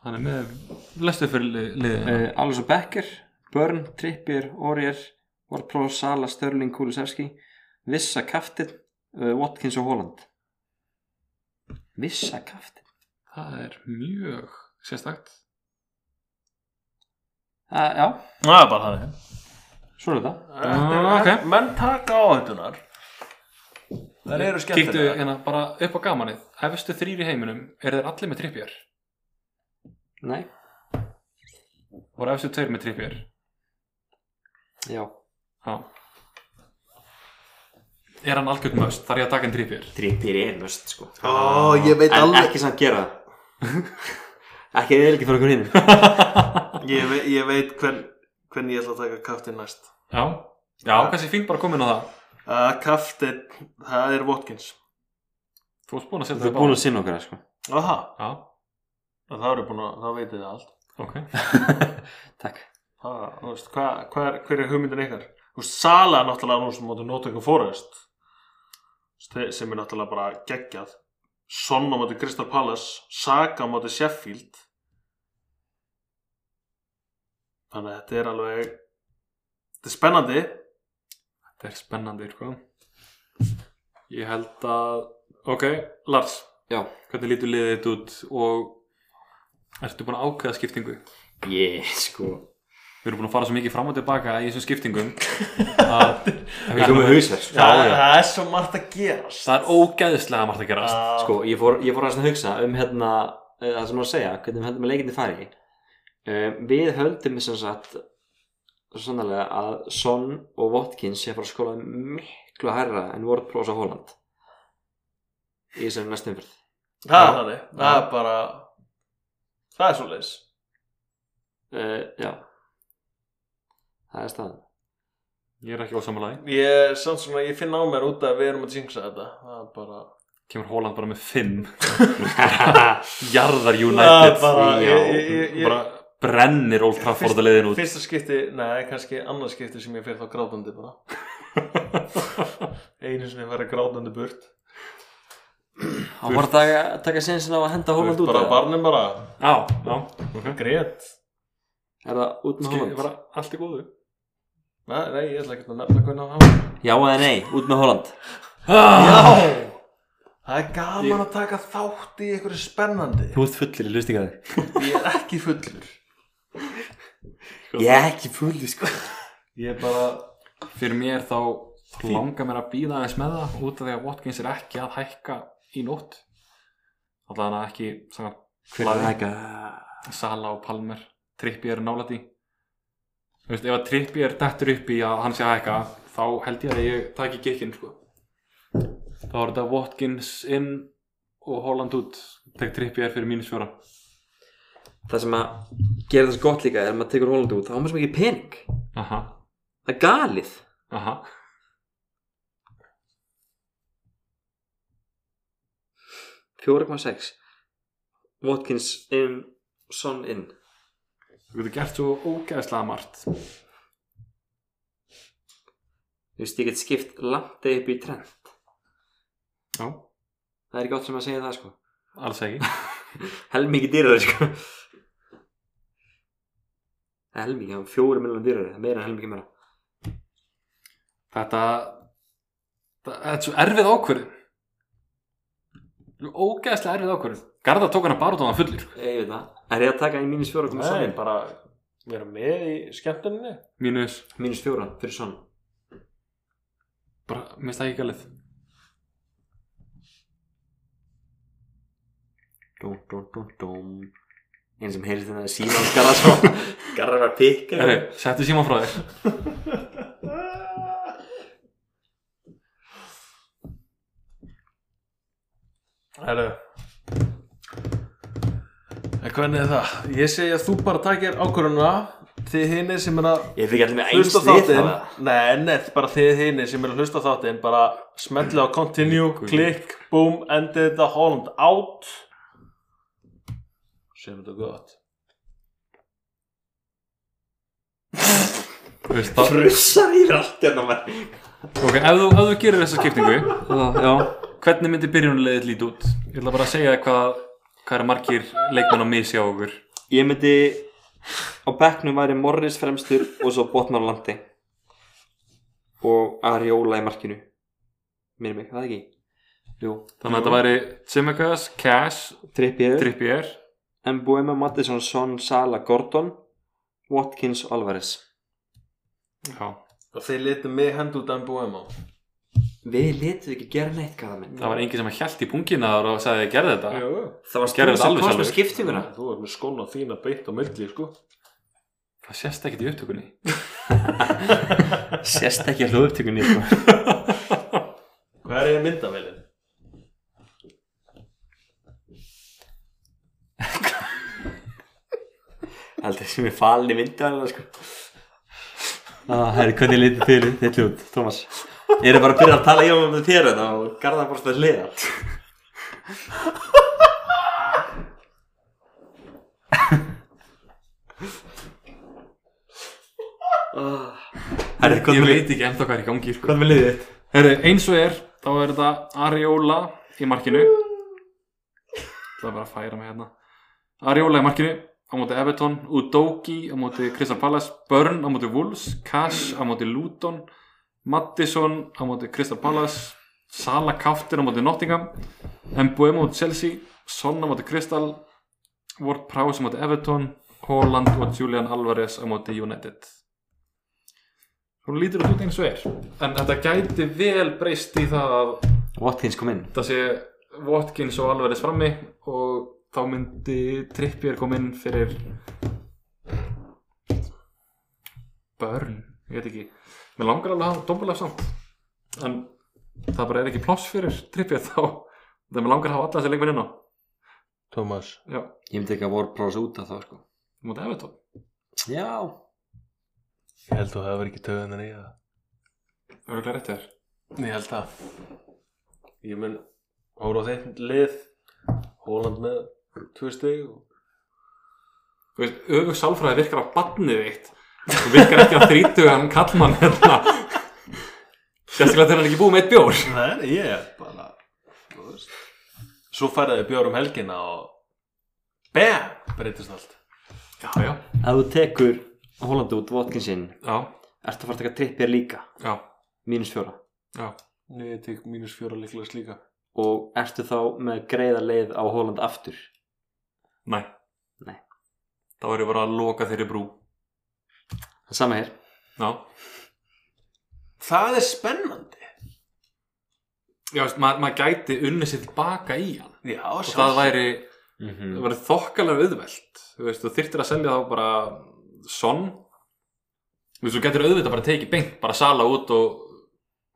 hann er með lestu fyrir li- liðið
uh, Alisson Becker, Byrne, Trippier, Aurier Warpro, Sala, Störling, Kulusevski Vissa Kaftin, uh, Watkins og Holland Vissa Kaftin
Það er mjög sérstakt
uh, Já,
það er bara þannig
svona er þetta
Þetta er-
Ah, ok.
Menn taka á hættunar Það eru skemmtilega
Kíktu hérna bara upp á gamanið Efstu þrýr í heiminum eru þeir allir með trippjar
Nei,
og efstu tveir með trippjar
já,
Já Er hann algjörn möst? Þar ég að taka hann trippjar
Trippier er möst sko
Ó, ég veit
En
alveg
ekki samt gera það Ekki eða ekki fyrir okkur hinn
Ég, ve ég veit hvern, hvernig ég ætla að taka kaftin næst
Já Já, kannski fínt bara komin á það
uh, Kaftin, það er Watkins
Þú ert búin að setja
Þú er
það
búin að sinna okkar sko
Aha,
Já,
það eru búin að, það veitir það allt
ok
Takk
Það, þú veist, hva, hva er, hver er hugmyndin ykkar? Þú veist, Sala er náttúrulega nú sem móti Nottingham Forest Ste- sem er náttúrulega bara geggjað Son á móti Crystal Palace Saka á móti Sheffield Þannig að þetta er alveg þetta er spennandi
Þetta er spennandi, sko Ég held að Ok, Lars
Já.
Hvernig lítur liðið þetta út og Ertu búin að ákveða skiptingu?
Ég sko
Við erum búin að fara svo mikið fram og tilbaka í þessum skiptingum að
Ég kom með hausverk sko.
Já, já.
það er svo margt að gerast
Það er ógæðislega margt að gerast
sko,
sko Ég fór, ég fór aðeins að hugsa um hérna eh, það sem var að segja, hvernig við höldum að leikindi fari um, Við höldum sem sagt svo sannlega að Son og Watkins sé að fara að skóla miklu hærra en Ward Prós á Holland í þessum næstum fyrð
það er þannig, það er bara það er svo leis
uh, Já Eh, Það er staðan
Ég er ekki ósamlega
Ég, samt svona, ég finn á mér út að við erum að jinxa þetta Það er bara
Kemur Holland bara með 5 Jarðar
Það
United
er Ah, bara,
já,
ég, ég, ég, ég
bara brennir Old Trafford að leiðin út
Fyrsta skipti, nei, kannski annað skipti sem ég fyrir þá grátandi bara Einu sinni verið grátandi burt
Hann var að taka- taka sensin á að henda Holland út
Bara
eða?
barnum bara,
Já, já okay.
grét
Er það út með
Skil,
Holland?
bara allt í góðu
Nei, nei, ég ætla ekki að nefna hvernig hann hafa
Já eða nei, út með Holland
Ah.
Já Það er gaman að taka þátt í einhverju spennandi
Þú ert fullir í lustingaði
Ég er ekki fullur
Ég er ekki fullir sko
Ég er bara
Fyrir mér þá langar mér að býða aðeins með það út af því að Watkins er ekki að hækka í nótt Alltaf hann ekki sangar,
Hver er það ekki?
Sala og Palmer Trippi er nálæti Þú veist, ef að Trippi er dettur upp í að hann sé að hækka þá held ég að ég taki gikkinn sko. þá er þetta Watkins inn og Holland út tek Trippi er fyrir mínus fjóra
Það sem að gera þessu gott líka er að maður tekur Holland út þá er maður sem ekki pening
Aha,
Það er galið
aha
Fjóra koma sex Watkins in Son in
Þú getur gert svo ógeðslega margt
Þú veist ég get skipt langt upp í trend
Já,
Það er ekki átt sem að segja það sko
alls ekki
Helmingi dýrari sko Það er helmingi, það er fjóri miljonum dýrari Það er meira en helmingi meira
Þetta það- Þetta er svo erfið ákvörðin Ógeðslega erfið ákvörðin Garðar tók hana bara út á hann fullir
Ég veit það Er ég að taka í mínus fjóra koma
Nei,
Son
bara vera með í skemmtuninni
Mínus,
Mínus fjóra fyrir Son
bara, minnst það ekki galið
Dum, dum, dum, dum Einn sem hérna heyrði þetta síðan Garðar svo Garðar var að pikka
Herri, settu síma frá þér
Herru En hvernig er það? Ég segi að þú bara takir ákvörðuna Þið hinni sem er að
Ég fikk allir með eins
hlusta á
lið
þáttinn
þarna.
Nei, nei, bara þið hinni sem er að hlusta á þáttinn Bara smetla á continue,
Guð.
klikk, boom, endið þetta Holland out Sem þetta gott
Þú veist, það-
Frussar í allt hérna maður
Ok, ef þú, ef þú gerir þessa skiptingu
Já
Hvernig myndi byrjunarleiðið lítið út? Ég ætla bara að segja þér hvað Hvað eru margir leikmenn á misi á okkur
Ég myndi Á bekknum væri Morris fremstur Og svo Botman á landi Og Ariola í markinu Minnum mig, það ekki Jú
Þannig að þetta væri Tsimikas, Cash,
Trippier
Trippier
Mbuema, Mattisson, Son, Sala, Gordon Watkins, Alvarez
Já,
Og þið litum mig hend út en búið má
Við litum ekki gera neitt gæða minn
það var enginn sem að hjælt í pungina og sagði að ég gerði þetta
Jú,
Það var
Gerðu þetta alveg
komst
sjálfur.
með skiptinguna
þú er með skóna þína beitt á milli, sko
Það sést ekkert í upptökunni
Sérst ekki að hljóðupptökunni sko.
Hvað er ég myndavælinn?
Aldrei sem ég falin í myndaðina sko. ah, Herri, hvernig lítið þér þitt hljóð, Thomas Ég er bara að byrja að tala í honum með þér þetta og garða bara svona hliða Ah. Herri,
Ég
hvernig
veit ekki ennþá hvað er í gangi sko.
hvernig liðið þitt?
Herri, eins og er, þá er þetta Ariola í markinu Það er bara að færa mig hérna Ariola í markinu á móti Everton, Udoki á móti Crystal Palace, Burn á móti Wolves Cash á móti Luton Mattisson á móti Crystal Palace Sala Kaftir á móti Nottingham Mbuemo á móti Chelsea Son á móti Crystal Ward Prowse á móti Everton Holland og Julian Alvarez á móti United Hún lítur þetta út eins og er En þetta gæti vel breyst í það að
Watkins kom inn
það sé Watkins og Alvarez frammi og þá myndi Trippier kom inn fyrir Börn, ég veit ekki Mér langar alveg að hafa dombulega samt En það bara er ekki pláss fyrir Trippier þá Það mér langar að hafa alla þessi leikmenn inn á
Thomas
Já,
Ég myndi ekki að voru bráðs út af þá sko.
mútið Evertón
Já
Ég held þú hefur ekki töðunar í það
Örgulega rétt þér
Ég held það Ég mun hóra á þeim lið Hóland með tvö stig og...
Þú veist, öfug sálfræði virkar á badnið eitt Þú virkar ekki á þrítugan kallmann hérna Sérstaklega þegar hann er ekki búið með eitt bjór
Nei, nei, ég er bara þú veist. Svo færðu bjór um helgina og BAM! Breytist allt
Já, já,
Ef þú tekur Holland út Watkinsinn
já,
Ertu að fara að taka trippir líka
já,
Mínus fjóra
já
Nú ég tek mínus fjóra líklegast líka
Og ertu þá með greiða leið á Holland aftur
Nei
Nei.
Þá er ég bara að loka þeirri brú
Það sama hér
Já,
Það er spennandi
já, veist, maður maður gæti unnið sér tilbaka í hann
Já,
Og það væri,
mm
það væri þokkalega auðvelt Þú veist, þú þyrftir að selja þá bara Son Þú veist, þú getur auðvitað bara tekið beint Bara sala út og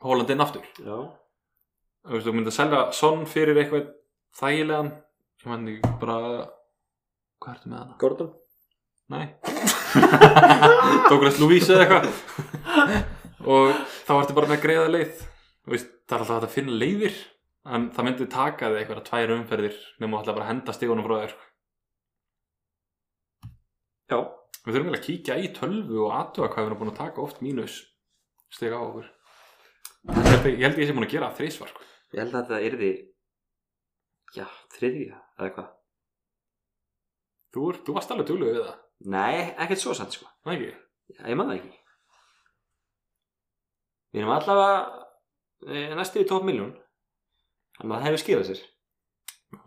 Holland inn aftur
Já
þú veist, þú myndir að selja Son fyrir eitthvað þægilegan ég menn ekki bara hvað ertu með hana?
Gordon
Nei Douglas Louise eða eitthvað og þá ertu bara með greiða leið Þú veist, það er alltaf hægt að finna leiðir en það myndi taka þig eitthvað tvær umferðir nema alltaf bara að henda stígunum frá þér sko.
Já
við þurfum eiginlega að kíkja í tölvu og aðtuga hvað við erum búin að taka oft mínus stiga á okkur ég held, ég held ég sem búin að gera þrísvar sko.
Ég held að það yrði Já, þriðja eða hvað
þú, ert- þú varst alveg tölvu við það,
Nei, ekkert svo satt sko
það ekki?
Já, Ég man það ekki Við erum allavega eh, næstu í top miljón Þannig að það hefur skilað sér
Já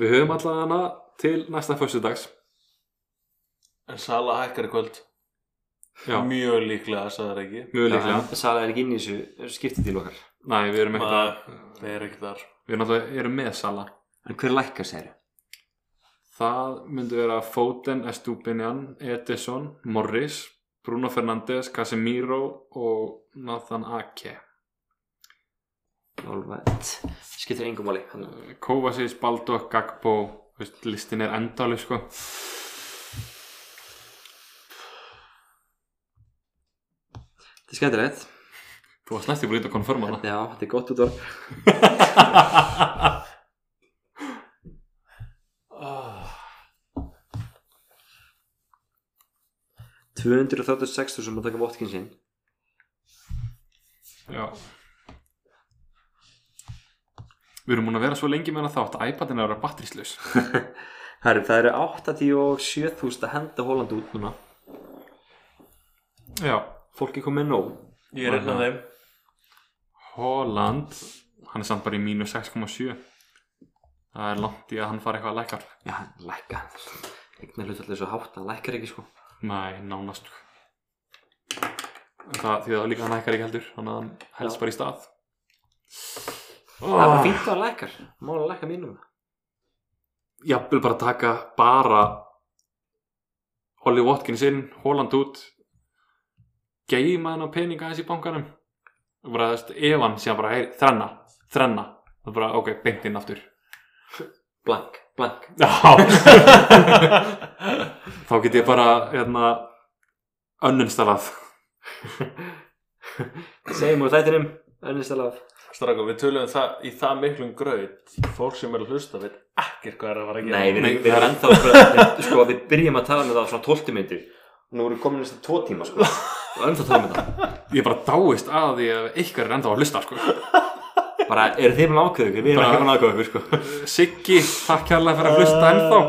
Við höfum allavega hana til næsta föstudags
En Sala hækkar í kvöld
Já,
Mjög líklega, það er ekki
mjög líklega
en Sala er ekki inn í þessu skiptið til okkar
Nei, við erum ekkert að
Það er ekki þar
Við erum alltaf erum með sala
En hver lækkar sér?
Það myndi vera Foden, Estupinian, Edison, Morris Bruno Fernandes, Casemiro og Nathan Ake
Alright Skiptir engum máli Þannig
Kovacic, Baldock, Gagbo þú veist, Listin er endaleg sko
Þetta er skemmtilegt
Þú varst næstu búin að konfirma hana
Já, þetta er gott út orð
Ah,
236.000 sem að taka votkin sinn
Já Við erum múin að vera svo lengi með hana þátt að iPadin er að vera batterislaus
Herru, það eru 87.000 að henda Holland út núna
Já
Fólki komið nóg
Ég er einn af þeim
Holland, hann er samt bara í mínus 6,7 Það er langt í að hann fari eitthvað að lækkar
Já, hann lækka Egnar hlutallið svo hátt, hann lækkar ekki sko
Nei, nánast sko. En það því að líka hann lækkar ekki heldur Þannig að hann helst
Já.
bara í stað
Það er bara
oh.
fínt að hann lækkar Mála lækka mínum
Jafnvel bara taka bara Holly Watkins inn, Holland út Geima hann á peninga aðeins í bankanum og bara, þú veist, ef hann síðan bara, hei, þrenna þrenna, það er bara, ok, beint inn aftur
Blank, blank
Já Þá get ég bara, hérna önnunstalað
Segjum úr þættinum Önnistalaf
Stráka, við töluðum um það, í það miklum gröð Fólk sem er að hlusta veit ekkert hvað er að fara að gera
Nei, við,
Nei,
við erum ennþá við- Sko, við byrjum að tala með það á svona 12 myndir Nú erum við komin næstu 2 tíma sko Og ennþá tala með það
Ég bara dáist að því að eitthvað er enda að hlusta, sko
Bara, eru þið búin að ákveða ykkur? Við erum
Bara-
ekki búin að ákveða ykkur sko
Siggi, takk hérlega fyrir að hlusta ennþá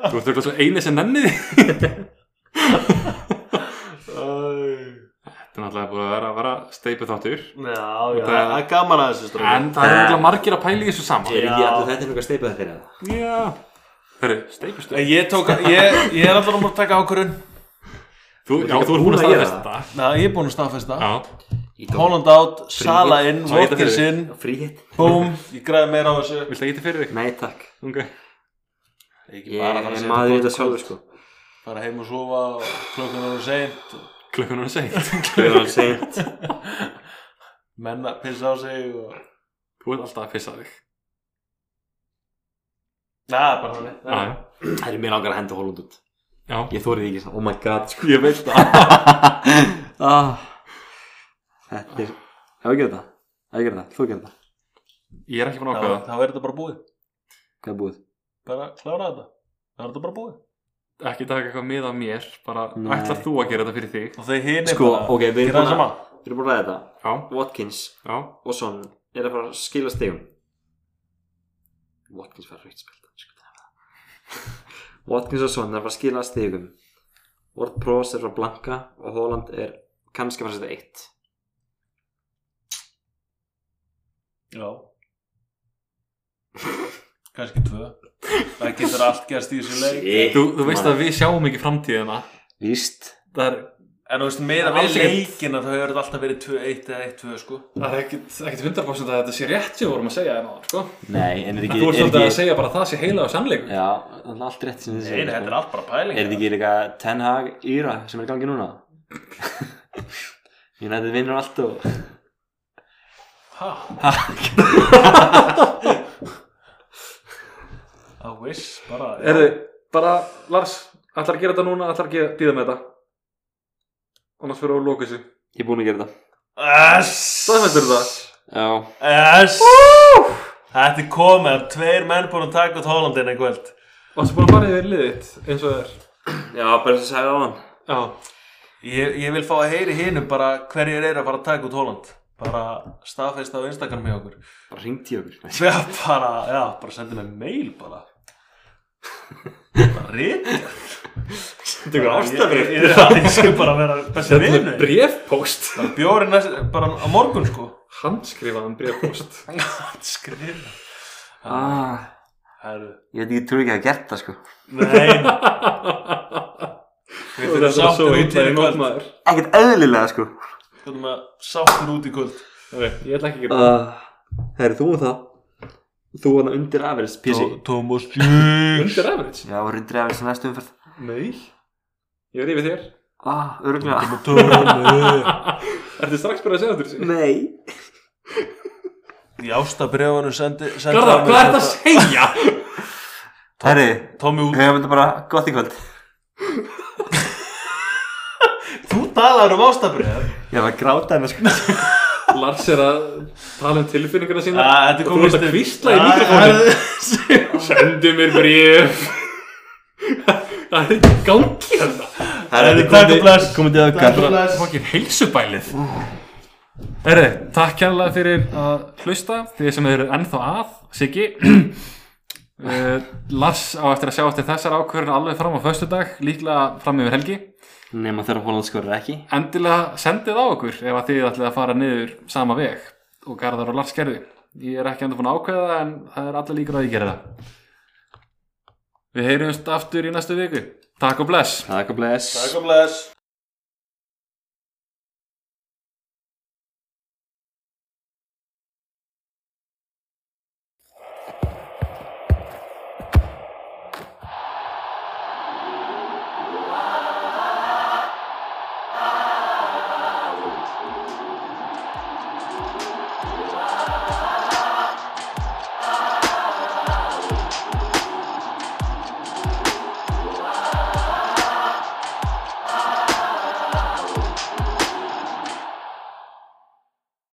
Þú ert auðvitað svo eini sem nenni því
Já,
Þetta er náttúrulega búið að vera, vera steipu þáttur
já, það er gaman að þessu stráka
En það eru auðvitað margir að pæla í þessu saman
Er ekki
Já.
allir þetta einhver steipið þetta fyrir það?
Já Hörru, steipustu
En Ég, tók, ég, ég er alltaf að múið að taka ákvörun
Þú,
Þú ert
já,
ekki
þú ert búin að
búin að gera
staðfesta þetta
Já, ég er búin að staðfesta
Já,
Í dóm.
Holland out, Sala inn,
Svo ég þetta
Watkins
fyrir.
inn
Fríhitt?
Búm, ég græði meira á þessu
viltu að geta fyrir þig?
Nei takk
Ok
Ekki
Ég
bara að fara að
er
setja
maður í
gott
þetta
kvöld.
sjálfur sko
Fara heim og sofa og klokkan er seint og
Klukkan er seint
Það er alveg seint
menn að pissa á sig og...
Þú ert alltaf að pissa á þig
Na, bara þannig
Já, já
Það er mér langar að henda Holland út
Já,
Ég þórið ekki svona, oh my god sko.
ég veit það
ah. Þetta er Hefur gerði það? Hefur gerði það? Þú gerði það?
Ég er ekki fann
þá
ákveða
þá er þetta bara búið
Hvað er búið?
bara klára þetta þá er þetta bara búið
Ekki taka eitthvað mið af mér Bara,
Nei.
ætlar þú að gera þetta fyrir þig?
og þeir hinir
Sko,
bara
ok, við erum
gera það
búin
sama
að- við erum búin að ræða þetta
Já,
Watkins
já
og Son er að fara að skila stegum Watkins var raukt spilta Watkins og Son er að fara að skila stegum Ward Pros er frá Blanka og Holland er kannski að fara að setja eitt
já kannski tvö það getur allt gerst í þessu leik
Þú, þú veist að við sjáum ekki framtíðina
Víst
Það er,
en þú veist með að
Alls
við
ekkert.
leikina þá hefur þetta alltaf verið 2-1 eða 1-2 sko
það er ekkit, ekkit 100% að þetta sé rétt sem við vorum að segja en áður, sko
Nei, en er
En þú ert svolítið að segja bara að það sé heila á sannleikum
Já, það er allt rétt sem þið sko.
Nei, nei, þetta er allt bara pæling
Er þetta ekki líka Ten Hag Íra sem er í gangi núna? United vinnur allt og
Ha? I wish, bara
Erðu, bara Lars, ætlar að gera þetta núna, ætlar að gera, býða með þetta Annars fyrir að lóka þessu
Ég er búinn að gera þetta
Æss
Staðfestirðu það?
Já,
Æss Þetta er komið, það er tveir menn búin að taka út Hollandin einn kvöld
Varstu búin að fara yfir liðið þitt, eins og það er
Já bara sem sagði á hann
Já,
ég, ég vil fá að heyri hinum bara hverjir eru að fara að taka út Holland Bara staðfesta á Instagram hjá okkur
Bara ringti ég okkur
Já, bara, já, bara sendi mig mail bara Bara rítja
Þetta er
Ég, ég, ég, ég skal bara vera besti
með
vinnu
brefpost
Bjóri næst, bara á morgun sko
Handskrifaðan brefpost
Skrifa
ah,
Herru
Ég veit ekki, ég trú ekki að gert það sko
Nei
Og
Við þurfum
þetta er svo
sáttir
illa
út í
í nótt
kvöld Við
maður
Ekkert eðlilega sko
þurfum að sáttir út í kvöld
Ég ætla ekki að gera
uh, Herri, þú um það Þú hann undir afins PC
Thomas
það
Jens
Undir average?
Já, undir afins í næstu umferð
Nei Ég er yfir þér
Ah, örgulega
Ertu strax bara að segja þetta þessu?
Nei
Í ástabrjóðanum sendi
Garðar, hvað er þetta að segja?
Herri,
Tommy
við
út
höfum þetta bara gott í kvöld
Þú talar um ástabrjóð
Ég var að gráta hennar sko
Lars er að tala um tilfinninguna sína
Þetta
og þú ert að kvistla í mikrofónu Sendu mér bréf Það er ekki í gangi hérna
Herri,
Herri, takk og bless.
komið til auðgar
Fokkin heilsubælið Herri, takk kærlega fyrir að hlusta Þið sem eru ennþá að Siggi uh, Lars á eftir að sjá eftir þessar ákvörðun alveg fram á föstudag Líklega fram yfir helgi
Nefna þegar Holland skorur ekki
Endilega sendið á okkur ef að þið ætlið að fara niður sama veg og Garðar og Lars gerði Ég er ekki enda búin að ákveða það, en það er allir líkur á að ég gera það Við heyrjumst aftur í næstu viku Takk og bless
Takk og bless
Takk og bless